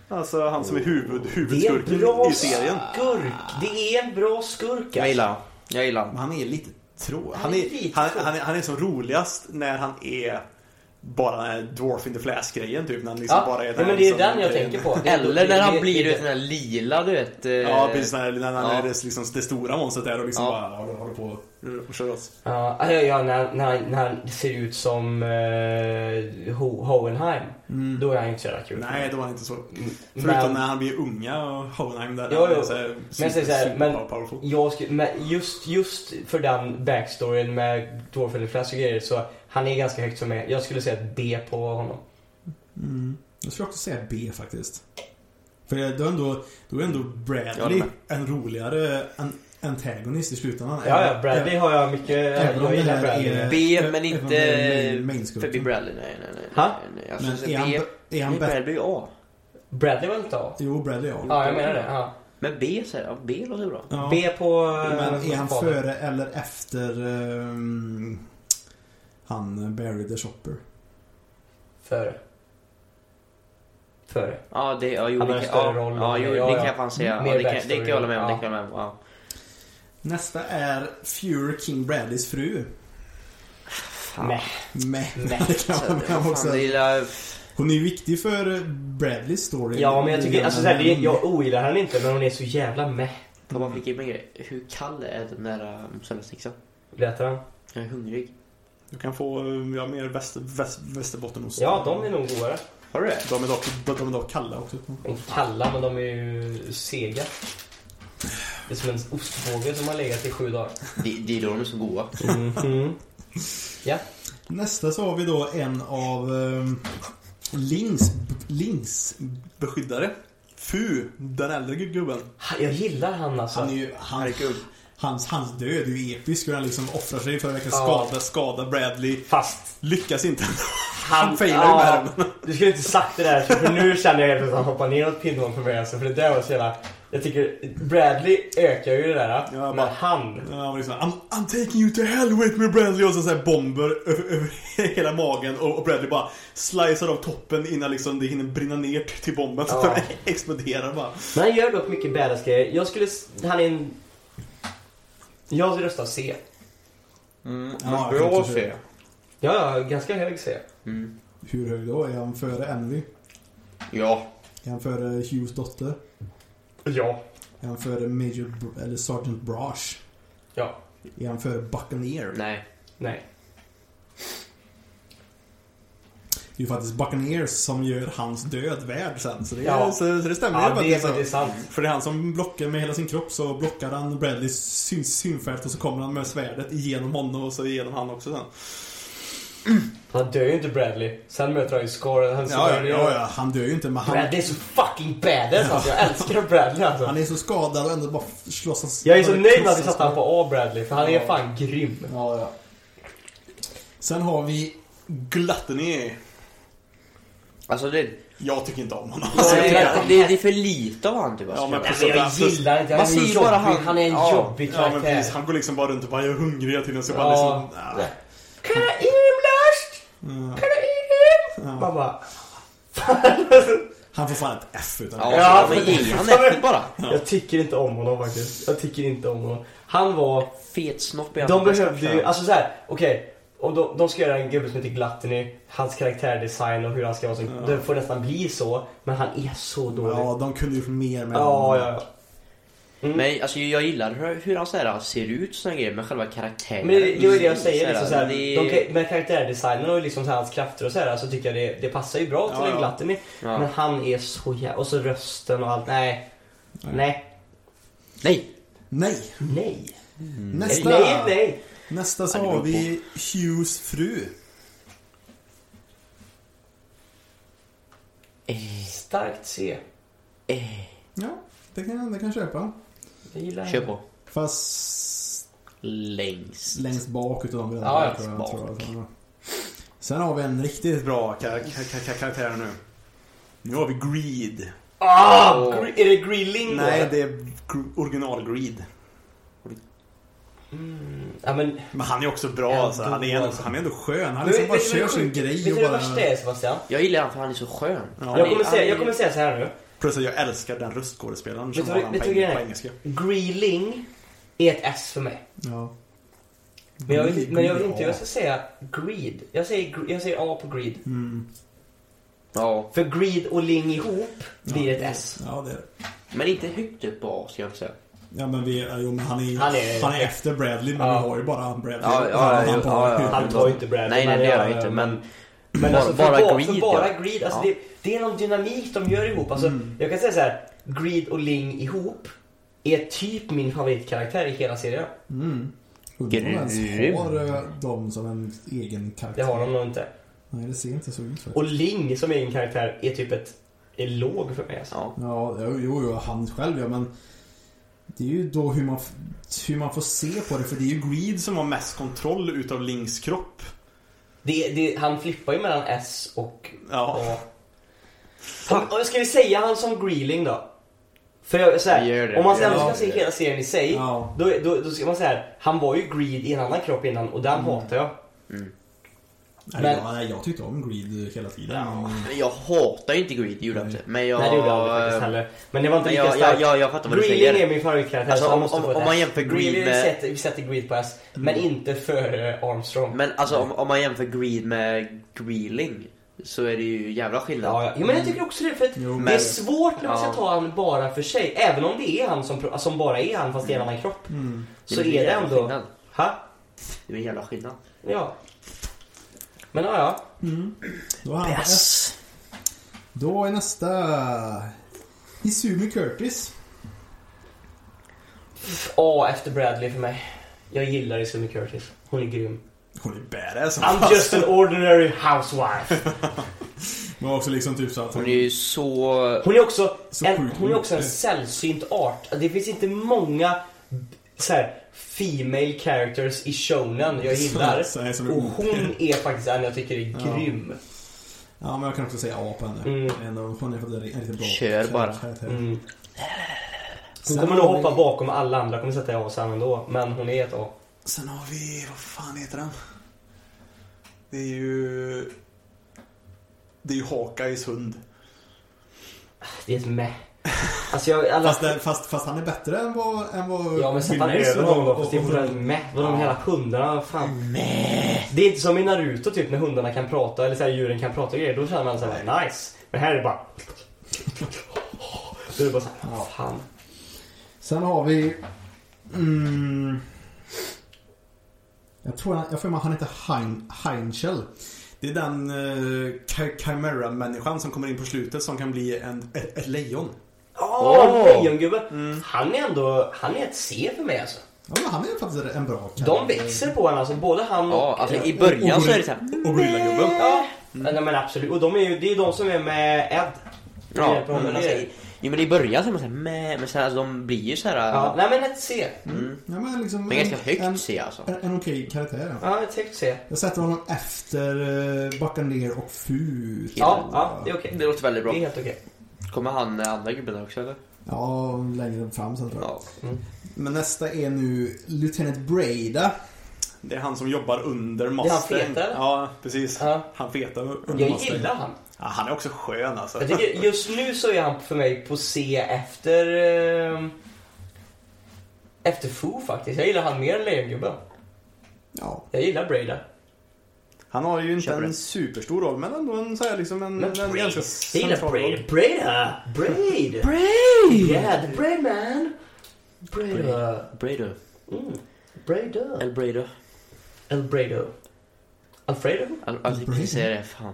S2: Alltså han som är huvud,
S4: Det är en
S2: huvudskurken
S4: bra
S2: i serien.
S4: skurk. Det är en bra skurk.
S1: Jag
S4: alltså.
S1: gillar honom. Jag gillar honom.
S2: Men han är lite trå.
S4: Han
S2: Han
S4: är
S2: är,
S4: lite
S2: han,
S4: trå.
S2: han, är, han är som roligast när han är bara den här Dwarf in the Flask-grejen typ. När han liksom
S4: Ja,
S2: bara är
S4: ja, men det är den jag
S2: grejen.
S4: tänker på. Det är-
S1: Eller
S4: det-
S1: när han
S4: det-
S1: blir du
S4: det-
S1: vet, den där lila, du vet. eh,
S2: Ja, precis. När, när han
S1: ja.
S2: är det, liksom, det stora monstret där och liksom
S1: Ja.
S2: bara håller, håller på
S4: Mm,
S2: och- och kör oss.
S4: Ja, alltså, ja när, när, han- när han ser ut som uh, Ho Hohenheim. Då är han ju inte så jävla kul.
S2: Mm. Nej, det var inte så.
S4: Mm. Men-
S2: Förutom när han blir unga och Hohenheim där.
S4: Jo,
S2: han är
S4: jo.
S2: så här
S4: Men jag säger så här,
S2: super-
S4: men-
S2: super powerful.
S4: Jag skulle, men just, just för den backstoryn med Dwarf eller Flash och grejer så han är ganska högt som mig. Jag skulle säga ett B på honom.
S5: Mm. Jag skulle också säga B faktiskt. För det- då är ändå, då är ändå
S1: Jag håller
S5: Bradley
S1: med.
S5: en roligare an- antagonist i slutändan.
S4: Ja, ja, Bradley har jag mycket...
S5: Även om
S4: Jag
S5: det
S4: gillar
S5: här
S4: Bradley.
S5: är...
S1: B,
S5: även
S1: men
S5: om
S1: inte
S5: det är Eh, main- main-skurken.
S1: Förbi Bradley. Nej, nej, nej.
S4: Ha?
S1: nej, nej. Alltså,
S5: Men
S1: så
S5: är han,
S1: B,
S5: är han
S1: nej,
S5: bättre?
S1: Bradley är A.
S4: Bradley var inte A?
S5: Jo, Bradley ja.
S4: Ja, jag menar det. Ja.
S1: Men B säger jag. B låter bra.
S5: Ja.
S4: B på... eh,
S5: Men är han
S4: fader.
S5: före eller efter ehm, han Barry the Shopper?
S4: Före. Före.
S1: Ja, det, ja, jo,
S4: Han
S1: det,
S4: har en
S1: kan-
S4: större
S1: ja,
S4: roll.
S1: Ja, jo,
S4: Ja,
S1: det
S4: ja.
S1: kan jag fan säga.
S4: Mer
S1: Ja, det, kan, det
S4: backstory.
S1: kan jag hålla med om.
S4: Ja.
S1: Det kan jag hålla med om. Ja.
S5: Nästa är Fury King Bradleys fru.
S1: Fan.
S4: Nej.
S5: Mäh.
S4: Nej.
S5: Det kan
S1: Alltså,
S5: man kan
S1: fan,
S5: också.
S1: det lilla-
S5: Hon är ju viktig för Bradleys story.
S4: Ja, men jag tycker... Alltså, så här, det,
S5: Men-
S4: jag ogillar henne inte, men hon är så jävla meh.
S1: Jag bara fick in mig en grej. Hur kall är um, den där mozzarellastickan?
S4: Vad heter han?
S1: Jag är hungrig.
S2: Du kan få eh, ja, mer väster, väst, västerbottenost.
S4: Ja, de är nog godare.
S1: Har du det?
S2: De är dock, de de är dock kalla också.
S4: De är kalla, men de är ju sega. Det är som en ostbåge som har legat i sju dagar.
S1: Det, det är då de är så goda.
S5: Mhm. Nästa så har vi då en av
S2: ehm,
S5: um, Lings, Lings
S2: Beskyddare. Fu, den äldre gu- gubben.
S4: Ha- Jag gillar han alltså.
S5: Han är ju, han, hans, hans död är ju episk hur han liksom offrar sig för att verkligen
S4: Ja.
S5: skada, skada Bradley.
S4: Fast
S2: Lyckas inte.
S4: han...
S2: failar ju
S4: ja,
S2: med
S4: Du skulle inte sagt det där, för nu känner jag helt plötsligt att han hoppar neråt pinnhålen för mig. Alltså, för det där var så jävla... Jag tycker Bradley ökar ju det där.
S2: Ja,
S4: men
S2: bara-
S4: han...
S2: Ja, han var liksom, I'm, I'm taking you to hell with me Bradley och så, så här bomber över, över hela magen och, och Bradley bara slicear av toppen innan liksom det hinner brinna ner till, till bomben så
S4: Ja.
S2: att den exploderar bara.
S4: Men han gör dock mycket badass grejer. Jag skulle... s- Han är en... Jag skulle rösta C.
S1: Mm,
S5: Ja,
S1: bra
S5: jag
S1: att
S5: tänkte
S1: se.
S4: Ja, ja, ganska hög C.
S1: Mm.
S5: Hur hög då? Är han före Envy?
S1: Ja.
S5: Är han före Hughes dotter?
S4: Ja.
S5: Är han före Major Br- eller Sergeant Brosh?
S4: Ja.
S5: Är han före Buccaneer?
S1: Nej.
S4: Nej.
S2: ju faktiskt Buccaneers som gör hans död värd sen. Så det,
S4: Ja.
S2: så, så det stämmer ju
S4: Ja, det är
S2: faktiskt. alltså.
S4: faktiskt sant.
S2: För det är han som blockar med hela sin kropp så blockar han Bradleys syn, synfält och så kommer han med svärdet igenom honom och så igenom han också sen.
S4: Han dör ju inte Bradley. Sen möter han ju Score. Han
S2: Ja, ja, ja, ja, han dör ju inte men han,
S4: Bradley är så fucking badass alltså. Jag älskar Bradley alltså.
S2: han är så skadad och ändå bara slåss han-
S4: Jag är så nöjd med att vi satte han på A Bradley för han är fan grym.
S2: Ja, ja. Sen har vi Gluttony.
S1: Alltså det, det,
S6: Jag tycker inte om honom.
S1: det, det är för lite av han typ.
S6: Ja,
S1: Alltså.
S6: men
S4: Alltså, jag gillar inte, han
S1: Man
S4: är en
S1: ser bara
S4: jobbig,
S1: han-
S4: han är en
S1: ja.
S4: jobbig
S6: Ja men
S4: karaktär.
S6: precis, han går liksom bara runt och bara jag är hungrig hela tiden så jag bara
S4: Ja.
S6: liksom... Nah.
S2: ah.
S4: Kan jag imlast?
S2: Ja.
S4: Kan jag im? Man bara...
S2: Han får fan ett F utan
S1: Ja,
S4: Ja,
S1: men
S4: men-
S1: ge han äpplet bara.
S4: Jag tycker inte om honom faktiskt. Jag tycker inte om honom. Han var...
S1: Fet snopp i
S4: De behövde ju, alltså såhär, okej. Om de, de ska göra en gubbe som heter Gluttony, hans karaktärdesign och hur han ska vara. Så, Det får nästan bli så, men han är så dålig. Ja,
S2: Ja, de kunde ju få mer med
S4: ja,
S2: honom.
S4: ja.
S1: Men alltså jag gillar hur, hur han så här, ser ut och såna grejer, men själva karaktären.
S4: Men det, det var ju det jag
S1: Så
S4: säger.
S1: här,
S4: Liksom, såhär,
S1: det-
S4: de, kan- med karaktärdesignen och liksom, såhär, hans krafter och sådär så tycker jag det, det passar ju bra till
S6: Ja,
S4: en
S6: ja.
S4: Gluttony.
S1: Ja.
S4: Men han är så jävla... Och så rösten och allt. Nej. Nej.
S1: Nej!
S2: Nej.
S4: Nej.
S2: Nästa,
S4: Nej, nej.
S2: nästa så
S1: Ja, det beror
S2: har vi Hughes fru.
S4: Starkt C.
S2: Ja, det kan, det kan jag köpa.
S4: Jag gillar
S1: Eh, Kör på.
S2: Fast
S1: Längst.
S2: längst bak utav dem.
S4: Ja, ja,
S2: tror jag,
S1: bak.
S2: tror jag, tror jag. Sen har vi en riktigt bra kar- kar- kar- karaktär nu. Nu har vi Greed.
S4: Ah! Gre- Är det Greeling då?
S6: Nej det är gr- original Greed.
S4: Ja, men
S6: Men han är också bra
S4: Ändå.
S6: alltså. Han är, ändå, han är ändå skön.
S2: Han
S4: Men
S2: liksom bara
S4: vet- vet-
S2: kör
S4: vet-
S2: sin
S4: vet- Vet
S2: grej
S4: du
S2: och
S4: vad det
S2: bara...
S4: värsta är Sebastian?
S1: Jag gillar han för han är så skön. Han
S4: Jag
S1: är-
S4: kommer, säga,
S1: han är-
S4: jag kommer säga så här nu.
S6: Plus att jag älskar den röstskådespelaren som
S4: Vet du
S6: har
S4: vad-
S6: han
S4: vet
S6: på
S4: du vad
S6: eng-
S4: grejen
S6: på
S4: är?
S6: engelska.
S4: Greeling är ett S för mig.
S2: Ja.
S4: Men jag vill, men jag vill
S2: Greed,
S4: inte,
S2: ja.
S4: jag ska säga greed. Jag säger, gr- jag säger A på greed.
S2: Mm.
S1: Ja.
S4: För greed och ling ihop blir ett S.
S2: Ja, det är det.
S1: Men inte högt upp på A ska jag inte säga.
S2: Ja men vi, ja, jo, men han är,
S4: Han är-
S2: han är efter Bradley men
S4: Ja.
S2: vi har ju bara Bradley.
S1: Ja, ja,
S2: Han-
S1: ja,
S2: han
S1: ja,
S2: på-
S1: ja.
S4: Han tar ju inte Bradley.
S1: Nej, nej
S4: men
S1: det gör han
S4: jag-
S1: inte. Men
S4: Men
S1: Bara-
S4: alltså för
S1: bara
S4: bara, greed,
S1: greed,
S4: för bara
S1: ja.
S4: greed, alltså
S1: Ja. Mm.
S4: det, det är någon dynamik de gör ihop. Alltså, Jag kan säga så här, greed och ling ihop är typ min favoritkaraktär i hela serien.
S2: Mm. Undrar om ens
S1: Grym.
S2: har eh, de som en egen
S4: Det
S2: karaktär.
S4: har de nog inte.
S2: Nej, det ser inte så ut för.
S4: Och ling som egen karaktär är typ ett, är låg för mig alltså.
S1: ja.
S2: Ja, jo, jo, jo, han själv ja, men det är ju då hur man, f- hur man får se på det för det är ju green.
S6: Greed som har mest kontroll utav Lings kropp.
S4: Det, det, han flippar ju mellan S och
S6: Ja.
S4: A. Om, om, ska vi säga han som Greeling då? För jag, så här,
S1: Gör det.
S4: om man sen
S1: Ja.
S4: ska se hela serien i sig,
S2: Ja.
S4: då, då, då ska man säga här, han var ju Greed i en annan kropp innan och
S1: Mm.
S4: den hatar jag.
S2: Men...
S4: Men-
S2: Jag, jag tyckte om green hela tiden. men-
S1: Men Jag hatar ju inte Greed, det gjorde jag inte. Men jag...
S4: Nej det gjorde han aldrig faktiskt heller. Men det var inte
S1: Men
S4: lika
S1: jag,
S4: starkt.
S1: jag, jag, jag fattar vad du säger.
S4: Greeling är min favoritkaraktär
S1: Alltså,
S4: så han
S1: om-
S4: måste
S1: om-
S4: få ett
S1: om man
S4: S.
S1: jämför Greed
S4: Greeling
S1: med- Mm.
S4: sätter, vi sätter Greed på S, men inte för eh, Armstrong.
S1: Men alltså om, om man jämför Greed med Greeling så är det ju jävla skillnad.
S4: Ja, ja. Jo, men jag tycker också det. För att
S2: Jo,
S4: det är
S1: men-
S4: svårt när man ska
S1: Ja.
S4: ta han bara för sig. Även om det är han som, pro- som bara är han fast i en annan kropp.
S2: Mm.
S4: Så
S1: Det
S4: är
S1: blir
S4: det
S1: jävla
S4: ändå...
S1: Mm. skillnad.
S4: Ha?
S1: Det är en jävla skillnad.
S4: Ja. Men ja, ja.
S2: Då, har han på S. då är nästa Izumi Curtis.
S4: A efter Bradley för mig. Jag gillar Izumi Curtis. Hon är grym.
S2: Hon är badass. hon.
S4: I'm just an ordinary housewife.
S2: Men också liksom typ så att
S1: Hon
S2: hon...
S1: är ju så...
S4: Hon är också
S2: Så
S4: en,
S2: sjukt
S4: hon är också en
S2: mycket.
S4: sällsynt art. Det finns inte många så här, female characters i shonen jag gillar.
S2: Så här som är
S4: Och hon
S2: otäck.
S4: är faktiskt en jag tycker är
S2: Mm. Ja.
S4: grym.
S2: Ja, men jag kan också säga A på henne.
S4: Mm.
S2: Ändå, Hon är faktiskt en riktigt bra
S1: Kör bara.
S2: karaktär.
S4: Mm. Hon
S2: Sen
S4: kommer nog
S2: har vi-
S4: hoppa bakom alla andra, kommer sätta A sen ändå. Men hon är ett A.
S6: Sen har vi, vad fan heter den? Det är ju... Det är ju Hawkeyes hund.
S4: Det är ett meh. Alltså jag, alla...
S2: Fast, det, fast, fast han är bättre än vad... Än vad
S4: Ja men sätt han
S2: Wilson
S4: över
S2: var-
S4: någon då,
S2: och-
S4: fast det är
S2: och-
S4: fortfarande ett meh. Vadå de hela hundarna, fan. Det är inte som i Naruto typ när hundarna kan prata, eller så här, djuren kan prata och grejer. Då känner man såhär, nice. Men här är det bara... Då är det bara såhär, fan.
S2: Sen har vi... Mm, jag tror han, jag får med han heter hein, Heinchel.
S5: Det är den eh, Chi- Chimera-människan som kommer in på slutet som kan bli en, ett, ett lejon.
S4: Ja,
S2: Åh!
S4: lejongubbe. Han är ändå, han är ett C för mig alltså.
S5: Ja, men han är faktiskt en bra
S4: De växer på en alltså, både han och...
S1: Ja, alltså i början så är det såhär...
S5: Och gorillagubben.
S4: Ja, nej, men absolut. Och de är ju, det är de som är med Ed. Med
S1: Ja,
S4: hjälp av
S1: men
S4: honom.
S1: alltså, i- jo, men i början så är man såhär meh, men sen alltså, de blir ju såhär...
S4: Ja, Mm. nej men ett C.
S5: Ja, men liksom
S1: Men
S5: en-
S1: ganska
S5: en,
S1: högt ser jag alltså.
S5: en, en okej karaktär. Ja.
S4: Ja, ett högt C.
S5: Jag sätter honom efter eh, Buccaneer och Fu.
S4: Ja, ja, det är okej.
S1: Det låter väldigt
S4: Det är
S1: bra.
S4: helt okej.
S1: Kommer han eh, andra gubben där också eller?
S5: Ja, längre fram sen tror jag.
S1: Ja.
S5: Men nästa är nu Lieutenant Breda.
S2: Det är han som jobbar under
S4: han
S2: mastern.
S4: feta?
S2: Ja, precis.
S4: Ja.
S2: Han fetar under
S4: Jag
S2: mastern.
S4: gillar han.
S2: Ja, han är också skön alltså.
S4: Jag tycker just nu så är han för mig på C efter... Eh, efter Foo faktiskt. Jag gillar han mer än Lejongubben.
S5: Ja.
S4: Jag gillar Breda.
S2: Mm, Han har ju inte
S1: Köper
S2: en
S1: det.
S2: superstor roll, men ändå en, så här, liksom en,
S4: Men
S2: en
S4: Braid.
S2: ganska
S4: Jag gillar
S2: central roll.
S4: Braid. Breda! Braid!
S1: Braid!
S4: Yeah, the Braid man! Breda.
S1: Brado.
S4: Mm. Breda.
S1: El Brado.
S4: El Bredo. Alfredo?
S5: Mm,
S1: Al- Alltså, jag tänkte säga det. Fan.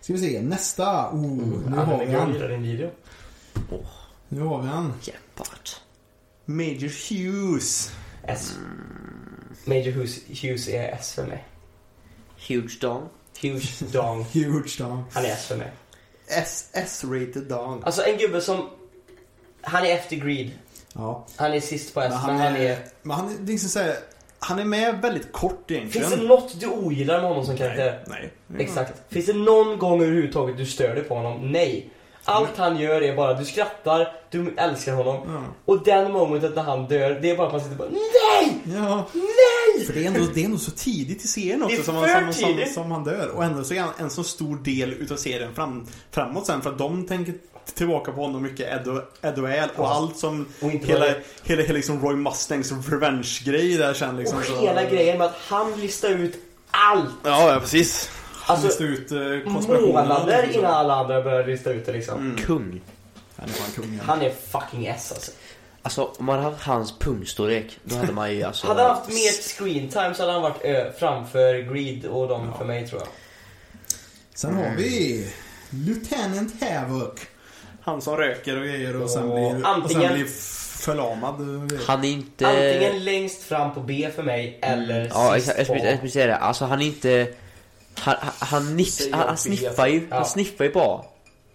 S5: Ska vi se, nästa. Oh, nu,
S4: Ja,
S5: har
S4: men
S5: vi
S4: Jag
S5: han.
S4: gillar din video.
S5: nu har vi han.
S1: Jävlar.
S2: Major Hughes.
S4: S. Major Hughes, Hughes är S för mig.
S1: Huge Don.
S4: Hughes Dong.
S5: Huge då.
S4: Han är S för mig.
S2: SS-rated dog.
S4: Alltså en gubbe som... Han är efter Greed.
S5: Ja.
S4: Han är sist på S,
S2: Men
S4: men han, är...
S2: Men han är, det är liksom så här, han är med väldigt kort egentligen.
S4: Finns det något du ogillar med honom som karaktär?
S2: Nej, Mm. nej.
S4: Exakt. Finns det någon gång överhuvudtaget du stör dig på honom? Nej. Allt han gör är bara, du skrattar, du älskar honom.
S2: Ja.
S4: Och den momentet när han dör, det är bara att man sitter bara NEJ!
S2: Ja.
S4: NEJ!
S2: För det är, ändå, det är ändå så tidigt i serien också
S4: Det är
S2: som,
S4: för
S2: han, som, som,
S4: tidigt.
S2: som han dör. Och ändå så är han en så stor del utav serien fram, framåt sen. För att de tänker tillbaka på honom mycket, Ed och, Ed och Al. Och
S4: Ja.
S2: allt som
S4: Och inte
S2: hela,
S4: bara-
S2: hela, hela liksom Roy Mustangs revenge-grej där sen liksom.
S4: Och
S2: så-
S4: hela grejen med att han listar ut allt!
S2: Ja, ja precis. Han
S4: Alltså,
S2: listar ut Mm. eh, konspirationen.
S4: månader innan alla andra börjar lista ut det liksom.
S1: Kung.
S2: Han är fan kung.
S4: Han är fucking S alltså.
S1: Alltså om man hade haft hans pungstorlek då hade man ju alltså...
S4: Hade han haft mer screen time så hade han varit ö, framför Greed och dem för mig tror jag.
S5: Sen har vi Lieutenant Havoc.
S2: Han som röker och grejer och sen
S4: Och
S2: blir, och sen
S4: antingen-
S2: blir förlamad. och grejer.
S1: Han är inte...
S4: Antingen längst fram på B för mig eller
S1: Ja
S4: sist
S1: exakt, jag
S4: på
S1: skulle- jag skulle säga det. Alltså han är inte... Han, han, han, niff, han, han sniffar ju,
S4: Ja.
S1: han sniffar ju bra.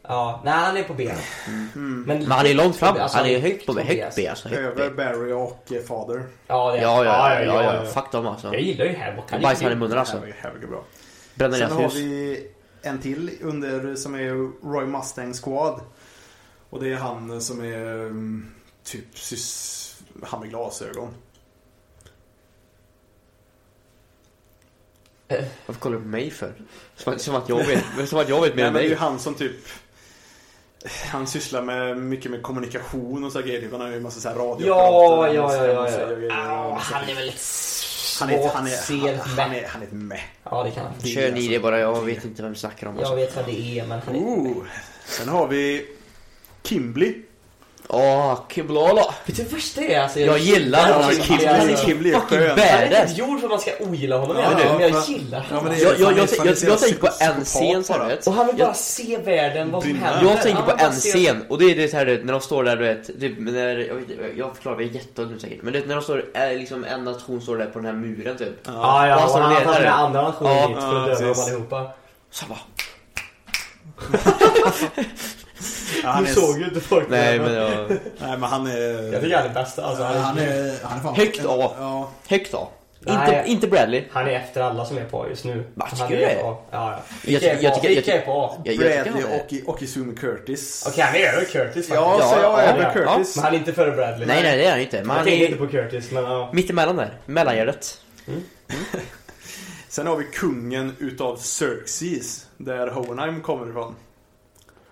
S4: Ja, nej han är på B.
S1: Mm.
S2: Mhm.
S1: Men han är långt
S4: högt på
S1: fram,
S4: B, alltså,
S1: han är högt på mig,
S4: B,
S1: högt
S4: alltså.
S1: B alltså. Högt B.
S2: Över Barry och eh, Father.
S4: Ja, det är
S1: Ja, ja, ja, ja,
S4: ja,
S1: ja, Fuck dem alltså.
S4: Jag gillar ju Havoc. Han är
S1: Bajsar i
S4: grym.
S1: munnen alltså.
S2: Det här var ju- här var ju bra.
S1: Bränner
S2: Sen
S1: deras
S2: har
S1: hus.
S2: vi en till under som är Roy Mustang Squad. Och det är han som är mm, typ sys... Han med glasögon.
S1: Varför kollar du på mig för? Som, att- som att jag vet, som att jag vet mer
S2: Nej,
S1: än
S2: men det är ju
S1: dig.
S2: han som typ... Han sysslar med mycket med kommunikation och så här grejer. Typ, Han har ju en massa så här radioapparater.
S4: Ja,
S2: en
S4: ja,
S2: massa-
S4: ja, ja,
S2: massa
S4: ja.
S2: grejer
S4: Au,
S2: och massa-
S4: Han är väl ett
S2: Han är,
S4: svagt
S2: han, är, han,
S4: fel
S2: han,
S4: med.
S2: är, han är ett meh.
S4: Ja, det kan han.
S1: Kör ni det bara, jag vet inte vem vi snackar om
S4: Jag
S1: alltså.
S4: vet vad det är, men han är...
S2: Oh. Sen har vi Kimbley.
S1: Åh, Kiblala!
S4: Vet du vad det värsta är? Alltså,
S1: Oh. Jag gillar
S4: Ja,
S1: honom.
S4: men
S1: Alltså,
S4: Kimberley
S1: han
S4: är
S1: är
S4: så-
S2: Kimberley är
S1: fucking
S2: skön.
S4: Han är inte
S1: badass!
S4: gjord för att man ska ogilla honom,
S2: Ja,
S4: men jag-
S2: du.
S4: men jag gillar
S2: Ja, men
S4: honom.
S2: det är-
S1: Jag, jag,
S2: fan, det är
S1: jag, jag, jag tänker på en
S2: psykopat
S1: scen så
S2: bara.
S1: här, vet.
S4: Och han vill
S1: Jag-
S4: bara se världen, vad som
S2: Dynamit.
S4: händer.
S1: Jag tänker
S4: Han
S1: på
S4: vill
S1: en
S4: bara se-
S1: scen och det är det så här du vet, när de står där du vet, typ, när, jag, vet, inte, jag förklarar mig jätteont nu säkert, men du vet, när de står, eh, liksom en nation står där på den här muren typ.
S4: Ja, ja,
S1: Och han
S4: och
S1: som
S4: han tar
S1: ledare.
S4: med andra nationer
S1: Ja,
S4: dit för
S2: ja,
S4: att döda dem
S2: precis.
S4: allihopa.
S1: Så jag bara,
S2: Ja, han
S4: du
S2: är-
S4: såg ju inte folk.
S1: nej men jag,
S2: Nej, men han är...
S4: Jag tycker han är bäst. Alltså,
S5: Ja, han, är, han är fan...
S1: Högt A.
S5: Ja.
S1: högt A. Inte,
S4: Nej.
S1: inte Bradley.
S4: Han är efter alla som är på just nu.
S1: Va,
S4: Han
S1: tycker
S4: är
S1: du det?
S4: på A. Ja, ja.
S1: Jag
S4: Vilka är
S1: tycker- jag
S4: på A?
S1: tycker- jag
S4: Vilka är på A?
S1: Jag, jag tycker han
S2: Bradley
S1: är...
S2: och, och Izumi Curtis.
S4: Okej, han är över Curtis faktiskt.
S2: Ja, så jag
S1: Ja,
S2: är
S4: ja,
S2: med
S1: ja.
S2: Curtis.
S4: Men han är inte före Bradley.
S1: Nej nej det är han inte, men
S4: Jag
S1: han
S4: tänkte
S1: är
S4: inte på Curtis, men ja.
S1: mittemellan där, mellangärdet.
S2: Sen har vi kungen utav Xerxes. Där Hohenheim kommer ifrån.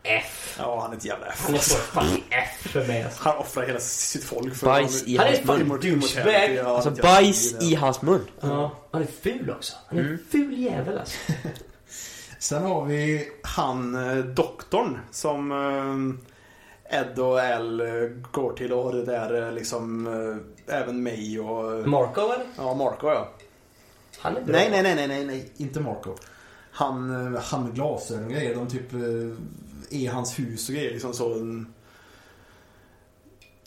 S4: F.
S2: Ja, han är ett jävla F.
S4: Han är så fucking F för mig alltså.
S2: Han offrar hela sitt folk för
S1: Bajs i
S4: Han är
S1: hans
S4: fan
S1: mun.
S2: Immort- immortality,
S4: douchebag.
S2: ja,
S1: Alltså
S2: jag-
S1: bajs i hans mun.
S4: Ja. Han är ful också. Han är
S1: Mm.
S4: en ful jävel alltså.
S5: Sen har vi...
S2: Han, eh, doktorn som eh, Ed och L eh, går till och det där eh, liksom eh, även mig och eh,
S4: Marco eller?
S2: ja, Marco ja.
S4: Han är bra.
S2: Nej, nej, nej, nej, nej, nej.
S5: Inte Marco. han, eh, han med glasögon och grejer. De typ eh, är hans hus och grejer. Liksom så. en-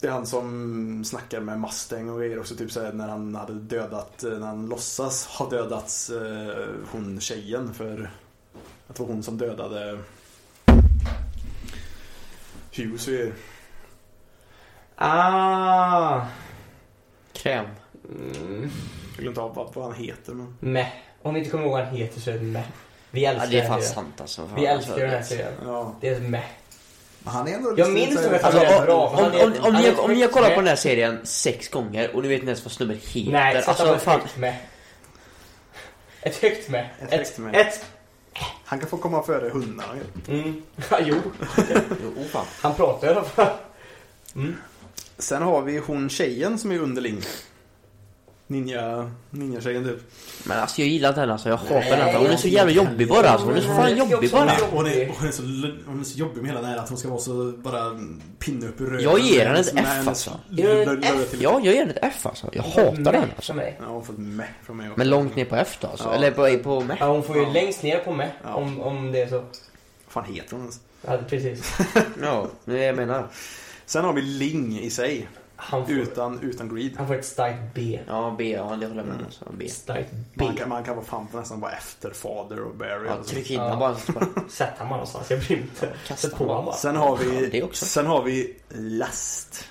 S2: Det är han som snackar med Mustang och grejer också. Typ såhär när han hade dödat, eh, när han låtsas ha dödats eh, hon tjejen för att det var hon som dödade Hughes och grejer.
S4: Ah!
S1: Kräm.
S4: Mm.
S2: Jag glömde inte av vad, vad han heter men.
S4: Meh. Om ni inte kommer ihåg vad han heter så är det meh. Vi
S1: Ja,
S4: älskar
S1: det är
S4: den här
S1: fan
S4: serien.
S1: sant alltså.
S4: Vi
S1: Fan,
S4: älskar den här serien.
S2: Ja.
S4: Det är ett meh.
S5: Men Han är ändå
S4: Jag
S5: lite
S4: minns
S5: så här-
S4: nog att han
S1: Alltså,
S4: är
S1: om,
S4: bra. men
S1: om,
S4: han är-
S1: om, om,
S4: han
S1: ni,
S4: är
S1: om ni har kollat
S4: meh.
S1: på den här serien sex gånger och ni vet inte ens vad snubben heter.
S4: Nej, exakt.
S1: alltså
S4: han
S1: fan.
S4: är ett meh. Ett högt meh.
S2: Ett högt meh.
S4: Ett.
S2: Han kan få komma före hundarna. ju.
S4: Mm. Ja, jo.
S1: Jo, oh, fan.
S4: Han pratar i alla fall. Mm.
S2: Sen har vi hon tjejen som är underling. Ninja, ninja-tjejen typ.
S1: Men alltså jag gillar inte henne alltså. Jag hatar
S4: Nej,
S1: henne. alltså. Hon är så jävla jobbig bara alltså. Hon är så fan
S4: Jag tycker
S1: jobbig
S4: också
S1: bara.
S4: hon är-
S5: Och det, och hon, är så, l- hon är så jobbig med hela det här att hon ska vara så bara mm, pinne upp i röven.
S1: Jag ger henne
S5: Med
S1: ett
S5: hennes-
S1: F, alltså.
S5: med hennes
S4: Ger du
S5: lö-
S4: ett
S5: lö-
S4: F?
S5: till-
S1: Ja, jag ger henne ett F alltså. Jag hatar
S4: Meh
S1: henne alltså.
S4: för mig.
S2: Ja, hon har fått meh från mig också.
S1: Men långt ner på F då alltså.
S2: Ja.
S1: Eller på, på med.
S4: Mm. Ja, hon får ju
S2: Ja.
S4: längst ner på meh.
S2: Ja.
S4: Om, om det är så.
S2: Vad fan heter hon ens?
S4: Ja, precis.
S1: Ja, det är det jag menar.
S2: Sen har vi Ling i sig.
S4: Han får,
S2: Utan, utan greed.
S4: han får ett starkt B.
S1: Ja, B. Ja, det håller jag med om. Alltså. B.
S4: Starkt B.
S2: Man kan, man kan vara fan nästan vara efter Fader och Barry.
S1: Ja,
S2: alltså.
S1: tryck in
S4: Ja.
S1: den bara. så bara
S4: Sätt han bara någonstans. Jag bryr mig inte.
S1: Kasta
S4: Sätt på
S1: på
S4: honom bara.
S2: Sen har
S1: Ja,
S2: vi,
S1: det också.
S2: sen har vi Last.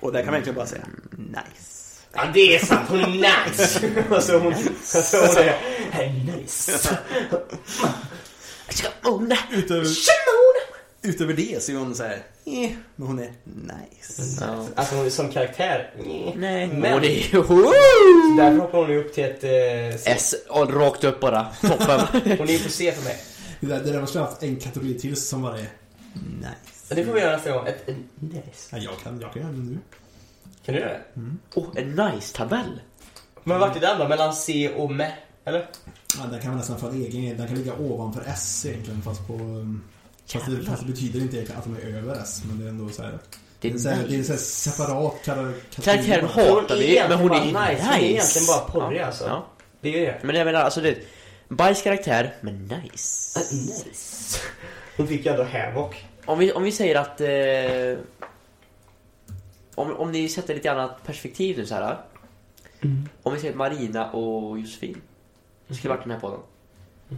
S2: Och där kan man egentligen bara säga
S1: Mm,
S2: nice.
S4: Ja, det är sant. Hon är nice. alltså hon, alltså, hon är hey, nice.
S2: Utöver, utöver det så är hon såhär, eh, men hon är nice.
S1: Ja.
S4: Alltså hon är som karaktär.
S1: Nej.
S4: Men-
S1: Och det är... Woo!
S4: Därför hoppar hon ju upp till ett eh, C.
S1: S. ja, Rakt upp bara. Toppen.
S4: Hon är ju på C för mig.
S5: Det där, det där måste jag ha haft en kategori till som var det.
S4: Ja, Det får vi göra nästa gång. Ett, ett, nice.
S5: Mm. Ja, jag kan, jag kan göra det nu.
S4: Kan du göra det?
S1: Oh, en nice-tabell.
S4: Men vart är den då? Mellan C och med? Eller?
S5: Ja, den kan man nästan få en egen grej. Den kan ligga ovanför S egentligen fast på... um, Fast det, fast det betyder inte egentligen att de är över S men det är ändå så här.
S1: Det är
S5: så här, det är en
S1: nice.
S5: så här separat kategori.
S1: Karaktären
S4: Hon är
S1: hatar vi, men hon är
S4: egentligen bara nice. Hon är egentligen bara porrig,
S1: ja.
S4: alltså.
S1: Ja.
S4: Det är ju det.
S1: Men jag menar alltså det... Bajs karaktär, men nice.
S4: Nice. Hon fick ju ändå Havoc.
S1: Om vi, om vi säger att... Eh, om, om ni sätter lite annat perspektiv nu så här. eh. Om vi säger att Marina och Josefin skulle varit den här podden.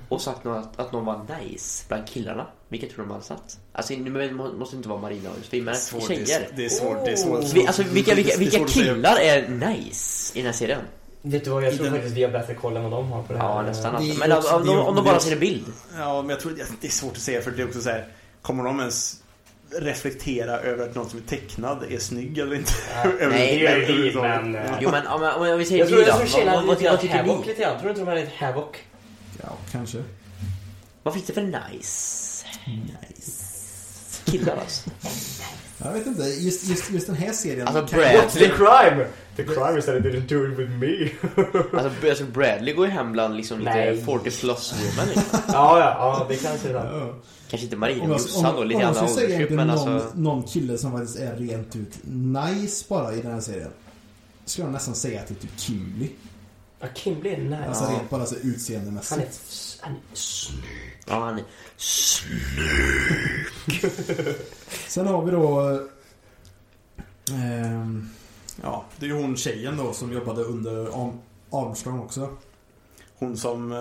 S1: Och sagt någon, att, att någon var nice bland killarna. Vilket tror du de hade satt? Alltså nu men- må- måste inte vara Marina och Josefin, men
S2: Svårt, det,
S1: tjejer.
S2: är, det är svårt. Det är
S4: Oh.
S2: svårt.
S1: Vi, alltså vilka, vilka,
S2: Det är
S1: vilka
S2: svårt att säga.
S1: killar är nice i den här serien?
S4: Vet du vad, jag
S2: I
S4: tror
S2: den-
S4: faktiskt vi har bättre koll än vad de har på det här.
S1: Ja nästan
S5: det
S1: alltså.
S5: är
S1: Men om,
S5: också-
S1: om,
S5: det är
S1: de,
S5: också-
S1: om de
S5: det är
S1: bara
S5: också-
S1: ser en bild.
S2: Ja, men jag tror det är svårt att säga för det är också så här. Kommer de ens reflektera över att någon som är tecknad är snygg eller inte? Över-
S1: Nej,
S4: det gör vi,
S2: överhuvudtaget.
S4: men... eh,
S1: Jo men om, om, om vi säger
S4: Jag tror,
S1: vi
S4: jag
S1: då.
S4: tror tjejerna
S1: Vad,
S4: hade
S1: vad,
S4: lite
S1: vad
S4: grann
S1: tycker
S4: Havoc
S1: ni?
S4: lite grann. Tror du inte de hade ett Havoc?
S5: Ja, kanske.
S1: Vad finns det för nice? Killar alltså.
S5: Jag vet inte. Just, just, just den här serien.
S1: Alltså
S5: kan-
S1: Bradley.
S4: crime? The crime is that I didn't do it with me.
S1: Alltså, alltså Bradley går ju hem bland liksom lite
S4: Nej.
S1: 40 plus women liksom.
S4: ja, ja, ja, det kanske är sant.
S5: Ja.
S1: Kanske inte Maria
S5: Om
S1: men
S5: jag,
S1: Jossan
S5: om,
S1: då,
S5: om
S1: lite
S5: jag
S1: annan
S5: skulle säga
S1: åldersgrupp
S5: egentligen
S1: men
S5: någon,
S1: alltså.
S5: någon kille som faktiskt är rent ut nice bara i den här serien. Skulle jag nästan säga att det är typ Kimberly.
S4: Ja, Kimberley är nice.
S5: Alltså
S4: Ja.
S5: rent bara så utseendemässigt.
S4: Han är, s- han är snygg.
S1: Ja han är
S5: Sen har vi då... ehm,
S2: Ja,
S5: det är ju hon tjejen då som jobbade under Am- Armstrong också.
S2: hon som eh,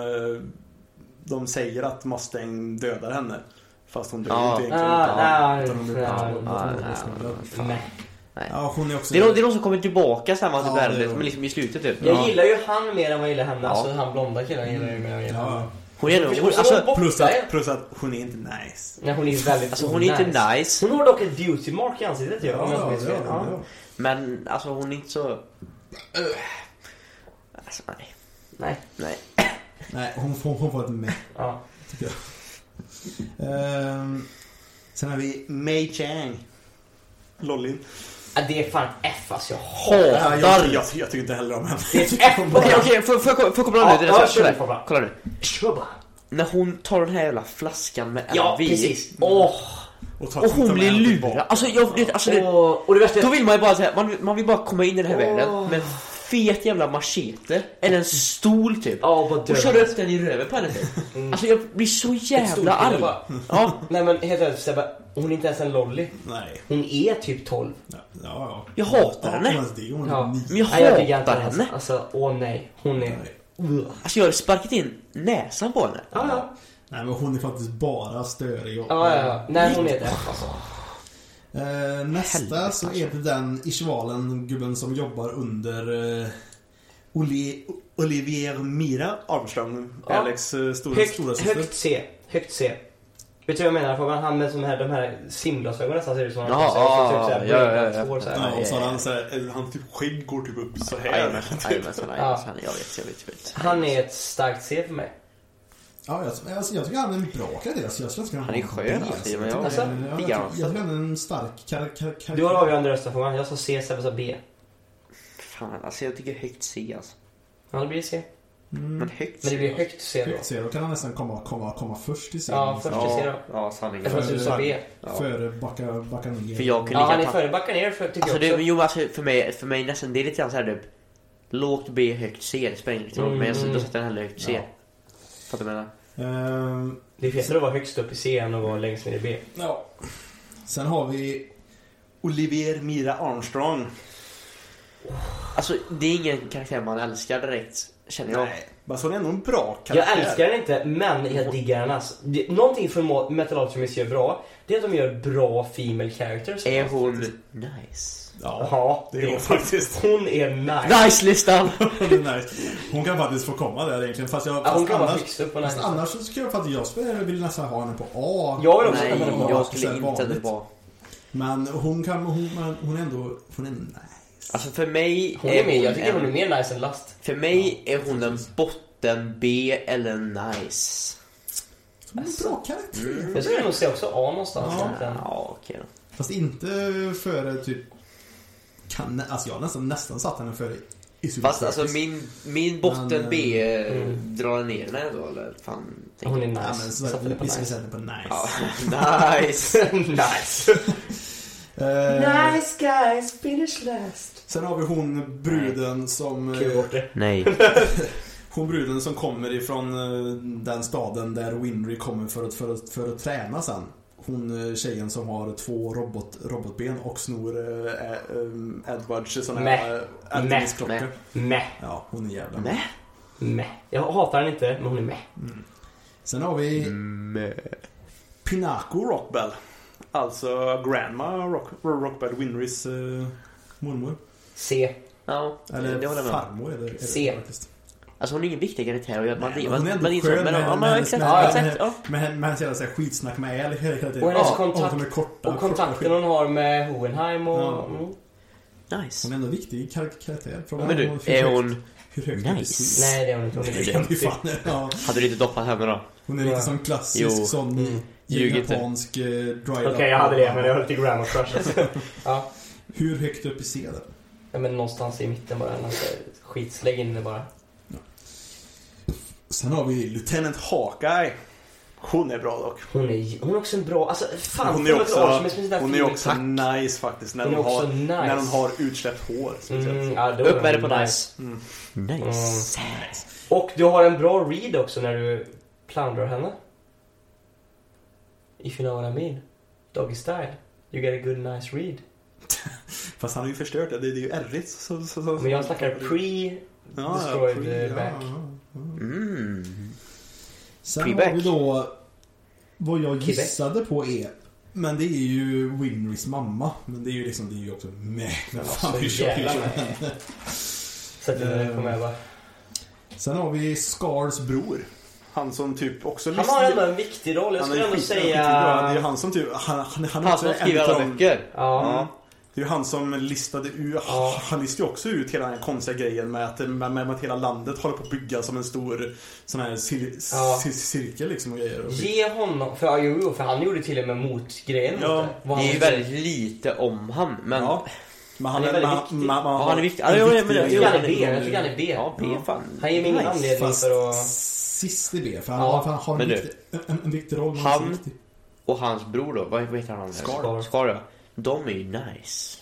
S2: de säger att Mustang dödar henne. Fast hon dör
S1: Ja.
S2: inte egentligen.
S4: Ah, nej,
S5: utan hon blev-
S4: nej,
S5: ja,
S1: nej,
S5: hon blev-
S1: fan.
S4: nej.
S5: Ja, hon är också...
S1: Det är någon, det är någon som kommer tillbaka sen va,
S5: Ja,
S1: typ
S5: det är
S1: Bradley,
S5: hon.
S1: men liksom i slutet typ.
S4: Jag
S1: Ja.
S4: gillar ju han mer än vad jag gillar henne.
S1: Ja.
S4: Alltså han blonda killen gillar jag ju mer än vad jag gillar henne.
S5: Ja,
S1: Hon är nog, hon,
S4: alltså, hon
S1: alltså,
S4: borta.
S2: Plus att, plus att hon är inte nice.
S4: Nej, hon är väldigt
S1: alltså hon är inte nice,
S4: Hon har dock ett beauty mark i ansiktet ju.
S5: ja,
S4: om jag inte
S5: ja,
S4: minns
S5: ja,
S4: fel. Ja.
S5: ja.
S1: men alltså hon är inte så... Alltså nej.
S4: Nej.
S1: Nej.
S5: Nej, hon får, hon får ett med.
S4: Ja.
S5: Ehm, sen har vi...
S2: Mei Chang. Lollin.
S4: Ja, Det är fan F alltså. Jag
S1: Hatar!
S2: Jag, jag, jag, tycker inte heller om henne.
S4: Det är ett F bara.
S1: Okej okej, får får jag får jag koppla av
S4: Ja,
S1: nu?
S4: ja,
S1: Det är så-
S4: kör
S1: kolla
S4: du, pappa.
S1: här. Kolla nu.
S4: Kör bara.
S1: När hon tar den här jävla flaskan med
S4: Ja,
S1: LV,
S4: precis. Åh.
S2: Och, tar-
S1: Och hon
S2: tar med
S1: blir
S2: henne
S1: lurad.
S2: tillbaka.
S1: Alltså jag... det- Alltså, det,
S4: Och, och det värsta
S1: Då
S4: är
S1: vill man ju bara så här, man, man vill bara komma in i den här världen med fet jävla machete eller en stol typ
S4: Mm. Ja, vad
S1: och
S4: död.
S1: körde upp den i röven på henne. typ.
S4: Mm.
S1: Alltså jag blir så
S4: Ett stort
S1: jävla
S4: kille
S1: arg.
S4: bara.
S1: Ja,
S4: Nej men helt ärligt Sebbe, hon är inte ens en lolly.
S5: Nej.
S4: Hon är typ 12.
S5: Ja, ja.
S1: Jag hatar henne.
S5: Ja, men det är hon.
S4: Ja.
S5: Ni-
S1: men jag
S4: Nej, tycker
S1: hatar
S4: ens-
S1: henne.
S4: Alltså, åh nej. Hon är... Ugh.
S1: Alltså jag hade sparkat in näsan på henne.
S4: Ja, ja.
S5: Nej men hon är faktiskt bara störig. och-
S4: Ja, ja, ja. Nej, hon är det. Alltså.
S5: Eh, nästa
S1: Helvete,
S5: så är det den Ishvalen gubben som jobbar under eh, Oli, Olivier Mira.
S2: Armstrong,
S4: Ja.
S2: Alex eh, stora,
S4: Högt,
S2: stora syster.
S4: högt C. Högt C. Vet du vad jag menar Fabian? Han med sån här, de här simglasögonen nästan ser ut som han
S1: Ja,
S4: har på sig.
S1: ja,
S4: Så typ såhär,
S1: ja, ja,
S4: bruna
S1: ja.
S4: tår, så här.
S2: Ja, och så har
S1: Ja, ja,
S2: han så här,
S5: eh,
S2: eller han typ skägg går typ upp så här.
S1: Jajamensan, jajamensan, jajamensan. Jag vet, jag vet, jag vet.
S4: Han är ett starkt C för mig.
S5: Ja, jag, alltså, jag tycker han är en bra karaktär. Så jag skulle inte kunna
S1: Han är
S5: ha en
S1: skön,
S5: del,
S1: alltså, men jag-
S5: jag, tycker- jag, jag,
S1: diggar
S5: jag
S1: honom.
S5: tycker han är en stark karaktär. Kar,
S4: Du har avgörande rösten Fabian. Jag sa C, Sebbe sa B.
S1: Fan alltså jag tycker högt C alltså.
S4: Ja, det blir C.
S5: Mm.
S1: Men
S4: Mm.
S1: högt
S4: Men det blir
S1: alltså.
S4: högt C då.
S5: Högt ser, då kan han nästan komma, komma, komma först i serien.
S4: Ja, först i C då.
S1: Ja, ja sanningen.
S4: Eftersom du sa B.
S1: Ja.
S5: Före backa, backa ner.
S1: För jag kunde
S4: Ja, han är
S1: lika-
S4: före backa ner för, tycker
S1: Alltså
S4: jag
S1: det,
S4: också.
S1: men jo, alltså för mig, för mig nästan, det är lite grann såhär typ Lågt B, högt C, det spelar ingen roll.
S4: Mm,
S1: Men jag
S4: mm.
S1: då sätter jag hellre högt C.
S5: Ja.
S1: Fattar du vad jag menar?
S5: Ehm,
S4: Det är fetare att vara högst upp i C än att vara längst ner i B.
S2: Ja.
S5: sen har vi...
S2: Olivier Mira Armstrong.
S1: Alltså det är ingen karaktär man älskar direkt, känner jag.
S2: Nej. Men så är ändå en bra karaktär.
S4: Jag älskar den inte, men jag diggar den alltså. Det, någonting för Metal Alchemist gör bra, det är att de gör bra female characters.
S1: Är hon nice?
S4: Ja,
S2: det är hon faktiskt.
S4: Hon är nice.
S1: Nice-listan!
S5: Nej, hon kan faktiskt få komma där egentligen. Fast, jag,
S4: Ja,
S5: fast
S4: hon kan vara
S5: annars,
S4: högst upp på den
S5: fast
S4: här
S5: annars så skulle jag faktiskt... Jag skulle vilja nästan ha henne på A.
S4: Jag vill också
S1: Nej,
S4: sätta henne på
S1: jag
S4: A.
S1: skulle inte
S5: Vanligt.
S1: det vara.
S5: Men hon kan... Hon, men hon är ändå... Hon är nice.
S1: Alltså för mig
S4: Hon är mer, Eh, jag tycker
S1: en,
S4: hon är mer nice än Last.
S1: För mig är hon en botten B eller en nice.
S5: Så hon är en
S1: Alltså.
S5: bra karaktär.
S4: Jag skulle nog säga också A någonstans. egentligen.
S1: Ja, okej då.
S5: Fast inte före typ... Kan, alltså jag har nästan, nästan satt henne före Isuzu
S1: Fast alltså min, min botten
S5: Men,
S1: B eh,
S4: mm.
S1: drar ner den här då eller? Fan, tänker
S4: Hon är
S5: Ja,
S4: nice.
S5: men så,
S4: Satte det på
S5: vi ska
S4: nice.
S5: sätta på nice.
S1: Ja, nice!
S4: nice.
S5: Eh,
S4: nice guys, finish last.
S5: sen har vi hon bruden som...
S4: Kliv
S5: Eh,
S4: bort det.
S1: Nej.
S5: hon bruden som kommer ifrån eh, den staden där Winry kommer för att, för att, för att träna sen. Hon eh, tjejen som har två robot, robotben och snor eh, eh, eh, Edwards såna
S4: Mäh.
S5: här eh, Anthonys-klockor.
S1: Mäh.
S4: Meh,
S5: Ja, hon är jävla
S1: Nej.
S4: meh. Jag hatar den inte, men hon är meh.
S5: Sen har vi
S2: Pinaco Rockbell. Alltså Grandma Rock, Rockbell, Winrys eh,
S5: mormor.
S4: C.
S1: Ja, det håller
S5: Eller
S1: jag med om.
S5: farmor är det, är det
S4: Se.
S5: faktiskt.
S1: Alltså hon är ingen viktig karaktär och jag, man,
S5: Nej,
S1: man,
S5: hon är
S1: man,
S5: ändå
S1: man
S5: skön
S1: insåg men
S5: med-
S1: ja,
S5: med
S1: men exakt,
S5: hennes-
S1: exakt, ja.
S5: Men hen- men hennes jävla så här skitsnack med El hela hela tiden.
S4: Och hennes
S5: Ja,
S4: kontakt-
S5: och de är korta.
S4: Och kontakten hon har med Hohenheim och...
S5: Ja.
S4: Mm.
S5: Hon
S1: Nice.
S5: är ändå viktig kar- karaktär. Frågan
S1: Men
S5: är
S1: du,
S5: om hur
S1: är
S5: högt-
S1: hon...
S5: Hur högt
S1: Nice.
S5: upp i syn-
S4: Nej, det är hon inte. Hon är
S5: Det kan vi
S4: jättefin.
S5: fan. Ja,
S1: Hade du inte doppat henne då?
S5: hon är lite
S4: Ja.
S5: som klassisk
S1: Jo.
S5: sån
S4: Mm.
S1: Ljug inte.
S5: japansk eh, dried
S4: Okej, jag hade det, men jag höll till Grammar Crush alltså. ja.
S5: Hur högt upp i C där?
S4: ja, men någonstans i mitten bara. Alltså, skitslägg in det bara.
S5: Sen har vi Lieutenant.
S2: Lieutenant Hawkeye. Hon är bra dock.
S4: Hon är, hon är också en bra... Alltså, fan.
S2: Hon är också, hon är
S4: filmer.
S2: också nice faktiskt. När
S4: liksom. Hon
S2: hon, har,
S4: är också nice.
S2: när hon har utsläppt hår. Speciellt.
S4: Mm, ja, då är
S1: Upp
S4: hon
S1: med det på nice. Mm. Nice.
S4: Och du har en bra read också när du plundrar henne. If you know what I mean. Doggy style. You get a good nice read.
S2: Fast han har ju förstört det. Det är ju ärrigt. Så, så, så.
S4: Men jag snackar pre...
S2: Ja,
S4: destroyed
S2: pre-
S4: eh, back.
S1: Mm.
S5: Sen
S1: Quebec.
S5: har vi då vad jag
S4: Quebec.
S5: gissade på är men det är ju Winrys mamma. Men det är ju liksom, det är ju också meh. Men fan,
S4: så
S5: hur kör- hur
S4: jävla
S5: kör-
S4: Sätter den där på
S2: Ehm.
S4: mig bara.
S5: Sen har vi Scars bror.
S2: Han som typ också
S4: Han har ändå en viktig roll. Jag
S2: Han är ju
S4: skulle ändå
S2: skit- skitbra. Det är ju
S4: säga...
S2: han som typ... Han, han, han, är
S1: Han
S2: också
S1: som
S2: en
S1: skriver alla
S2: utav de-
S1: böcker.
S4: Ja.
S2: Ja. Det är ju han som listade ut,
S4: Ja.
S2: han listade ju också ut hela den här konstiga grejen med att, med, med att hela landet håller på att bygga som en stor sån här cir,
S4: Ja.
S2: cir, cirkel liksom och grejer. Och
S4: Ge honom... För, ja, jo, jo, för han gjorde till och med motgrejen mot
S2: Ja.
S4: det. Vad
S1: Det är
S4: han-
S1: ju väldigt lite om han, men...
S2: Ja. Men han
S4: Han är
S2: är,
S4: väldigt
S2: man,
S4: viktig.
S2: man, man,
S1: Ja, han är viktig. Ja,
S2: en
S1: jo,
S2: viktig
S1: men-
S4: Jag
S2: grej.
S4: tycker han är B. Jag tycker han är B.
S1: Ja, B är fan.
S4: Han ger mig ingen
S1: nice.
S4: anledning
S5: Fast
S4: för att...
S5: sist i B. För han,
S4: Ja.
S5: för han har
S1: Men
S5: en
S1: du,
S5: viktig, en, en viktig roll. men
S1: han-
S5: inte så viktig.
S1: Och hans bror då, vad vad heter han?
S4: Scar.
S1: Scar ja. De är ju nice.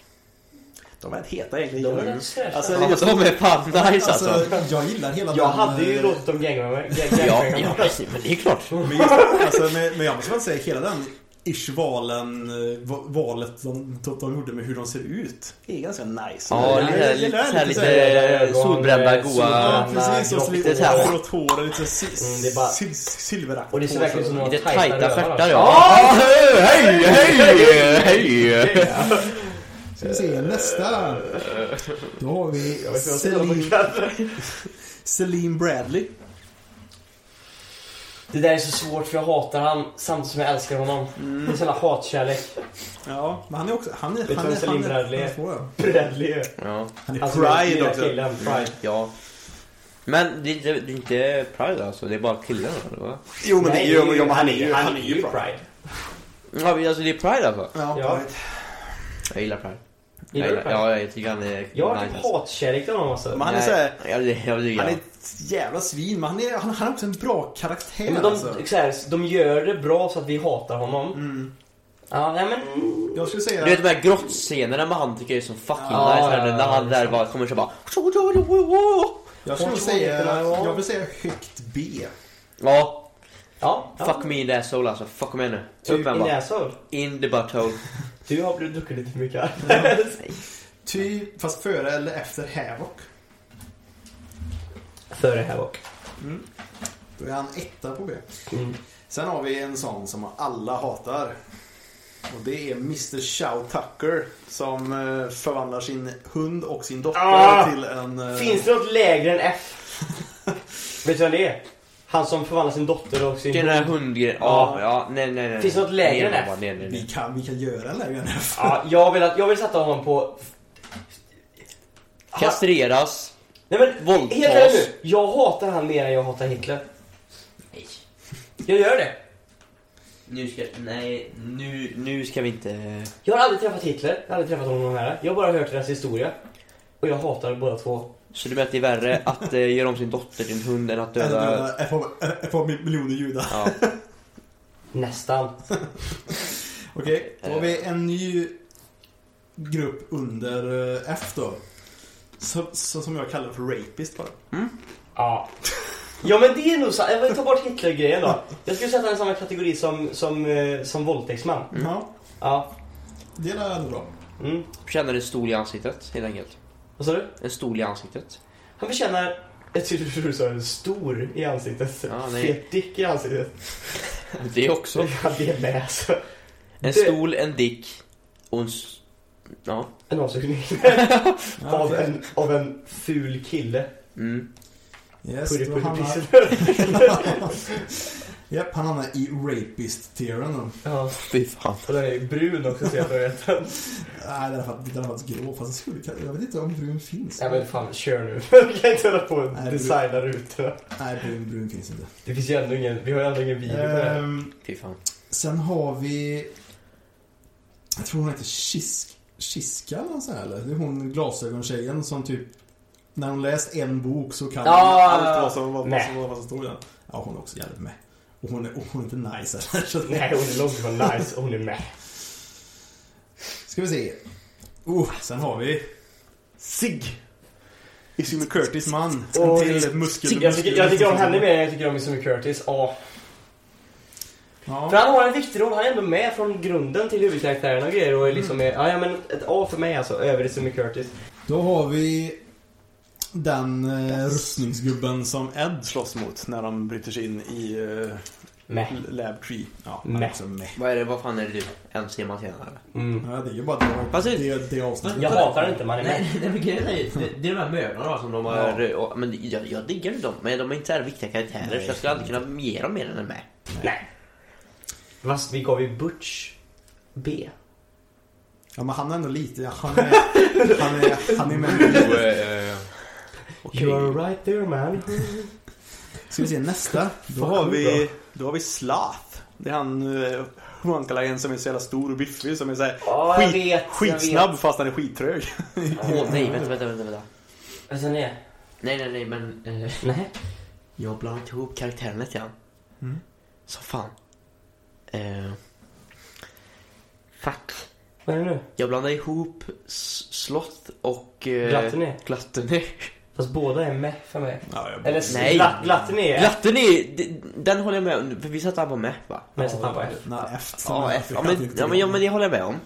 S5: De är rätt heta egentligen.
S4: De är rätt fräscha.
S5: Alltså,
S1: Ja, de är fan nice alltså.
S2: Alltså, jag gillar hela
S4: Jag
S2: den,
S4: hade ju
S2: eh,
S4: låtit dem gangbanga
S1: ja,
S4: gangbanga
S1: ja,
S4: mig.
S1: men det är klart.
S2: Men, just, alltså, men, men jag måste väl säga hela den ish-valen, eh, va- valet de, de, de gjorde med hur de ser ut.
S5: Det är ganska nice.
S1: Ja, det är lite, så här lite solbrända, goa...
S2: Ja, precis, och så lite
S1: lite så här.
S2: grått hår och lite si,
S4: Mm, det är bara-
S2: sil- silveraktigt
S4: Och det ser
S2: hår,
S4: verkligen
S2: så-
S4: ut som några
S1: Lite tajta stjärtar
S4: ja.
S1: ja. Hej, hej, hej!
S2: Ska vi se, nästa. Då har vi
S4: Jag vet inte vad jag ska
S2: Celine,
S4: kalla det.
S2: Celine Bradley.
S4: Det där är så svårt för jag hatar han samtidigt som jag älskar honom. Det är sån här hatkärlek.
S2: Ja, men han är också... Han är,
S4: du
S2: han
S4: vem
S2: är, han
S4: Celine
S2: är,
S4: Bradley är?
S2: han är, svår.
S4: Bradley ju.
S1: Ja.
S2: han är
S4: Alltså,
S2: Pride
S4: lilla
S2: också.
S4: Killen, pride.
S1: ja. Men det, det, det är inte Pride alltså, det är bara killar eller vad?
S5: Jo, men det är
S4: Nej,
S5: ju... jo, men Han är ju...
S4: han är ju pride.
S1: Ja, men alltså det är Pride alltså.
S2: Ja,
S4: Ja.
S2: Pride.
S1: Jag gillar Pride. Jag
S4: Gillar du
S1: gillar,
S4: pride?
S1: ja, jag tycker han är
S4: Jag har typ
S1: nice.
S4: hatkärlek till honom alltså.
S5: Men han är så här,
S1: Jag, jag, jag, jag,
S5: Han är ett jävla svin, men han är, han, han är också en bra karaktär
S4: Men de,
S5: alltså.
S4: så här, de gör det bra så att vi hatar honom.
S2: Mm.
S4: Ja, nej men...
S2: Jag skulle
S1: Du
S2: säga...
S1: vet de här grottscenerna med han tycker jag är så fucking
S4: Ja,
S1: nice.
S4: ja,
S1: när
S4: ja,
S1: när han
S4: ja,
S1: där
S4: liksom.
S1: bara kommer så bara... Ja,
S2: Jag skulle
S4: Hon
S2: säga...
S4: tror inte på det.
S2: Jag vill säga högt B.
S4: Ja, ja.
S1: fuck me in the asshole alltså. Fuck med nu. Upp
S4: Typ i
S1: med bara.
S4: näsan.
S1: In the butthole.
S4: Du har blivit druckit lite för mycket här.
S2: Ty, fast före eller efter Havoc.
S4: Före här bak.
S2: Då är han etta på B.
S4: Mm.
S2: Sen har vi en sån som alla hatar. Och det är Mr. Chow Tucker som eh, förvandlar sin hund och sin dotter
S4: Ah!
S2: till en... eh,
S4: Finns det något lägre än F? Vet du vem det är? Han som förvandlar sin dotter och sin...
S1: Den där hundgrejen. Ja, ja. Nej, nej, nej.
S4: Finns det något lägre
S1: Nej,
S4: än
S1: bara, Nej, nej,
S2: Vi
S1: nej.
S2: kan, vi kan göra en lägre än F.
S4: Ja, jag vill, att, jag vill sätta honom på... Han,
S1: Kastreras.
S4: nej men,
S1: våldtas.
S4: helt ärligt nu. Jag hatar han mer än jag hatar Hitler. Jag gör det.
S1: Nu ska... Nej, nu, nu ska vi inte...
S4: Jag har aldrig träffat Hitler, jag har aldrig träffat honom här. Jag har bara hört deras historia. Och jag hatar båda två.
S1: Så du menar att det är värre att eh, göra om sin dotter till en hund än att
S2: Eller
S1: döda...
S2: döda Ett par- ett par miljoner judar.
S1: Ja.
S4: Nästan.
S2: Okej, då har vi en ny grupp under eh, F då. Så, så, som jag kallar för rapist bara.
S4: Ja. Ja men det är nog så. Jag vill ta bort Hitler-grejen då. Jag skulle sätta den i samma kategori som, som, eh, som våldtäktsman.
S2: Ja,
S4: Ja.
S2: det är ändå bra.
S4: Mm.
S1: Känner en stol i ansiktet, helt enkelt.
S4: Vad sa du?
S1: En stol i ansiktet.
S4: Han förtjänar... Jag tyckte du sa en stor i ansiktet.
S1: Ja, nej.
S4: Fet dick i ansiktet.
S1: Det också.
S4: Ja, det är med alltså.
S1: En stol, en dick och en... s- Ja.
S4: En avsugning.
S2: Ja,
S4: av,
S2: okej.
S4: en, av en ful kille.
S1: Mm.
S2: Yes,
S4: Purre
S2: då
S4: purre
S2: hamnar-
S4: pisse.
S2: Japp, han hamnar i rapist-tieren då.
S4: Ja.
S1: Fy fan.
S4: Och den är ju brun också så jag vet.
S2: Nej, den är fakt- den är faktiskt grå. Fast jag, skulle, jag vet inte om brun finns.
S4: Nej men fan, kör nu. Vi kan inte hålla på
S2: Nej,
S4: och
S2: det-
S4: designa rutorna.
S2: Nej, brun, brun finns inte.
S4: Det finns ju ändå ingen, vi har ju ändå ingen video på det här.
S2: Ehm,
S1: Fy fan.
S2: sen har vi... Jag tror hon heter Kisk, Kiska eller nåt sånt här, eller? Det är hon glasögontjejen som typ... När hon läst en bok så kan hon
S4: Ja,
S2: allt vad som, vad, vad,
S4: nej.
S2: som, vad som står i den. Ja, hon är också jävligt med. Och hon är, och hon är inte nice heller. så att-
S4: Nej, hon är långt ifrån nice och hon är med.
S2: Ska vi se. Oh, sen har vi... Sig. Ising Curtis man.
S4: Oj.
S2: till muskel,
S4: Jag tycker, jag tycker om henne mer än jag tycker om Mr. Curtis. Ja. För
S2: Ja.
S4: han har en viktig roll, han är ändäå med från grunden till huvudkaraktären och grejer och är liksom är, ja, ja men ett A för mig alltså, över Mr. Curtis.
S2: Då har vi den eh, rustningsgubben som Ed slåss mot när de bryter sig in i eh,
S4: Med.
S2: Lab Tree. Ja,
S4: Mäh.
S2: alltså meh.
S1: Vad är det, vad fan är det du? En timme senare?
S4: Mm.
S2: Ja, det är ju bara det,
S1: Fast det-
S2: det, det avsnittet.
S4: Jag hatar inte man är med.
S1: nej men grejen är ju, det, det är de här mödrarna som de har... och- Men jag, jag diggar ju dem, men de är inte så här viktiga karaktärer
S2: Nej.
S1: så jag skulle aldrig kunna ge dem mer än en med.
S4: Nej. Fast vi gav ju Butch B.
S2: Ja, men han är ändå lite... Han är, han är, han är med.
S4: You are right there man.
S2: Ska vi se nästa.
S5: Då har vi, då har vi Slath. Det är han eh, humankalaren som är så jävla stor och biffig som är så här
S4: Ja, jag vet, jag
S5: skitsnabb fast han är skittrög.
S1: Åh nej, vänta, vänta, vänta, vänta.
S4: vet. Alltså nej.
S1: Nej, nej, nej, men... Eh,
S4: Nej.
S1: jag blandar inte ihop karaktärerna lite grann.
S2: Mm.
S1: Så fan. Eh, fuck.
S4: Vad är det nu?
S1: Jag blandar ihop S- Sloth och... Eh,
S4: Glattene.
S1: Glattene.
S4: Fast båda är med för mig.
S5: Ja, jag
S4: Eller
S1: Nej.
S4: Gla- Glatten är ett,
S1: Glattene, d- den håller jag med om. För vi sa att han var med, va?
S4: men så tappar jag.
S5: Nej, efter.
S1: Ja, F. Ja, men, ja, men, ja, men det håller jag med om.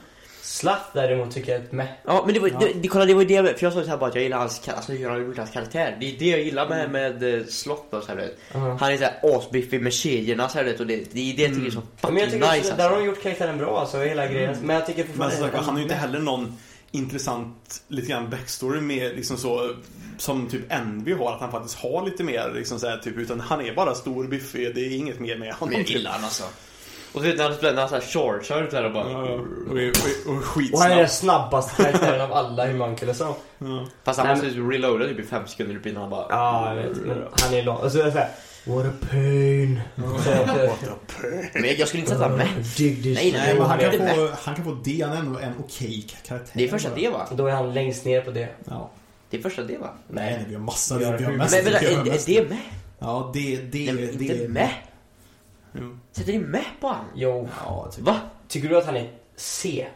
S4: Slatt däremot tycker jag är ett med.
S1: Ja, men det var,
S5: Ja.
S1: Det, det, kolla, det var ju det, för jag sa ju så här bara att jag gillar hans, ka- alltså, jag gillar Douglas karaktär. Det är det jag gillar med,
S4: Mm.
S1: med eh, Sloth och så här, du vet.
S4: Uh-huh.
S1: Han är såhär asbiffig med tjejerna så här, du vet, och det, det, det är det jag tycker är så
S4: Mm. Men
S1: fucking
S4: jag tycker
S1: nice
S4: att där har
S1: alltså.
S4: de gjort karaktären bra alltså, hela grejen. Men jag tycker
S2: Men
S4: fortfarande...
S2: som sagt, han har ju inte heller någon intressant lite grann backstory med liksom så som typ Envy har att han faktiskt har lite mer liksom så här, typ utan han är bara stor biffig det är inget mer med honom.
S1: Men jag
S2: typ.
S1: gillar han alltså. Och så vet du när han spelar, när han såhär chargear ut där och bara...
S2: Ja, och, är- och, är- och
S4: Och han är
S2: skitsnabb.
S4: den snabbaste karaktären av alla i Munkelesson.
S2: Ja.
S1: Fast han
S4: Nej,
S1: måste ju reloada typ i fem sekunder typ innan han bara...
S4: Ja, jag vet. Men han är lång. Och så är det såhär... What a pain.
S5: What the purr.
S1: Men jag, jag skulle inte sätta honom med.
S4: Dig this.
S1: Nej, nej,
S5: Nej, men han,
S1: jag
S5: kan
S1: vet
S5: få, han kan få D, han är ändå en okej karaktär.
S1: Det är första det va?
S4: Då är han längst ner på det.
S5: Ja.
S1: Det är första det va?
S5: Nej, nej, vi har massa. Vi
S4: Vi har
S5: har, vi har
S4: hur-
S5: mest.
S1: Men
S5: vi
S1: vänta,
S5: har
S1: är, är
S5: mest.
S1: det med?
S5: Ja, det, det,
S1: Nej, men
S5: det,
S1: inte med?
S2: Jo.
S1: Sätter ni med på han?
S4: Jo.
S5: Ja, typ.
S1: Va?
S4: Tycker du att han är C?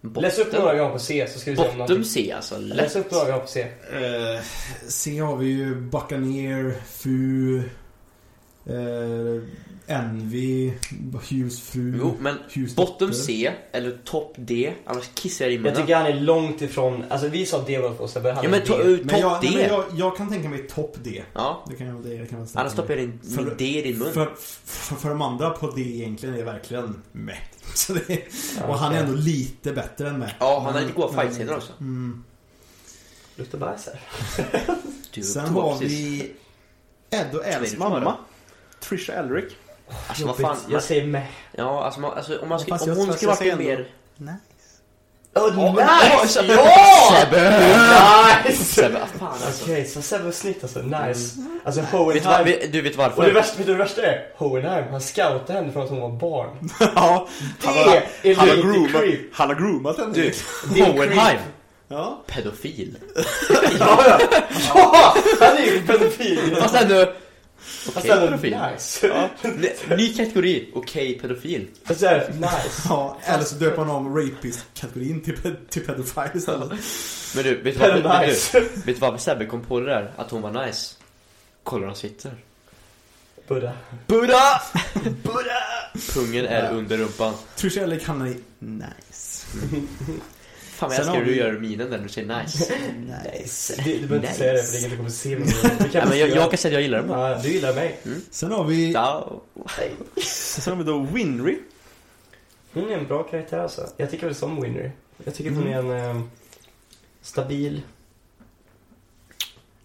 S1: Botten?
S4: Läs upp några gånger på C så ska vi se om någonting.
S1: Bottom C alltså, lätt.
S4: Läs upp några gånger på C.
S5: Eh, C har vi ju Buccaneer, FU, eh, Envy, Hughes fru.
S1: Jo, men
S5: Hughes
S1: bottom
S5: dotter.
S1: C eller topp D, annars kissar jag i
S4: Jag
S1: munnen.
S4: tycker han är långt ifrån... Alltså vi sa D var på oss, men han
S1: Ja
S4: är
S1: men to,
S4: D.
S1: eh,
S5: Men
S1: topp
S5: jag, nej, men
S1: D.
S5: jag, jag kan tänka mig topp D.
S1: Ja,
S5: Det kan jag, det kan jag tänka
S1: annars
S5: mig.
S1: stoppar jag din,
S5: För-
S1: min D i din mun.
S5: För, för, för de andra på det egentligen är verkligen med. Så det, är-
S4: Ja,
S5: och han är
S4: okej.
S5: ändå lite bättre än med.
S1: Ja, han har lite goa fightscener också.
S5: Mm.
S4: Luktar bajs här.
S1: Du,
S5: Sen
S1: tog
S5: har
S1: precis.
S5: vi Ed och
S1: Vad är
S5: Els
S1: det för
S5: mamma.
S2: Trisha Elric.
S1: Alltså vad fan.
S4: Jag säger med.
S1: Ja, alltså, man, alltså om, man ska,
S5: Fast
S1: om
S5: jag
S1: hon
S5: tror
S1: skulle
S5: jag
S1: varit
S5: ska
S1: en
S5: säga
S1: mer...
S4: Oh,
S1: nice!
S4: Ja! Nice!
S1: Sebbe, ah, fan alltså. Mm.
S4: Okej, så Sebbe snitt alltså. Nice. Alltså
S1: Vet du, vad-
S4: Hohenheim.
S1: vet- du vet
S4: Och det
S1: varför?
S4: värsta, vet du det värsta är? Hohenheim, han scoutade henne från att hon var barn.
S2: ja,
S4: Det
S2: han har,
S4: är
S2: han har
S4: lite
S2: groomat,
S4: creep.
S2: han har groomat henne.
S1: Du,
S4: Det är
S1: Hohenheim.
S2: Ja.
S1: Pedofil.
S4: Ja, ja. ja! Han är ju pedofil.
S1: Fast ändå...
S4: Fast
S1: Okej
S4: ändå
S1: pedofil.
S4: nice.
S1: Ja. Ny- Ny kategori. Okej pedofil.
S4: Fast så här, nice.
S5: Ja, eller så döper han om rapist-kategorin till, ped- till pedofile istället.
S1: Men du, vet du vad,
S4: Pedofil.
S1: vet du,
S4: nice.
S1: vet du vad Sebbe kom på det där? Att hon var nice. Kolla hur han sitter.
S4: Buddha.
S1: Buddha! Pungen är under rumpan.
S5: Trisha Ellick hamnar i nice.
S1: Fan vad
S5: Sen
S1: jag älskar
S5: har
S1: hur du
S5: vi-
S1: gör minen där när du säger nice.
S4: Du,
S5: nice.
S4: du behöver inte
S1: Nice.
S4: säga det för det är ingen som kommer se mig. Du
S1: Nej,
S4: kan
S1: men jag,
S4: säga-
S1: jag kan säga att jag gillar den bara.
S4: Ja, du gillar mig.
S5: Sen har vi...
S1: Ja.
S2: Sen har vi då Winry.
S4: Hon är en bra karaktär alltså. Jag tycker väl som Winry. Jag tycker hon är
S1: Mm.
S4: en eh, stabil...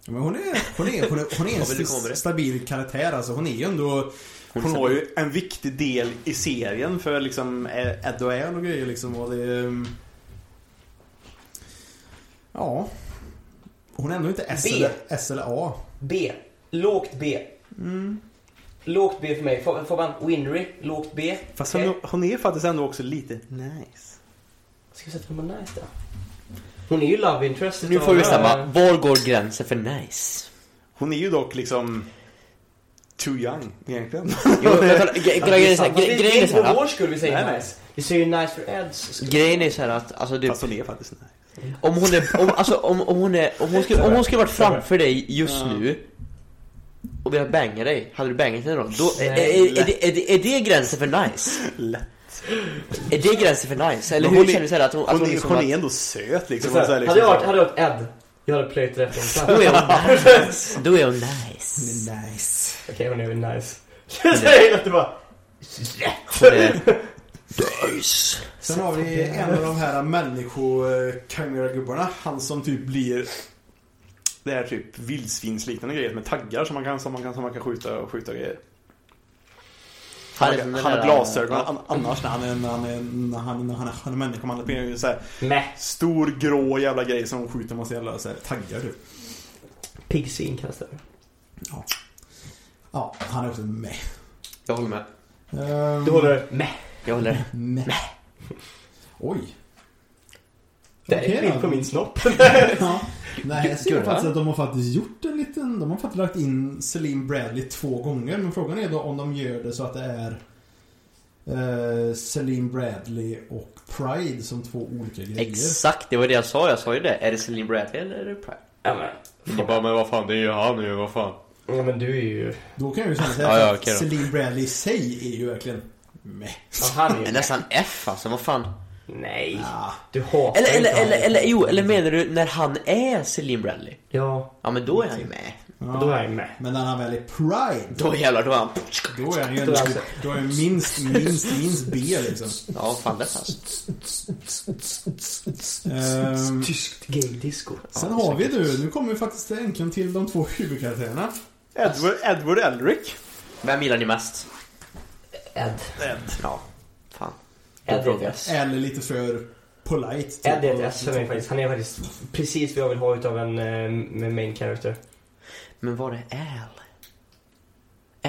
S5: Men hon är, hon är, hon är, hon är en
S1: Vad vill du komma med det?
S5: st- stabil karaktär alltså. Hon är ju ändå...
S2: Hon var ju en viktig del i serien för liksom eh,
S5: Ed och Al och grejer liksom. Och det, ehm, ja. Hon är ändå inte S
S4: B.
S5: eller, S eller A.
S4: B. Lågt B.
S1: Mm.
S4: Lågt B för mig. Får, får man Winry, lågt B.
S2: Fast
S4: Okej.
S2: hon, hon är faktiskt ändå också lite nice.
S4: Ska vi sätta henne på nice då? Hon är ju love interest.
S1: Nu
S4: utav-
S1: får vi bestämma. Var går gränsen för nice?
S2: Hon är ju dock liksom too young egentligen.
S1: Jo, men kolla, gre- kolla, grejen är så här-
S4: Fast det
S1: gre-
S4: är det är
S1: grejen är
S4: inte
S1: såhär.
S4: på vår skull vi säger
S2: Nej, nej.
S4: nice. Vi säger ju nice för Eds skull.
S1: Grejen är såhär att, alltså du,
S2: Fast hon är faktiskt nice.
S1: om hon är, om, alltså om, om hon är, om hon skulle, om hon skulle varit framför dig just nu och velat banga dig, hade du bangat henne då? då är, är, är, är, det- är, det- är det gränsen för nice?
S2: Lätt.
S1: Är det gränsen för nice? Eller
S2: Men
S1: hur
S2: hon är-
S1: känner du såhär att hon, att
S4: Alltså,
S2: Hon,
S1: hon
S2: är,
S1: liksom
S2: hon
S1: att-
S2: är ändå söt liksom.
S4: Så
S2: Och så här,
S4: här,
S2: liksom
S4: hade, jag varit,
S2: så-
S4: hade jag varit Ed, jag hade plöjt rätt
S1: Då
S4: innan.
S1: är hon nice. Då är hon nice.
S5: Nice.
S4: Okej, hon är väl nice. Jag gillar att du bara...
S1: Hon är nice.
S5: Sen har vi en av de här
S2: eh,
S5: människokanguragubbarna. Han som typ blir...
S2: Det här typ vildsvinsliknande grejer med taggar som man kan, som man kan, som man kan skjuta och skjuta grejer. Han,
S1: som
S2: han,
S1: den
S2: han har
S1: där-
S2: glasögon
S1: ja.
S2: an- annars när han är, när han är, när han, när han är, han är människa. Man är ju så här
S4: Meh.
S2: stor grå jävla grej som skjuter massa jävla så här, taggar typ.
S4: Piggsvin kallas det.
S5: Ja, han är också med.
S1: Jag håller med.
S5: Ehm,
S4: Du håller med.
S1: Jag håller.
S2: Ehm,
S5: Med. Oj.
S4: Det här är
S5: Okej
S4: en
S5: då.
S4: bild på min snopp.
S5: Ja. Nej, jag ser
S1: Gurra.
S5: faktiskt att de har faktiskt gjort en liten... De har faktiskt lagt in Celine Bradley två gånger. Men frågan är då om de gör det så att det är
S2: eh, Celine Bradley och Pride som två olika grejer.
S1: Exakt, det var det jag sa. Jag sa ju det. Är det Celine Bradley eller är det Pride?
S4: Ja, men,
S1: Ni bara, men vad fan, det är ju han nu, vad fan.
S4: ja, men du är ju...
S2: Då kan jag ju känna så här,
S1: Ja, ja,
S2: att
S1: okej då.
S2: Celine Bradley i sig är ju verkligen meh.
S4: Ja, han är
S1: Men
S4: ju...
S1: nästan F alltså, vad fan.
S4: Nej.
S2: Ja.
S4: Du hatar
S1: Eller, eller,
S4: inte
S1: eller,
S4: honom.
S1: eller, jo, eller menar du när han är Celine Bradley?
S4: Ja,
S1: Ja, men då är han ju med.
S2: Ja.
S4: då är jag med.
S2: Men när han väl är Pride,
S1: Då jävlar, då är han...
S2: då är han ju
S4: Då
S2: en,
S4: är han så-
S2: då är han minst, minst, minst B liksom.
S1: Ja, fan det fast.
S2: Ehm,
S4: Tyskt gaydisco.
S2: sen har vi nu, nu kommer vi faktiskt äntligen till de två huvudkaraktärerna.
S5: Edward, Edward Elric.
S1: Vem gillar ni mest?
S4: Ed.
S1: Ja, fan.
S4: Ed är ett S.
S2: Eller lite för polite. typ.
S4: Ed är ett S för mig faktiskt. Han är faktiskt precis vad jag vill ha utav en eh, med main character.
S1: Men var det Al?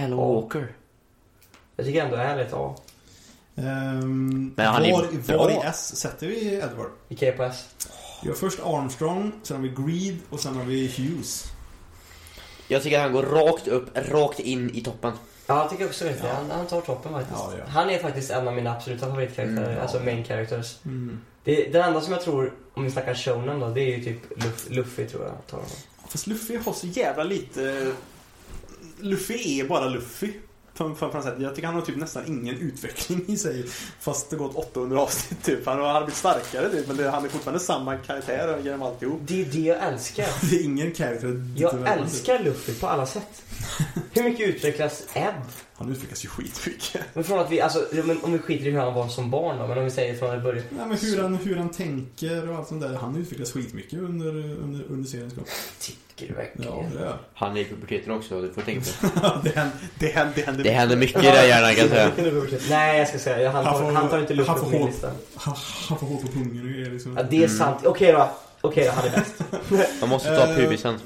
S1: Al
S4: Ja.
S1: Walker?
S4: Jag tycker ändå Al är ett A.
S2: Ehm,
S1: Men han är
S2: var,
S1: bra.
S2: var i S sätter vi Edward?
S4: Vilka är på S?
S2: Vi har först Armstrong, sen har vi Greed och sen har vi Hughes.
S1: Jag tycker han går rakt upp, rakt in i toppen.
S4: Ja, jag tycker också det. Han, han tar toppen faktiskt.
S2: Ja, ja.
S4: Han är faktiskt en av mina absoluta favoritkaraktärer.
S1: Mm, ja.
S4: Alltså main characters.
S2: Mm.
S4: Det, den enda som jag tror, om vi snackar shonen då, det är ju typ Luff, Luffy tror jag. Tar honom.
S5: Fast Luffy har så jävla lite... Luffy är bara Luffy. På, på, på något sätt. Jag tycker han har typ nästan ingen utveckling i sig. Fast det gått 800 avsnitt typ. Han har han har blivit starkare typ. Men det, han är fortfarande samma karaktär genom alltihop.
S4: Det är det jag älskar.
S2: Det är ingen character.
S4: Jag älskar Luffy på alla sätt. Hur mycket utvecklas Ebb?
S2: Han utvecklas ju skitmycket.
S4: Men från att vi, alltså, men om vi skiter i hur han var som barn då, men om vi säger från början.
S2: Nej, men hur, han, hur han tänker och allt sånt där. Han utvecklas skitmycket under, under, under seriens gång.
S4: Tycker du
S2: Ja,
S4: verkligen?
S2: det gör
S1: Han är i puberteten också, du får tänka på det.
S5: Ja, det händer, det händer, det händer
S1: Det händer mycket i den hjärnan kan jag säga.
S4: Nej, jag ska säga, han
S2: Han
S4: tar,
S2: får-
S4: han tar inte Luffy
S2: han
S4: på
S2: får
S4: min
S2: hål.
S4: lista.
S2: han. Han får hål på pungen och grejer liksom.
S4: Ja, det är sant. Okej då. Okej då, han är bäst.
S1: Man måste ta
S2: Eh.
S1: pubisen.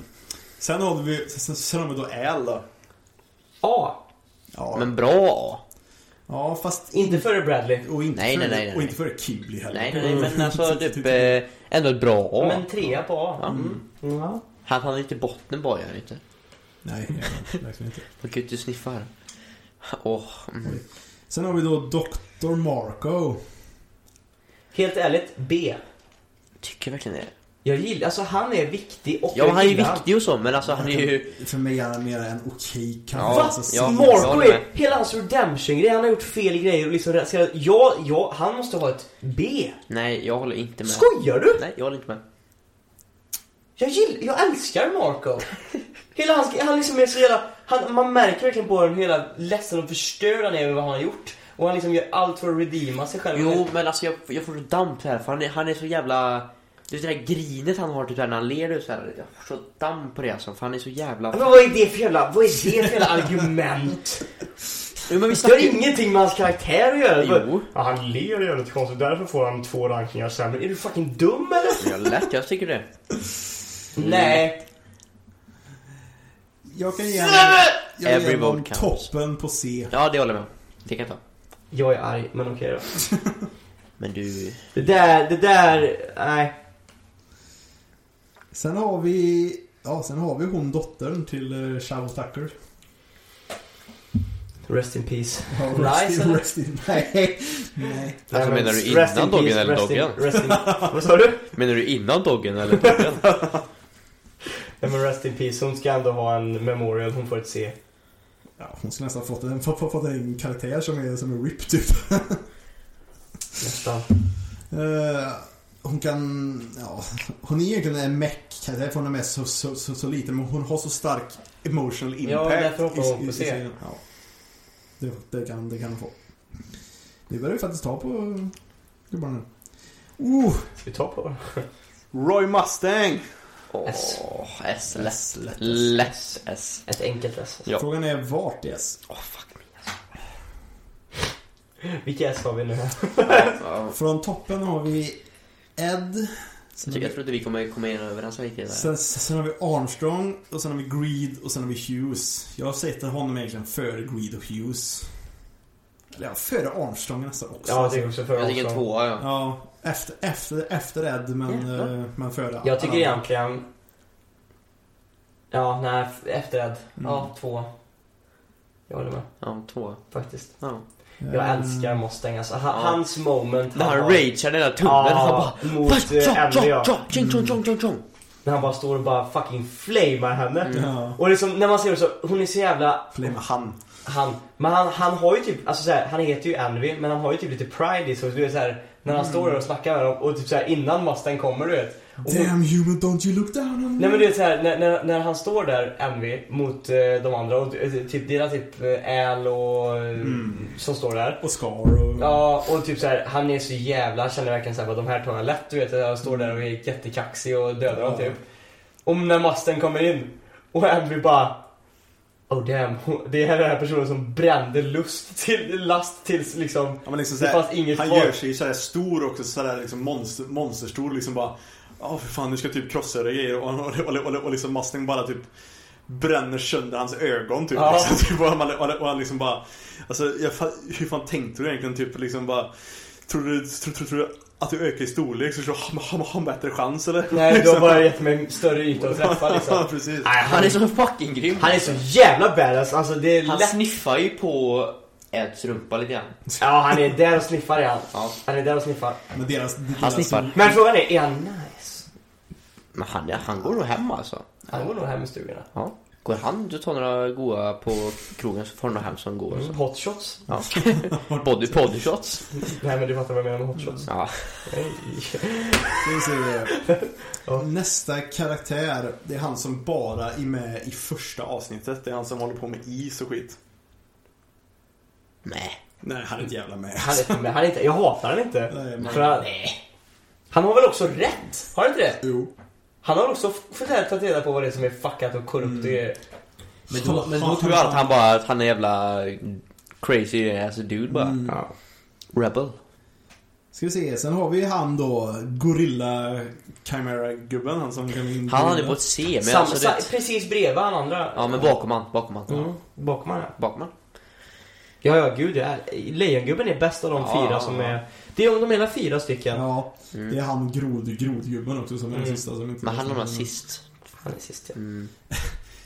S2: Sen har vi, sen, sen har vi då Al då.
S4: A.
S2: Ja,
S1: Men bra!
S2: ja fast...
S4: Inte före Bradley.
S2: Och inte
S1: Nej,
S2: före,
S1: nej, nej, nej.
S2: Och inte före Kibli heller.
S1: Nej, nej, nej, men alltså typ eh, ändå ett bra A.
S4: Men trea på A. Mm. Ja.
S1: Han hann inte botten bara, gör han inte.
S2: Nej, jag vet verkligen inte.
S1: Man kan ju inte sniffa här. Åh, mm.
S2: Sen har vi då Dr. Marco.
S4: Helt ärligt, B.
S1: tycker verkligen det.
S4: Jag gillar, alltså han är viktig och
S1: Ja,
S4: jag
S1: men han är ju
S4: gillar
S1: viktig och så, men alltså han är ju...
S2: För mig är han mer en okej
S1: Ja,
S2: karaktär.
S4: Va?
S2: Alltså,
S1: ja. jag
S4: Marco
S1: håller med.
S4: är, hela hans redemption-grej, han har gjort fel grejer och liksom ska, ja, ja, han måste ha ett B.
S1: Nej, jag håller inte med.
S4: Skojar du?
S1: Nej, jag håller inte med.
S4: Jag gillar, jag älskar Marco. Hela hans, han liksom är så jävla, han, man märker verkligen på honom hur jävla ledsen och förstörd han är över vad han har gjort. Och han liksom gör allt för att redeema sig själv.
S1: Jo, men alltså jag, jag får så damp här för han är, han är så jävla... Det är det där grinet han har typ där när han ler så här. Jag får så damp på det alltså, för han är så jävla...
S4: Men vad är det för jävla, vad är det för jävla argument?
S1: Jo, men vi
S4: Det har ingenting med hans karaktär att göra.
S1: Jo.
S4: Ja, han ler jävligt konstigt, därför får han två rankningar sämre. Är du fucking dum eller?
S1: Jag lätt, jag tycker det.
S4: Nej.
S2: Jag kan ge honom, jag
S1: Every
S2: ger honom
S1: vote counts.
S2: toppen på C.
S1: Ja, det håller jag med om. Det kan jag ta.
S4: Jag är arg, men okej då.
S1: Men du...
S4: Det där, det där, nej.
S2: Sen har vi... Ja, sen har vi hon dottern till uh, Shadow Tucker.
S4: Rest in peace.
S2: Ja,
S4: Nej,
S2: rest in,
S4: sen-
S2: rest in. Nej.
S5: Mm.
S2: Nej.
S1: Alltså,
S4: Nej, men
S1: menar du
S4: rest
S1: innan
S4: in
S1: doggen
S4: peace,
S1: eller
S4: rest in-
S1: doggen?
S4: rest in- Vad sa du?
S1: Menar du innan doggen eller doggen?
S4: Nej men rest in peace, hon ska ändå ha en memorial, hon får ett C.
S2: Ja, hon skulle nästan fått en, fått, fått fått en karaktär som är som en RIP typ.
S4: Nästan.
S2: Eh, hon kan... Ja, hon är egentligen en mech-karaktär för hon är med så, så, så, så liten men hon har så stark emotional impact.
S4: därför hoppar hon på C.
S2: serien. Ja. Det, det, kan, det kan hon få. Det börjar vi faktiskt ta på gubbarna nu. Oh!
S4: Ska vi ta på det?
S5: Roy Mustang.
S1: Åh,
S4: S.
S1: S. Less.
S2: lätt.
S1: Less S.
S4: Ett enkelt S. alltså.
S1: Ja.
S2: Frågan är vart yes.
S1: Åh, fuck me.
S4: Vilka S har vi nu här?
S1: Ja,
S2: Från toppen har vi Ed.
S1: Jag
S2: Sen har
S1: tycker-
S2: vi,
S1: jag tror inte vi kommer komma in överens riktigt där.
S2: sen, sen har vi Armstrong och sen har vi Greed och sen har vi Hughes. Jag sätter honom egentligen före Greed och Hughes. Eller ja, före Armstrong nästan också.
S4: Ja, det är också för
S1: Jag tycker en
S4: också.
S1: tvåa, ja.
S2: Ja, efter, efter, efter Ed men,
S1: Ja, ja.
S2: eh, men före
S4: Jag tycker
S2: alla.
S4: egentligen... Ja, nej, efterrädd.
S2: Mm.
S4: Ja, två. Jag håller med,
S1: Ja, tvåa.
S4: faktiskt.
S1: Ja.
S2: Mm.
S4: Jag älskar Mustang alltså. Han, Hans moment.
S1: När han
S4: har-
S1: ragear den där tunneln, han
S4: Ja,
S1: bara...
S4: mot eh, Ellie ja.
S1: Tjong, tjong, tjong, tjong, tjong.
S4: När han bara står och bara fucking flamar henne.
S2: Ja.
S4: Och liksom, när man ser det så, hon är så jävla,
S2: Flame han.
S4: han, men han, han har ju typ, alltså så här, han heter ju Envy men han har ju typ lite pride i sig. Och du vet så här, när han står där och snackar med dem och typ så här innan Mustang kommer du vet. Och hon,
S2: Damn human, don't you look down on me.
S4: Nej men du vet såhär, när, när, när han står där, Envy, mot eh, de andra och eh, typ, det är typ Äl och... eh,
S2: Mm.
S4: Som står där.
S2: Och Scar och...
S4: Ja, och typ såhär, han är så jävla, han känner verkligen såhär, bara, de här tar jag lätt, du vet. Han står där och är jättekaxig och dödar dem
S2: Ja.
S4: typ. Och när Masten kommer in och Envy bara... Oh damn, det här är den här personen som brände lust till, last tills liksom...
S2: Ja, men liksom
S4: Det
S2: såhär,
S4: fanns inget
S2: han
S4: kvar.
S2: gör sig sådär stor också, sådär liksom monster, monsterstor liksom bara Ja för fan nu ska jag typ krossa era grejer och, och, och, och, och liksom Mustang bara typ Bränner sönder hans ögon typ.
S4: Ja.
S2: Liksom, typ och, han, och, och han liksom bara Alltså jag, fa- hur fan tänkte du egentligen typ liksom bara Tror du, tror, tror, tror du att du ökar i storlek så tror du har- har har en bättre chans eller?
S4: Nej, du har
S2: Liksom.
S4: bara gett mig en större yta att träffa liksom.
S2: Ja precis.
S4: Nej,
S1: Han är så fucking grym.
S4: han är så jävla badass, alltså det är
S1: Han
S4: lätt
S1: sniffar ju på Eds rumpa lite grann.
S4: Ja, han är där och sniffar är han.
S1: Ja.
S4: Han är där och sniffar.
S2: Men deras...
S1: Han sniffar.
S4: Men frågan är, är han nice?
S1: Men han, han går nog hem alltså.
S4: Han går nog hem i stugorna.
S1: Ja. Går han du tar några goa på krogen så får han nog hem som går. Mm.
S4: Hotshots?
S1: Ja. Body, body shots.
S4: Nej men du fattar vad jag menar med hotshots.
S1: Ja.
S2: Ska vi se.
S4: Ja.
S2: Nästa karaktär, det är han som bara är med i första avsnittet. Det är han som håller på med is och skit.
S1: Nej.
S2: Nej, han är inte jävla med.
S4: Han är inte med, han är inte, jag hatar han inte.
S2: Nej, men-
S4: För han, han har väl också rätt? Har han inte det?
S2: Jo.
S4: Han har också f- fått här tagit reda på vad det är som är fuckat och korrupt och grejer.
S1: Mm. Men då, men då tror jag att han bara att han är jävla crazy ass dude bara. Ja. Rebel.
S2: Ska vi se, sen har vi han då, Gorilla Chimera-gubben. Han som kan in
S1: Han hade på ett C men
S4: Sam,
S1: alltså
S4: sa,
S1: det...
S4: precis bredvid han andra.
S1: Ja men bakom han, bakom han.
S4: Mm, bakom han ja.
S1: Bakom han.
S4: Ja, ja gud ja. Lejongubben är bäst av de
S1: Ja,
S4: fyra
S1: ja,
S4: som
S1: ja.
S4: är... Det är de hela fyra stycken.
S2: Ja, det är han grod, grodgubben också som är den
S4: Mm.
S2: sista som inte...
S1: Mm. Men han hamnade sist.
S4: Han är sist ja.
S1: Mm.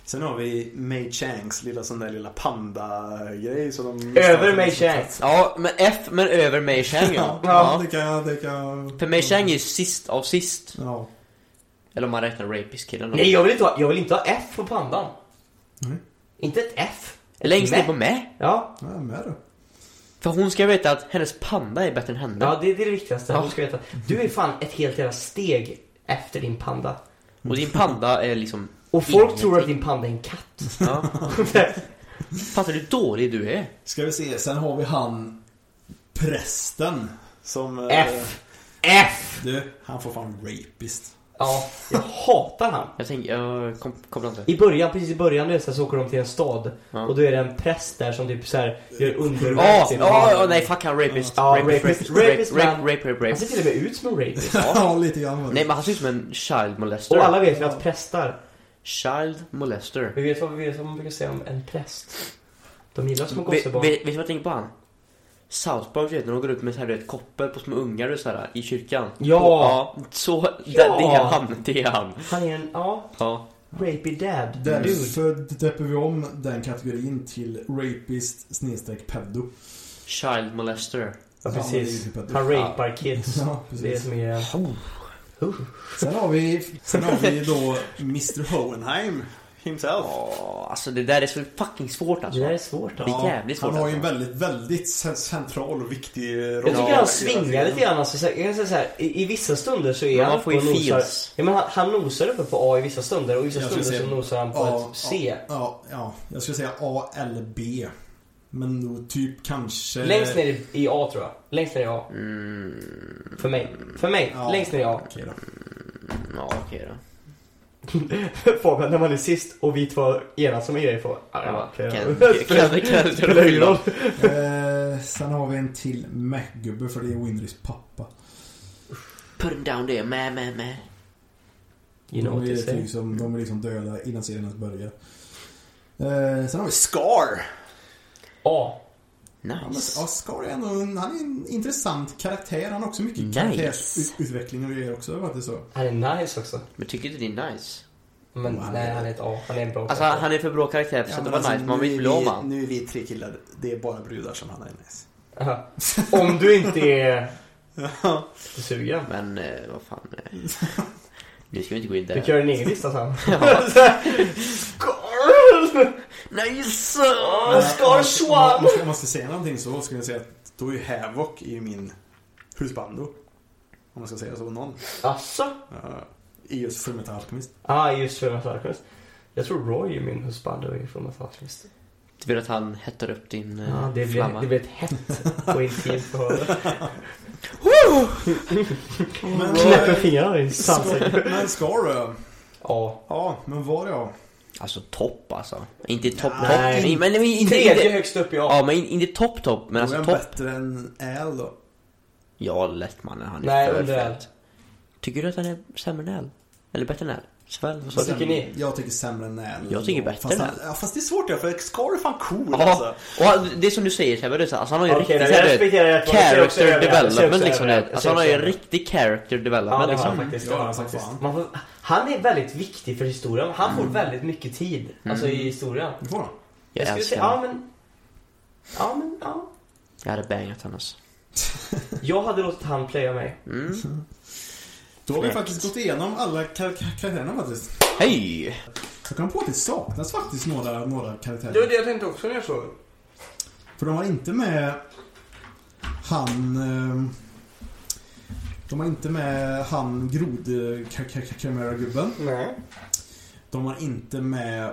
S2: Sen har vi May Changs lilla sån där lilla panda-grej som de...
S4: Över mig Shanks.
S1: Ja men F men över Mei Chang ja.
S2: Ja,
S1: ja.
S2: det kan jag... Det kan...
S1: För Mei Chang är ju sist av sist.
S2: Ja.
S1: Eller om man räknar rapist-killen då.
S4: Nej, jag vill, inte ha, jag vill inte ha F på pandan.
S2: Nej.
S4: Inte ett F.
S1: Längst ner
S4: Nej.
S1: på med.
S4: Ja,
S2: Jag är med då.
S1: För hon ska veta att hennes panda är bättre än henne.
S4: ja det, det är det viktigaste.
S1: Ja.
S4: Du ska veta. Du är fan ett helt jävla steg efter din panda.
S1: Och din panda är liksom...
S4: Och folk
S1: Ingenting.
S4: tror att din panda är en katt.
S1: Ja. Fattar du hur dålig du är?
S2: Ska vi se, sen har vi han prästen. Som... eh,
S4: F. F!
S2: Du, han får fan rapist.
S4: Ja, jag hatar han.
S1: Jag tänker, jag kom, kopplar inte.
S4: I början, precis i början du vet, så här, så åker de till en stad
S1: Ja.
S4: och då är det en präst där som typ så här gör underverk
S1: Ja,
S4: till
S1: ja,
S4: någon.
S1: ja, nej fuck han rapist.
S4: Ja,
S1: Rapist,
S4: rapist,
S1: rapist,
S4: rapist,
S1: rape,
S4: man.
S1: rape, rape,
S4: Han
S1: rape.
S4: ser till och med ut som en rapist.
S2: Ja, lite grann var det.
S1: Nej men han ser ut som en child molester.
S4: Och alla vet ju att prästar,
S1: Child molester.
S4: vi vet vad, vi vet vad man brukar säga om en präst. De gillar små
S1: Vet, vet,
S4: gossebarn.
S1: vet du vad jag tänker på han? South Park vet när de går ut med så här, du vet, koppel på små ungar och så här, i kyrkan.
S4: Ja.
S1: Och, ja så, Det, det är han, det är han.
S4: Han är en, ja,
S1: Ja.
S4: Rapey dad. Dude.
S2: Därför döper vi om den kategorin till rapist snedstreck pedo.
S1: Child molester.
S4: Ja, precis.
S2: Ja, men det är ju typ
S4: Han
S2: pedo.
S4: rapar kids.
S2: Ja,
S4: Det är
S2: precis.
S4: som är...
S2: Sen har vi, sen har vi då Mr Hohenheim himself.
S1: Åh, alltså det där är så fucking svårt
S4: Det
S1: alltså.
S4: där är svårt
S1: Det
S4: alltså.
S1: är jävligt svårt
S2: Han har ju en
S1: alltså.
S2: väldigt, väldigt cen- central och viktig roll.
S4: Jag tycker
S1: Ja,
S4: han
S2: Hela
S4: svingar
S2: tiden.
S4: lite grann. Alltså, så här- jag kan säga så här, i, I vissa stunder så är
S1: Men
S4: han
S1: man får ju
S4: och nosar...
S1: feels.
S4: Ja, men han, han nosar uppe på A i vissa stunder och i vissa
S2: Jag skulle
S4: stunder så
S2: säga-
S4: nosar han på
S2: Ja,
S4: ett C.
S2: Ja, ja, ja, jag skulle säga A eller B. Men nog typ kanske...
S4: Längst ner i, i A tror jag. Längst ner i A. Mm. För mig. För mig.
S2: Ja.
S4: Längst ner i A.
S2: Okej då.
S1: Ja, okej då.
S4: Fabian, när man är sist och vi två enas om en grej får... Ja,
S1: Ja,
S4: okej
S1: kan,
S4: då.
S1: kan, kan, kan,
S4: Spelar ingen roll.
S2: Eh, sen har vi en till Mac-gubbe för det är Winrys pappa.
S1: Put him down there, mä, mä, mä.
S4: You know
S2: de,
S4: what
S2: är
S4: they say.
S2: liksom, de är liksom döda innan serien ens börjar. Eh, sen har vi Scar.
S4: A.
S2: Ja, men,
S1: Nice.
S2: ja, Scar är ändå en, han är en intressant karaktär. Han har också mycket
S1: Nice.
S2: karaktärsutveckling och grejer också faktiskt så.
S4: Han är nice också.
S1: Men tycker inte det är nice?
S4: Men
S2: Och han
S4: nej,
S2: är-
S4: han är ett A. Han är en bra
S1: Alltså
S4: karaktär. alltså,
S2: alltså,
S1: han är för bra karaktär för att vara nice, man vill inte bli av med han.
S2: Nu är vi tre killar, det är bara brudar som han är nice.
S4: Aha. Om du inte är sugen.
S1: Men eh, vad fan. Eh. Nu ska vi inte gå in
S4: Du
S1: där.
S4: kan göra din egen lista sen.
S1: Nej, så!
S4: Ah, Scar Schwan!
S2: Om man- Om man ska säga någonting så skulle jag säga att då är ju Havoc i min husbando. Om man ska säga så. Någon.
S4: Asså?
S2: Uh, I just Fullmetal Alchemist.
S4: Ah, just för Metal Alchemist. Jag tror Roy är min husband från Metal Alchemist.
S1: Du vill att han hettar upp din eh,
S4: Ja, det blir,
S1: flamma?
S4: det blir ett hett och intimt förhållande. Mm.
S2: Men,
S4: Knäpper fingrarna i svansen.
S2: Scar, men Scar då?
S4: Ja.
S2: Ja, men var jag?
S1: Alltså topp alltså. Inte topp topp.
S4: Nej.
S1: Nej, men, men inte,
S4: Tredje
S1: inte,
S4: högst upp ja.
S1: ja, men inte topp topp. Men
S2: Då är
S1: alltså
S2: jag
S1: topp.
S2: bättre än Al då?
S1: Ja, lätt mannen. Han är
S4: Nej,
S1: för
S4: under
S1: fet. Tycker du att han är sämre än Al? Eller bättre än Al? Sväl, vad sa
S4: Vad
S1: du?
S4: tycker ni?
S2: Jag tycker sämre än Al.
S1: Jag tycker bättre
S2: fast
S1: än
S2: han, ja, fast det är svårt ja, för Scar är fan cool
S1: Ja,
S2: alltså.
S1: och han- det är som du säger Sebbe, det är så- alltså han har ju
S4: Okej,
S1: riktigt
S4: nej,
S1: så
S4: jag
S1: här,
S4: respekterar det. Jag ser också
S1: character
S4: övriga. Jag ser också
S1: development liksom.
S4: övriga.
S1: det.
S4: Jag
S1: Alltså
S4: ser
S1: han har ju
S4: också
S1: en riktig character
S4: Ja,
S1: development
S4: det har
S1: liksom.
S4: han faktiskt.
S2: Ja,
S4: Det har han
S2: som
S4: faktiskt.
S2: fan.
S4: Man får, han är väldigt viktig för historien. Han får väldigt mycket tid. Alltså i historien.
S2: Du får den.
S4: Jag
S1: Mm. Jag
S4: skulle
S1: älskar
S4: säga, ja
S1: honom.
S4: men... Ja men, ja.
S1: Jag hade bangat honom. alltså.
S4: Jag hade låtit han playa mig.
S1: Mm.
S2: Då har vi
S1: Fräckt.
S2: faktiskt gått igenom alla kar- kar- karaktärerna faktiskt.
S1: Hej!
S2: Jag kom på att det saknas faktiskt några, några karaktärer.
S4: det jag tänkte också när jag såg
S2: För de har inte med han... eh, De har inte med han grod eh, gubben
S4: Nej.
S2: De har inte med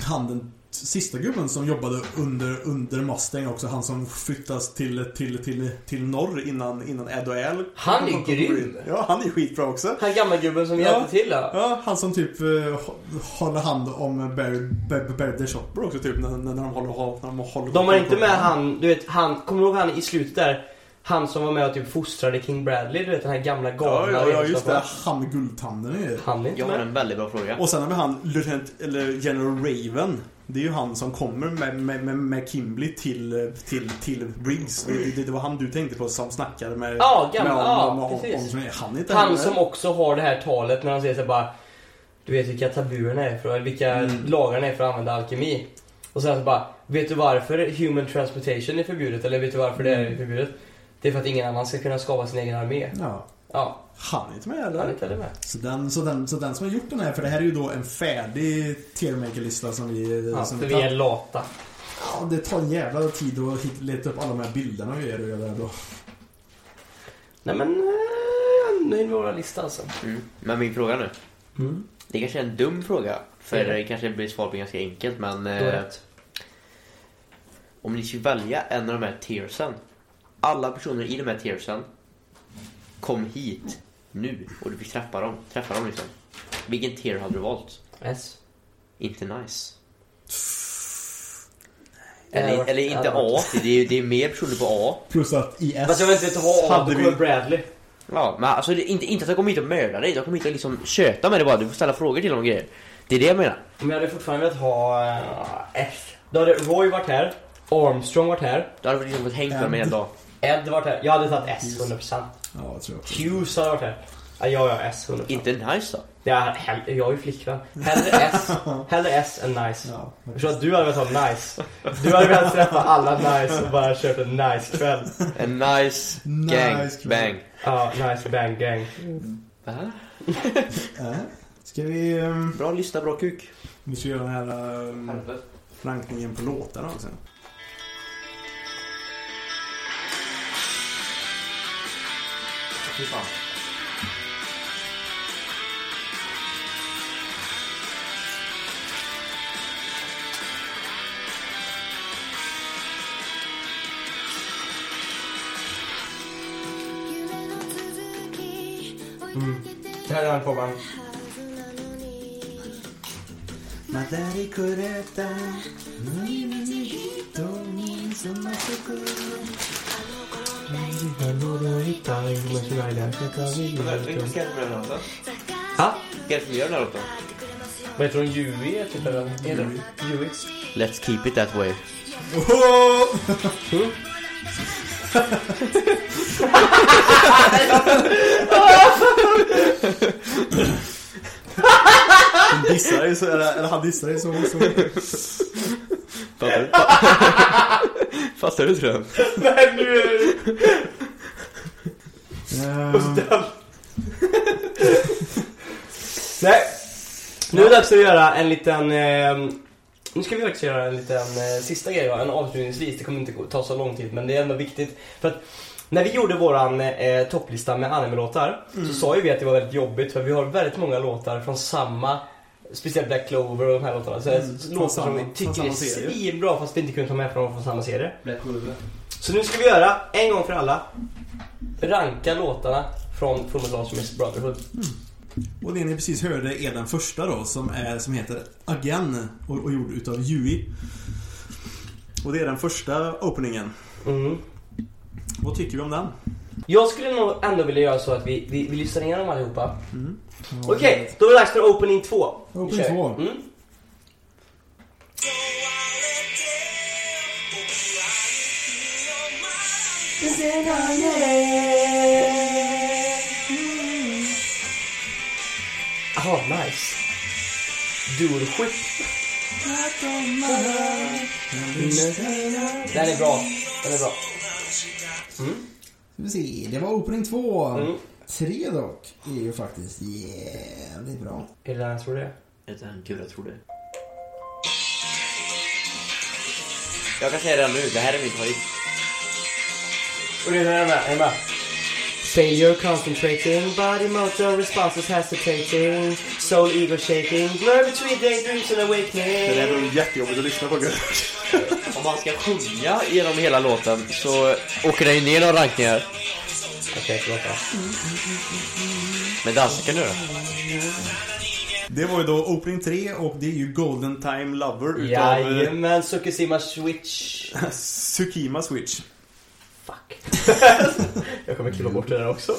S2: han den sista gubben som jobbade under, under Mustang också. Han som flyttas till, till, till, till norr innan, innan Ed och Al.
S4: Han är grym.
S2: Ja, han är skitbra också.
S4: Han gammalgubben som
S2: Ja.
S4: hjälpte till där.
S2: Ja, han som typ eh, hå- håller hand om Barry, Barry, Barry the Shopper också typ när, när, när de håller... När de, håller
S4: De har inte med han, du vet han, kommer du ihåg han i slutet där? Han som var med och typ fostrade King Bradley, du vet den här gamla
S2: Ja,
S4: galna
S2: ja, ja just det.
S4: vetenskapen.
S2: Han med guldtanden är ju.
S4: Han är inte
S1: Jag har
S4: med.
S1: en väldigt bra fråga.
S2: Och sen har vi han, Lieutenant, eller General Raven. Det är ju han som kommer med, med, med, med Kimberly till, till, till Briggs. Det, det, det var han du tänkte på som snackade med...
S4: Ja, gamla-
S2: med
S4: ja,
S2: med
S4: precis.
S2: som är- han är inte
S4: Han
S2: heller.
S4: som också har det här talet när han säger så bara Du vet vilka tabuerna är för, eller vilka
S2: Mm.
S4: lagarna är för att använda alkemi. Och sen så bara, vet du varför human transportation är förbjudet? Eller vet du varför det
S2: Mm.
S4: är förbjudet? Det är för att ingen annan ska kunna skapa sin egen armé.
S2: Ja,
S4: Ja,
S2: han är inte med
S4: han är
S2: heller.
S4: inte heller med.
S2: Så den, så, den, så den som har gjort den här, för det här är ju då en färdig Telemaker-lista som vi...
S4: Ja,
S2: som
S4: för vi är lata.
S2: Ja, det tar en jävla tid att hit- leta upp alla de här bilderna vi gör och gör det här då.
S4: Nej men, eh, jag är nöjd med våra lista alltså.
S1: Mm. Men min fråga nu.
S4: Mm.
S1: Det kanske är en dum fråga. För
S4: Ja.
S1: det kanske blir svar på ganska enkelt men...
S4: Du har
S1: Eh,
S4: rätt.
S1: om ni skulle välja en av de här tiersen. Alla personer i de här tiersen. Kom hit. Nu. Och du fick träffa dem. Träffa dem liksom. Vilken tier hade du valt?
S4: S.
S1: Inte nice.
S4: Det hade
S1: Eller,
S4: varit-
S1: eller
S4: det
S1: inte
S4: hade varit-
S1: A. Det är, ju- det är mer personer på A.
S2: Plus att i S
S4: Fast jag vill inte ha A,
S2: hade
S4: då
S2: vi...
S4: kommer Bradley.
S1: Ja, men alltså det är inte, inte att jag kommer hit och mördar dig. Jag kommer hit och liksom köta med dig bara. Du får ställa frågor till dem och grejer. Det är det jag menar.
S4: Men jag hade fortfarande velat ha eh, S. Då hade Roy varit här, Armstrong varit här.
S1: Du hade liksom fått hängt med mig en dag.
S4: Ed varit här. Jag hade tagit S 100%.
S2: Ja, jag tror jag.
S4: Hughes hade varit här. Ja, jag har S 100%.
S1: Inte nice då.
S4: Det är, hell- jag är ju flickvän. Hellre S, hellre S än nice.
S2: Ja,
S4: Jag förstår att du hade velat ha nice. Du hade velat träffa alla nice och bara kört en nice kväll.
S1: En nice gang
S2: Nice
S1: bang.
S4: Ja, nice bang gang.
S1: Va?
S2: Äh. Ska vi... ehm,
S1: Bra lista, bra kuk.
S2: Vi ska göra den här um, rankningen på låtarna också. Fy fan.
S4: Det här är han på man.
S2: Madari kureta, nani ni hito, somatsuku.
S4: Ha?
S1: Vilka är det som gör den här låten?
S4: Vad heter hon? Yui typ eller? Heter hon Yui?
S1: Let's keep it that way.
S2: Oho! Han dissar dig så, eller, eller han dissar dig så. så. Fattar du? Fattar du tror jag.
S4: Nej, nu är det... Nej. Nu är det dags att göra en liten... Eh, nu ska vi faktiskt göra en liten eh, sista grej, va? en avslutningsvis. Det kommer inte gå- ta så lång tid, men det är ändå viktigt. För att när vi gjorde våran eh, topplista med anime-låtar
S5: Mm.
S4: så sa ju vi att det var väldigt jobbigt för vi har väldigt många låtar från samma Speciellt Black Clover och de här låtarna. Så
S5: Mm, från
S4: låtar som
S5: samma-
S4: vi
S5: från
S4: tycker
S5: samma
S4: är
S5: serie.
S4: svinbra fast vi inte kunde ta med från från samma serie.
S3: Black Clover.
S4: Så nu ska vi göra, en gång för alla, ranka låtarna från Fullmetal Alchemist Brotherhood.
S5: Och det ni precis hörde är den första då som, är, som heter Again och, och gjord utav Yui. Och det är den första openingen.
S4: Mm.
S5: Vad tycker vi om den?
S4: Jag skulle nog ändå vilja göra så att vi, vi, vi lyssnar igenom allihopa. Okej, då är det dags för opening 2.
S5: Opening två.
S4: Mm. Aha, nice. Dualship.
S5: Mm.
S4: Den är bra. Den är bra.
S7: Ska vi se, det var opening två.
S4: Mm.
S7: Tre dock är ju faktiskt jävligt bra.
S4: Är det den jag tror det är?
S1: Inte en gud, jag tror det. Jag kan säga det nu, det här är min favorit.
S4: Och det är den här, den här. Failure concentrating, body motor responses hesitating, soul ego shaking, blur between daydreams and
S2: Det
S4: awakening.
S2: är nog jättejobbigt att lyssna på. gud.
S1: Om man ska sjunga genom hela låten så åker den ju ner några rankningar.
S4: Okej, förlåt. då.
S1: Men dansa kan du göra.
S2: Det var ju då opening 3 och det är ju Golden Time Lover utav eh,
S4: Jajamän, Tsukishima Switch.
S2: Tsukima Switch.
S4: Fuck. jag kommer klippa bort det där också.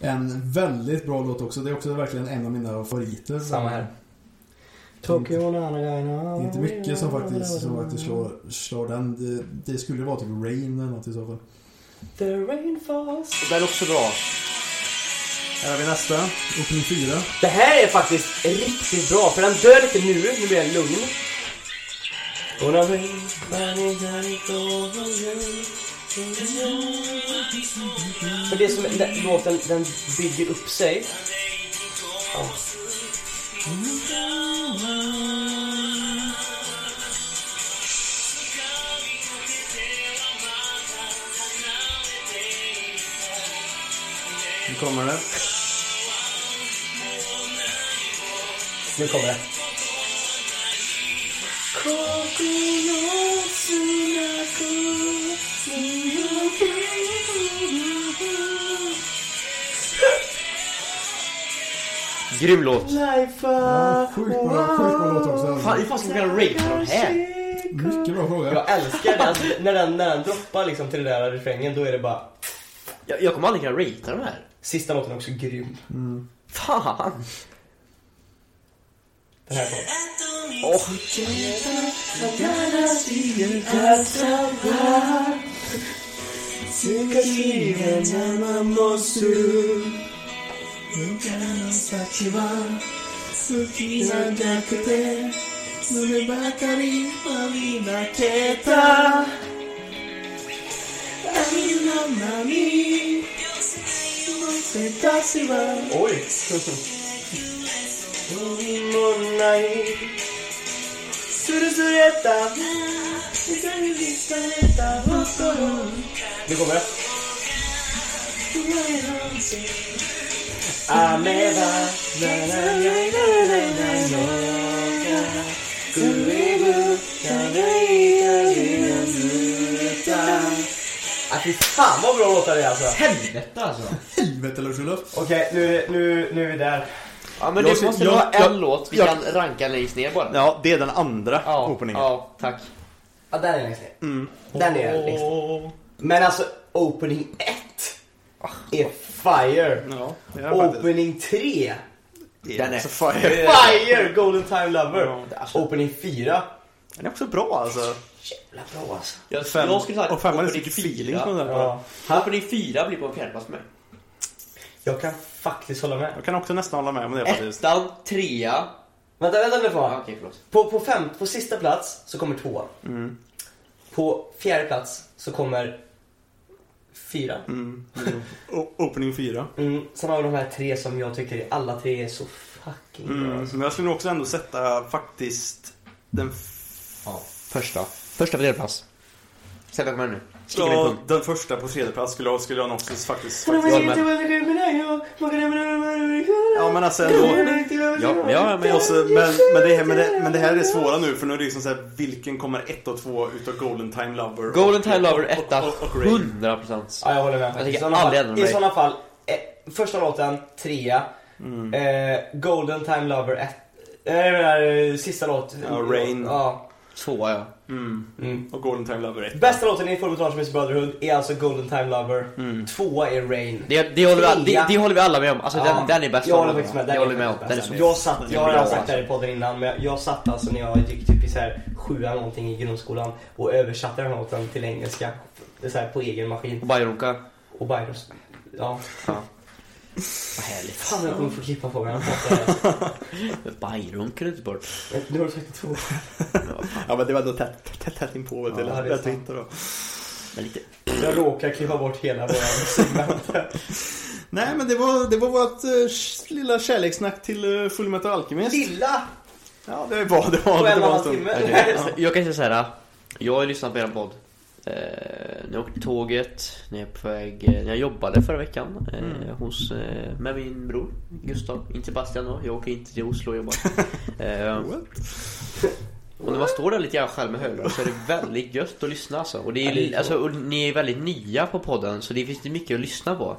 S7: En väldigt bra låt också. Det är också verkligen en av mina favoriter.
S4: Samma här.
S7: Tokyo Det
S4: Nanaga.
S7: är inte mycket som faktiskt, som faktiskt slår, slår den. Det, det skulle vara typ Rain eller något i så fall.
S4: The rain falls.
S2: Det är också bra. Här har vi nästa.
S7: Opening fyra.
S4: Det här är faktiskt riktigt bra, för den dör lite nu. Nu blir den lugn. Gonna rain, rain, rain, over you. För det som den, låten, den bygger upp sig. Ja.
S2: Nu kommer det.
S4: Nu kommer det.
S1: Grym låt.
S7: Ja, sjukt bra, sjukt bra låt också.
S1: Fan,
S7: Alltså.
S1: hur fan ska man kunna rate på de här?
S7: Mycket bra fråga.
S4: Jag älskar det. Alltså, när, den, när den droppar liksom till den där refrängen, då är det bara...
S1: Jag, jag kommer aldrig kunna ratea de här.
S4: Sista låten är också grym.
S1: Fan!
S4: Den här kommer.
S1: Åh,
S4: Oj! Nu kommer det. Ameva na, na, na, na, na, na, na, na. Kuribu, na, na, na, na, na, na. Ah, fy fan vad bra låtar det är alltså.
S1: helvete alltså!
S5: Helvete Lars-Olof.
S4: Okej, nu, nu, nu är vi där.
S1: Ja men
S2: Jag
S1: det
S2: ser-
S1: måste
S2: jag-
S1: vara en
S2: jag-
S1: låt vi
S2: jag-
S1: kan ranka längst ner bara.
S2: Ja, det är den andra openingen.
S1: ja, tack.
S4: Ja, den är längst ner.
S2: Mm.
S4: Den är längst ner. Men alltså, opening 1 är fire.
S2: Ja, det är faktiskt.
S4: Opening 3,
S1: Den är alltså
S2: så fire.
S4: fire! Golden Time Lover.
S1: Ja.
S4: Alltså, Opening 4,
S2: Den är också bra alltså.
S4: jävla bra alltså.
S1: Jag,
S2: Fem,
S1: jag skulle sagt
S2: och femman är så
S1: opening
S2: mycket feeling
S1: fyra.
S2: på den där.
S4: Ja.
S1: Opening 4 blir på en fjärdeplats för mig.
S4: Jag kan faktiskt hålla med.
S2: Äh. Jag kan också nästan hålla med om det faktiskt.
S1: Ettan, trea,
S4: Vänta, vänta nu
S1: Ja,
S4: får
S1: Okej, förlåt.
S4: på, på, fem, på sista plats så kommer tvåan.
S8: Mm.
S4: På fjärde plats så kommer fyra.
S8: Mm. O- Opening 4.
S4: Mm, sen har vi de här tre som jag tycker alla tre är så fucking bra.
S8: Mm.
S4: alltså.
S8: Men jag skulle nog också ändå sätta faktiskt den
S1: Första. Första tredjeplats. Sätt upp mig nu. Stick min
S8: Ja,
S1: pung.
S8: den första på tredje plats skulle jag, skulle jag nog också faktiskt...
S1: men-
S8: faktiskt ja men alltså ändå...
S1: Ja, ja, men
S8: Men,
S1: jag...
S8: också, men, men, det, här- men, det, men det här är det svåra nu för nu är det liksom såhär, vilken kommer ett och två utav Golden Time Lover? och-
S1: Golden Time Lover
S8: och- och-
S1: etta,
S8: och- och Ray.
S1: 100 procent.
S4: Ja, jag håller med. faktiskt.
S1: tycker
S4: I sådana
S1: aldrig
S4: fall-
S1: ändra
S4: I
S1: mig.
S4: sådana fall, eh, första låten, trea. Eh, Golden Time Lover, ett. Eh, jag menar, eh, sista låt.
S8: Ja, Rain.
S4: Ja.
S1: Tvåa, ja.
S8: Mm.
S4: Mm.
S8: Och Golden Time Lover etta.
S4: Bästa låten i Formatorsmys Brotherhood är alltså Golden Time Lover.
S1: Mm.
S4: Tvåa är Rain.
S1: Det, det, håller vi, all- det,
S4: Trea.
S1: det håller vi alla med om. Alltså den, den är bäst
S4: Jag
S1: av
S4: håller
S1: dem.
S4: faktiskt med. Den
S1: Jag
S4: är
S1: håller med om.
S4: faktiskt
S1: Den är
S4: bäst.
S1: så
S4: jag satt, jag har
S1: bra,
S4: redan sagt det här i
S1: alltså.
S4: podden innan, men jag, jag satt alltså när jag gick typ i så här sjuan någonting i grundskolan och översatte den här låten till engelska. Så här på egen
S1: Och
S4: maskin.
S1: Bajonka.
S4: Och bara... Ja.
S1: Vad härligt.
S4: Fan, jag kommer få klippa på mig. Jag fattar det.
S1: Bajonka är inte bort.
S4: Nu har du sagt det två
S8: Ja men det var ändå tätt, tätt, tätt inpå vet du.
S4: Ja,
S8: Ja,
S4: det är
S8: lätt att
S4: sant.
S8: hitta då.
S1: Men lite...
S4: Jag råkar klippa bort hela våran segment.
S8: Nej men det var, det var vårt eh, lilla kärlekssnack till eh, Fullmetal Alchemist.
S4: Lilla!
S8: Ja det var det. Var,
S4: På
S8: det
S4: en och en
S8: var
S4: halv
S8: en stund.
S4: timme.
S1: Okej, Jag kan säga såhär. Jag har ju lyssnat på er podd. Eh, när jag åkte tåget, när jag, är på väg, eh, när jag jobbade förra veckan eh,
S4: Mm.
S1: hos, eh, med min bror Gustav. Inte Sebastian då, jag åker inte till Oslo och jobbar. Eh, och när man står där lite grann själv med hörlurar så är det väldigt gött att lyssna alltså. Och, det
S4: Ja, det är
S1: är,
S4: så.
S1: alltså, och ni är väldigt nya på podden så det finns det mycket att lyssna på.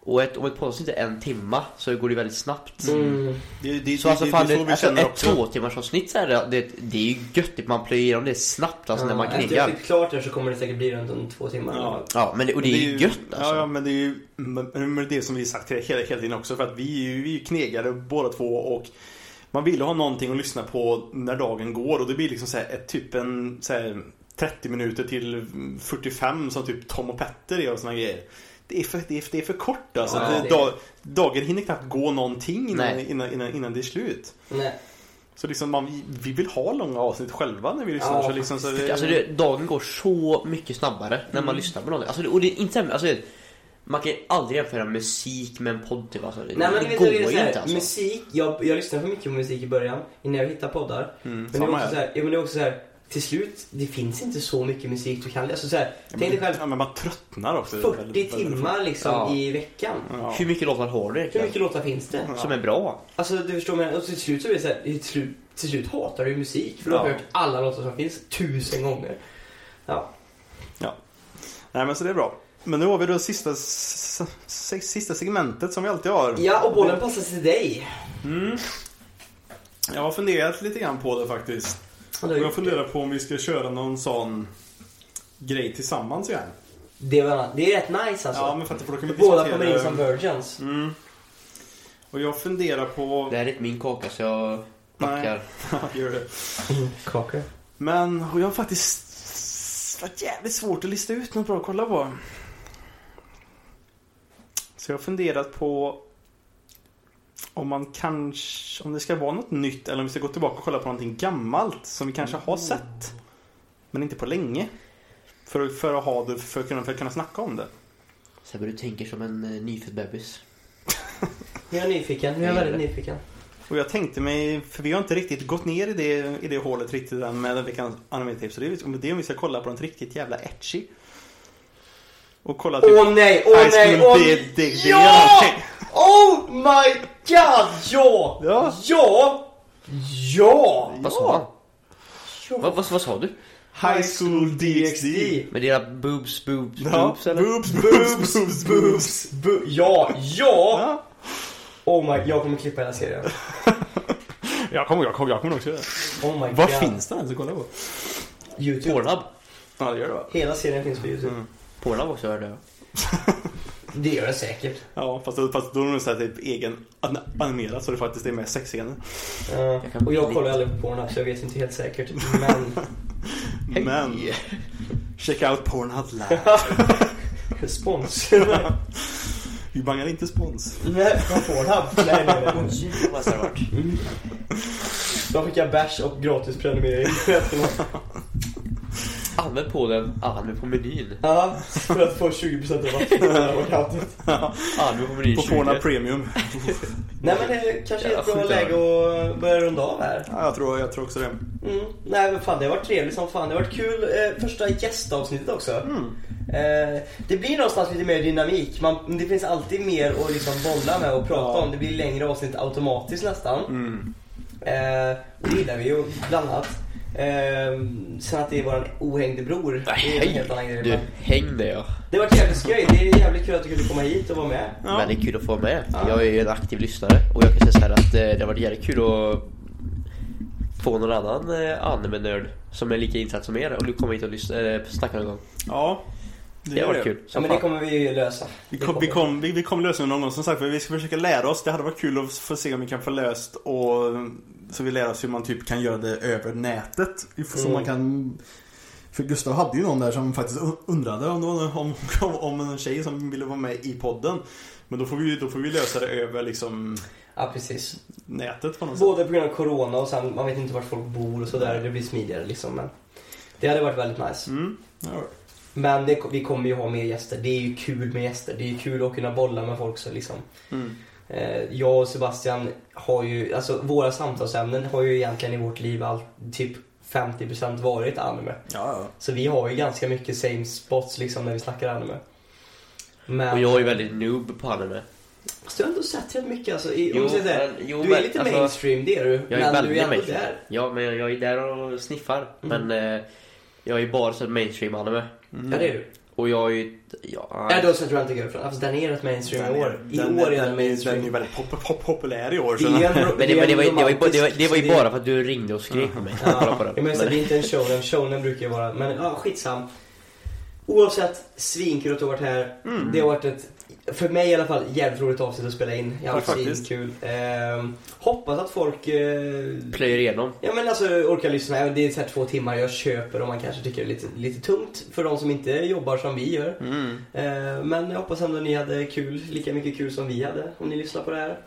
S1: Och ett, om ett poddavsnitt är en timma så går det väldigt snabbt.
S8: Det, det, det,
S1: Så alltså
S8: det,
S1: fan,
S8: det, är
S1: det,
S8: så vi
S1: alltså,
S8: känner
S1: ett
S8: också.
S1: två timmars avsnitt så här, det, det, det är ju gött, man plöjer igenom det snabbt alltså när man
S4: Efter jag
S1: kniggar.
S4: klippt klart det så kommer det säkert bli runt om två timmar.
S8: Ja.
S1: Ja, men det, och det, är ju gött alltså.
S8: Ja, ja, men det är ju men, men det är det som vi sagt hela, hela tiden också. För att vi är ju vi är ju knegare båda två och man vill ha någonting att lyssna på när dagen går. Och det blir liksom så här, ett, typ en så här, 30 minuter till 45 som typ Tom och Petter gör och såna grejer. Det är för, det är, det är för kort alltså.
S4: Ja,
S8: det,
S4: det är-
S8: dag, dagen hinner knappt gå någonting innan,
S1: Nej.
S8: innan, innan, innan det är slut.
S4: Nej.
S8: Så liksom man, vi, vi vill ha långa avsnitt själva när vi lyssnar.
S4: Ja,
S8: så liksom, så det,
S1: Alltså det, dagen går så mycket snabbare när man lyssnar på någonting. Alltså, det, och det är inte sämre, alltså, det- man kan ju aldrig jämföra musik med en podd typ alltså. Det,
S4: Nej men
S1: det
S4: vet
S1: går
S4: du, det är
S1: ju
S4: så här,
S1: inte alltså.
S4: musik, jag, jag lyssnade för mycket på musik i början innan jag hittade poddar. men, det är
S8: Mm, samma
S4: också
S8: här.
S4: så här, ja, men det är också så här, till slut, det finns inte så mycket musik du kan alltså, så här, Tänk dig själv,
S8: ja, men man tröttnar också.
S4: 40
S8: väldigt- väldigt fort.
S4: timmar liksom
S1: Ja.
S4: i veckan.
S8: Ja.
S1: Hur mycket låtar har du
S4: Hur
S1: egentligen?
S4: mycket låtar finns det?
S1: Som är bra?
S4: Alltså du förstår mig, och till slut så blir det så här, till slut, till slut hatar du ju musik för du har
S8: Ja.
S4: hört alla låtar som finns tusen gånger. Ja.
S8: Nej men så det är bra. Men nu har vi då sista, s- s- sista segmentet som vi alltid har.
S4: ja, och bollen passar till dig.
S8: Jag har funderat lite grann på det faktiskt.
S4: Och
S8: Och jag
S4: du-
S8: funderar på om vi ska köra någon sån grej tillsammans igen.
S4: Det, var, det är rätt nice alltså.
S8: Ja men för att då kan vi
S4: Båda kommer in som
S8: diskutera.
S4: virgins.
S8: mm. Och jag funderar på...
S1: Det här är inte min kaka så jag backar.
S8: Gör det.
S4: Kakor.
S8: Men och jag har faktiskt varit jävligt svårt att lista ut något bra att kolla på. Så jag har funderat på om man kanske, om det ska vara något nytt eller om vi ska gå tillbaka och kolla på någonting gammalt som vi kanske har sett. Men inte på länge. För, att- för att ha det, för att kunna, för att kunna snacka om det.
S1: Sebbe du tänker som en eh, nyfödd bebis.
S4: Jag är nyfiken, jag är
S1: Jag
S4: väldigt
S1: gillar
S4: nyfiken.
S8: Och jag tänkte mig, för vi har inte riktigt gått ner i det, i det hålet riktigt än med veckans anime-tips. Så det är, det är om vi ska kolla på något riktigt jävla etchy. Och kolla typ-
S4: Åh nej, åh
S8: Ice
S4: nej,
S8: Cream
S4: åh
S8: Day-
S4: nej.
S8: Day- Day- Day-
S4: Ja!
S8: någonting.
S4: Oh my god, ja!
S8: Ja.
S4: Ja! Ja!
S1: Vad sa han?
S4: ja.
S1: Vad, vad, vad sa du?
S8: High School DxD.
S1: Med dina boobs, boobs,
S8: Ja.
S1: boobs eller?
S8: Boobs, boobs, boobs, boobs.
S4: Boobs, bo- ja, ja!
S8: Ja.
S4: Oh my, jag kommer klippa hela serien.
S8: Jag kommer, jag kommer, jag kommer också göra det.
S4: Oh my
S8: Var
S4: god.
S8: finns den ens att kolla på?
S4: Youtube.
S1: Pornhub.
S8: Ja, det gör det va?
S4: Hela serien finns på Youtube.
S8: Mm.
S1: Pornhub också hörde jag.
S4: Det gör det säkert.
S8: Ja, fast, fast då är det så här typ egen an- animerad så det faktiskt är med sexscener.
S4: Eh,
S1: kan
S4: och jag
S1: bli-
S4: kollar aldrig på Pornhub så jag vet inte helt säkert. Men
S8: Men, check out Pornhub live.
S4: spons.
S8: Vi bangar inte spons.
S4: Nej, från Pornhub. Nej, nej, nej.
S1: Vad hade det varit?
S4: De skickar bärs och gratis prenumerering.
S1: Använd på den, använd på menyn.
S4: Ja, för att få 20% rabatt. på det här workoutet.
S1: Använd på menyn
S2: På
S1: 20.
S2: Pornhub Premium.
S4: Nej men det kanske är ett
S1: Ja,
S4: bra
S1: skit i
S4: läge att börja runda av här.
S2: Ja, jag tror, jag tror också det.
S4: Mm. Nej men fan det har varit trevligt som fan. Det har varit kul eh, första gästavsnittet också. Eh, det blir någonstans lite mer dynamik. Man, det finns alltid mer att liksom bolla med och prata om. Det blir längre avsnitt automatiskt nästan.
S2: Mm.
S4: Eh, och det gillar vi ju bland annat. Eh, sen att det är våran ohängde bror. det är en helt annan grej.
S1: Du,
S4: men-
S1: häng dig ja.
S4: Det var jävligt skoj. Det är jävligt kul att du kunde komma hit och vara med.
S2: Ja.
S1: Men det är kul att få vara med.
S4: Ja.
S1: Jag är ju en aktiv lyssnare och jag kan säga så här att eh, det har varit jävligt kul att få någon annan eh, anime-nörd som är lika insatt som er och du kommer hit och lyssna, eh, snacka någon gång.
S2: Ja.
S1: Det har varit kul.
S4: Ja,
S1: Som
S4: men det
S1: fan.
S4: kommer vi ju lösa.
S2: Vi kom, vi, kom, vi, vi kom lösa det någon gång som sagt för vi ska försöka lära oss. Det hade varit kul att få se om vi kan få löst och så vi lär oss hur man typ kan göra det över nätet.
S7: Vi får- Så man kan... För Gustav hade ju någon där som faktiskt un- undrade om det var någon...
S2: Om, om, om en tjej som ville vara med i podden. Men då får vi, då får vi lösa det över liksom
S4: Ja, precis.
S2: nätet på något sätt.
S4: Både på grund av corona och sen man vet inte vart folk bor och sådär. Det blir smidigare liksom. Men det hade varit väldigt nice.
S2: Mm.
S7: Ja.
S4: Men det, vi kommer ju ha mer gäster. Det är ju kul med gäster. Det är ju kul att kunna bolla med folk. Så liksom.
S2: Mm.
S4: Eh, Jag och Sebastian har ju, alltså våra samtalsämnen har ju egentligen i vårt liv all, typ 50% varit anime.
S2: Ja,
S4: Så vi har ju ganska mycket same spots liksom när vi snackar anime. Men...
S1: Och jag är ju väldigt noob på anime.
S4: Fast du har ändå sett helt mycket alltså. I, om
S1: Jo,
S4: man säger så här,
S1: men- jo,
S4: du är
S1: men,
S4: lite
S1: alltså,
S4: mainstream, det är du.
S1: Jag är
S4: men du
S1: väldigt
S4: är ändå
S1: mainstream.
S4: där.
S1: Ja, men jag, jag är där och sniffar.
S4: Mm.
S1: Men eh, jag är ju bara sett mainstream-anime.
S2: Mm.
S4: Ja, det är du.
S1: Och jag är ju... Ja,
S4: Nej, du har sett Rent a Girlfriend. Alltså, den är rätt mainstream i år. I
S2: den,
S4: år är
S2: den,
S4: den
S2: mainstream. Den är ju
S4: mainstream.
S2: väldigt pop, pop, populär i år.
S4: Det
S2: Så
S4: är
S2: den,
S4: en ro-
S1: men det,
S4: är
S1: men det,
S4: en
S1: var, ju- det, var, ju- det, var, det var ju
S4: romantisk-
S1: bara för att du ringde och skrek på mig. Kolla på
S4: Ja,
S1: den.
S4: jag menar, så
S1: Men-
S4: det är inte en show, showen brukar ju vara, men ja, skitsam. Oavsett, svinkul att du har varit här. Det har varit ett, för mig i alla fall, jävligt roligt avsnitt att spela in. Jävligt
S2: Ja, faktiskt.
S4: svinkul. Ehm, hoppas att folk eh,
S1: plöjer igenom.
S4: Ja men alltså orkar lyssna. Även Det är så här två timmar jag köper och man kanske tycker det är lite, lite tungt för de som inte jobbar som vi gör.
S2: mm.
S4: Eh, men jag hoppas ändå ni hade kul, lika mycket kul som vi hade om ni lyssnar på det här.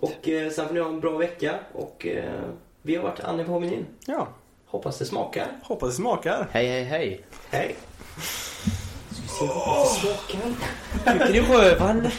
S4: Och eh, sen får ni ha en bra vecka och eh, vi har varit Annie på menyn.
S2: Ja,
S4: Hoppas det smakar.
S2: hoppas det smakar.
S1: Hej, hej, hej.
S4: Hej! Ska vi se vad det smakar?
S1: Tycker du rövan?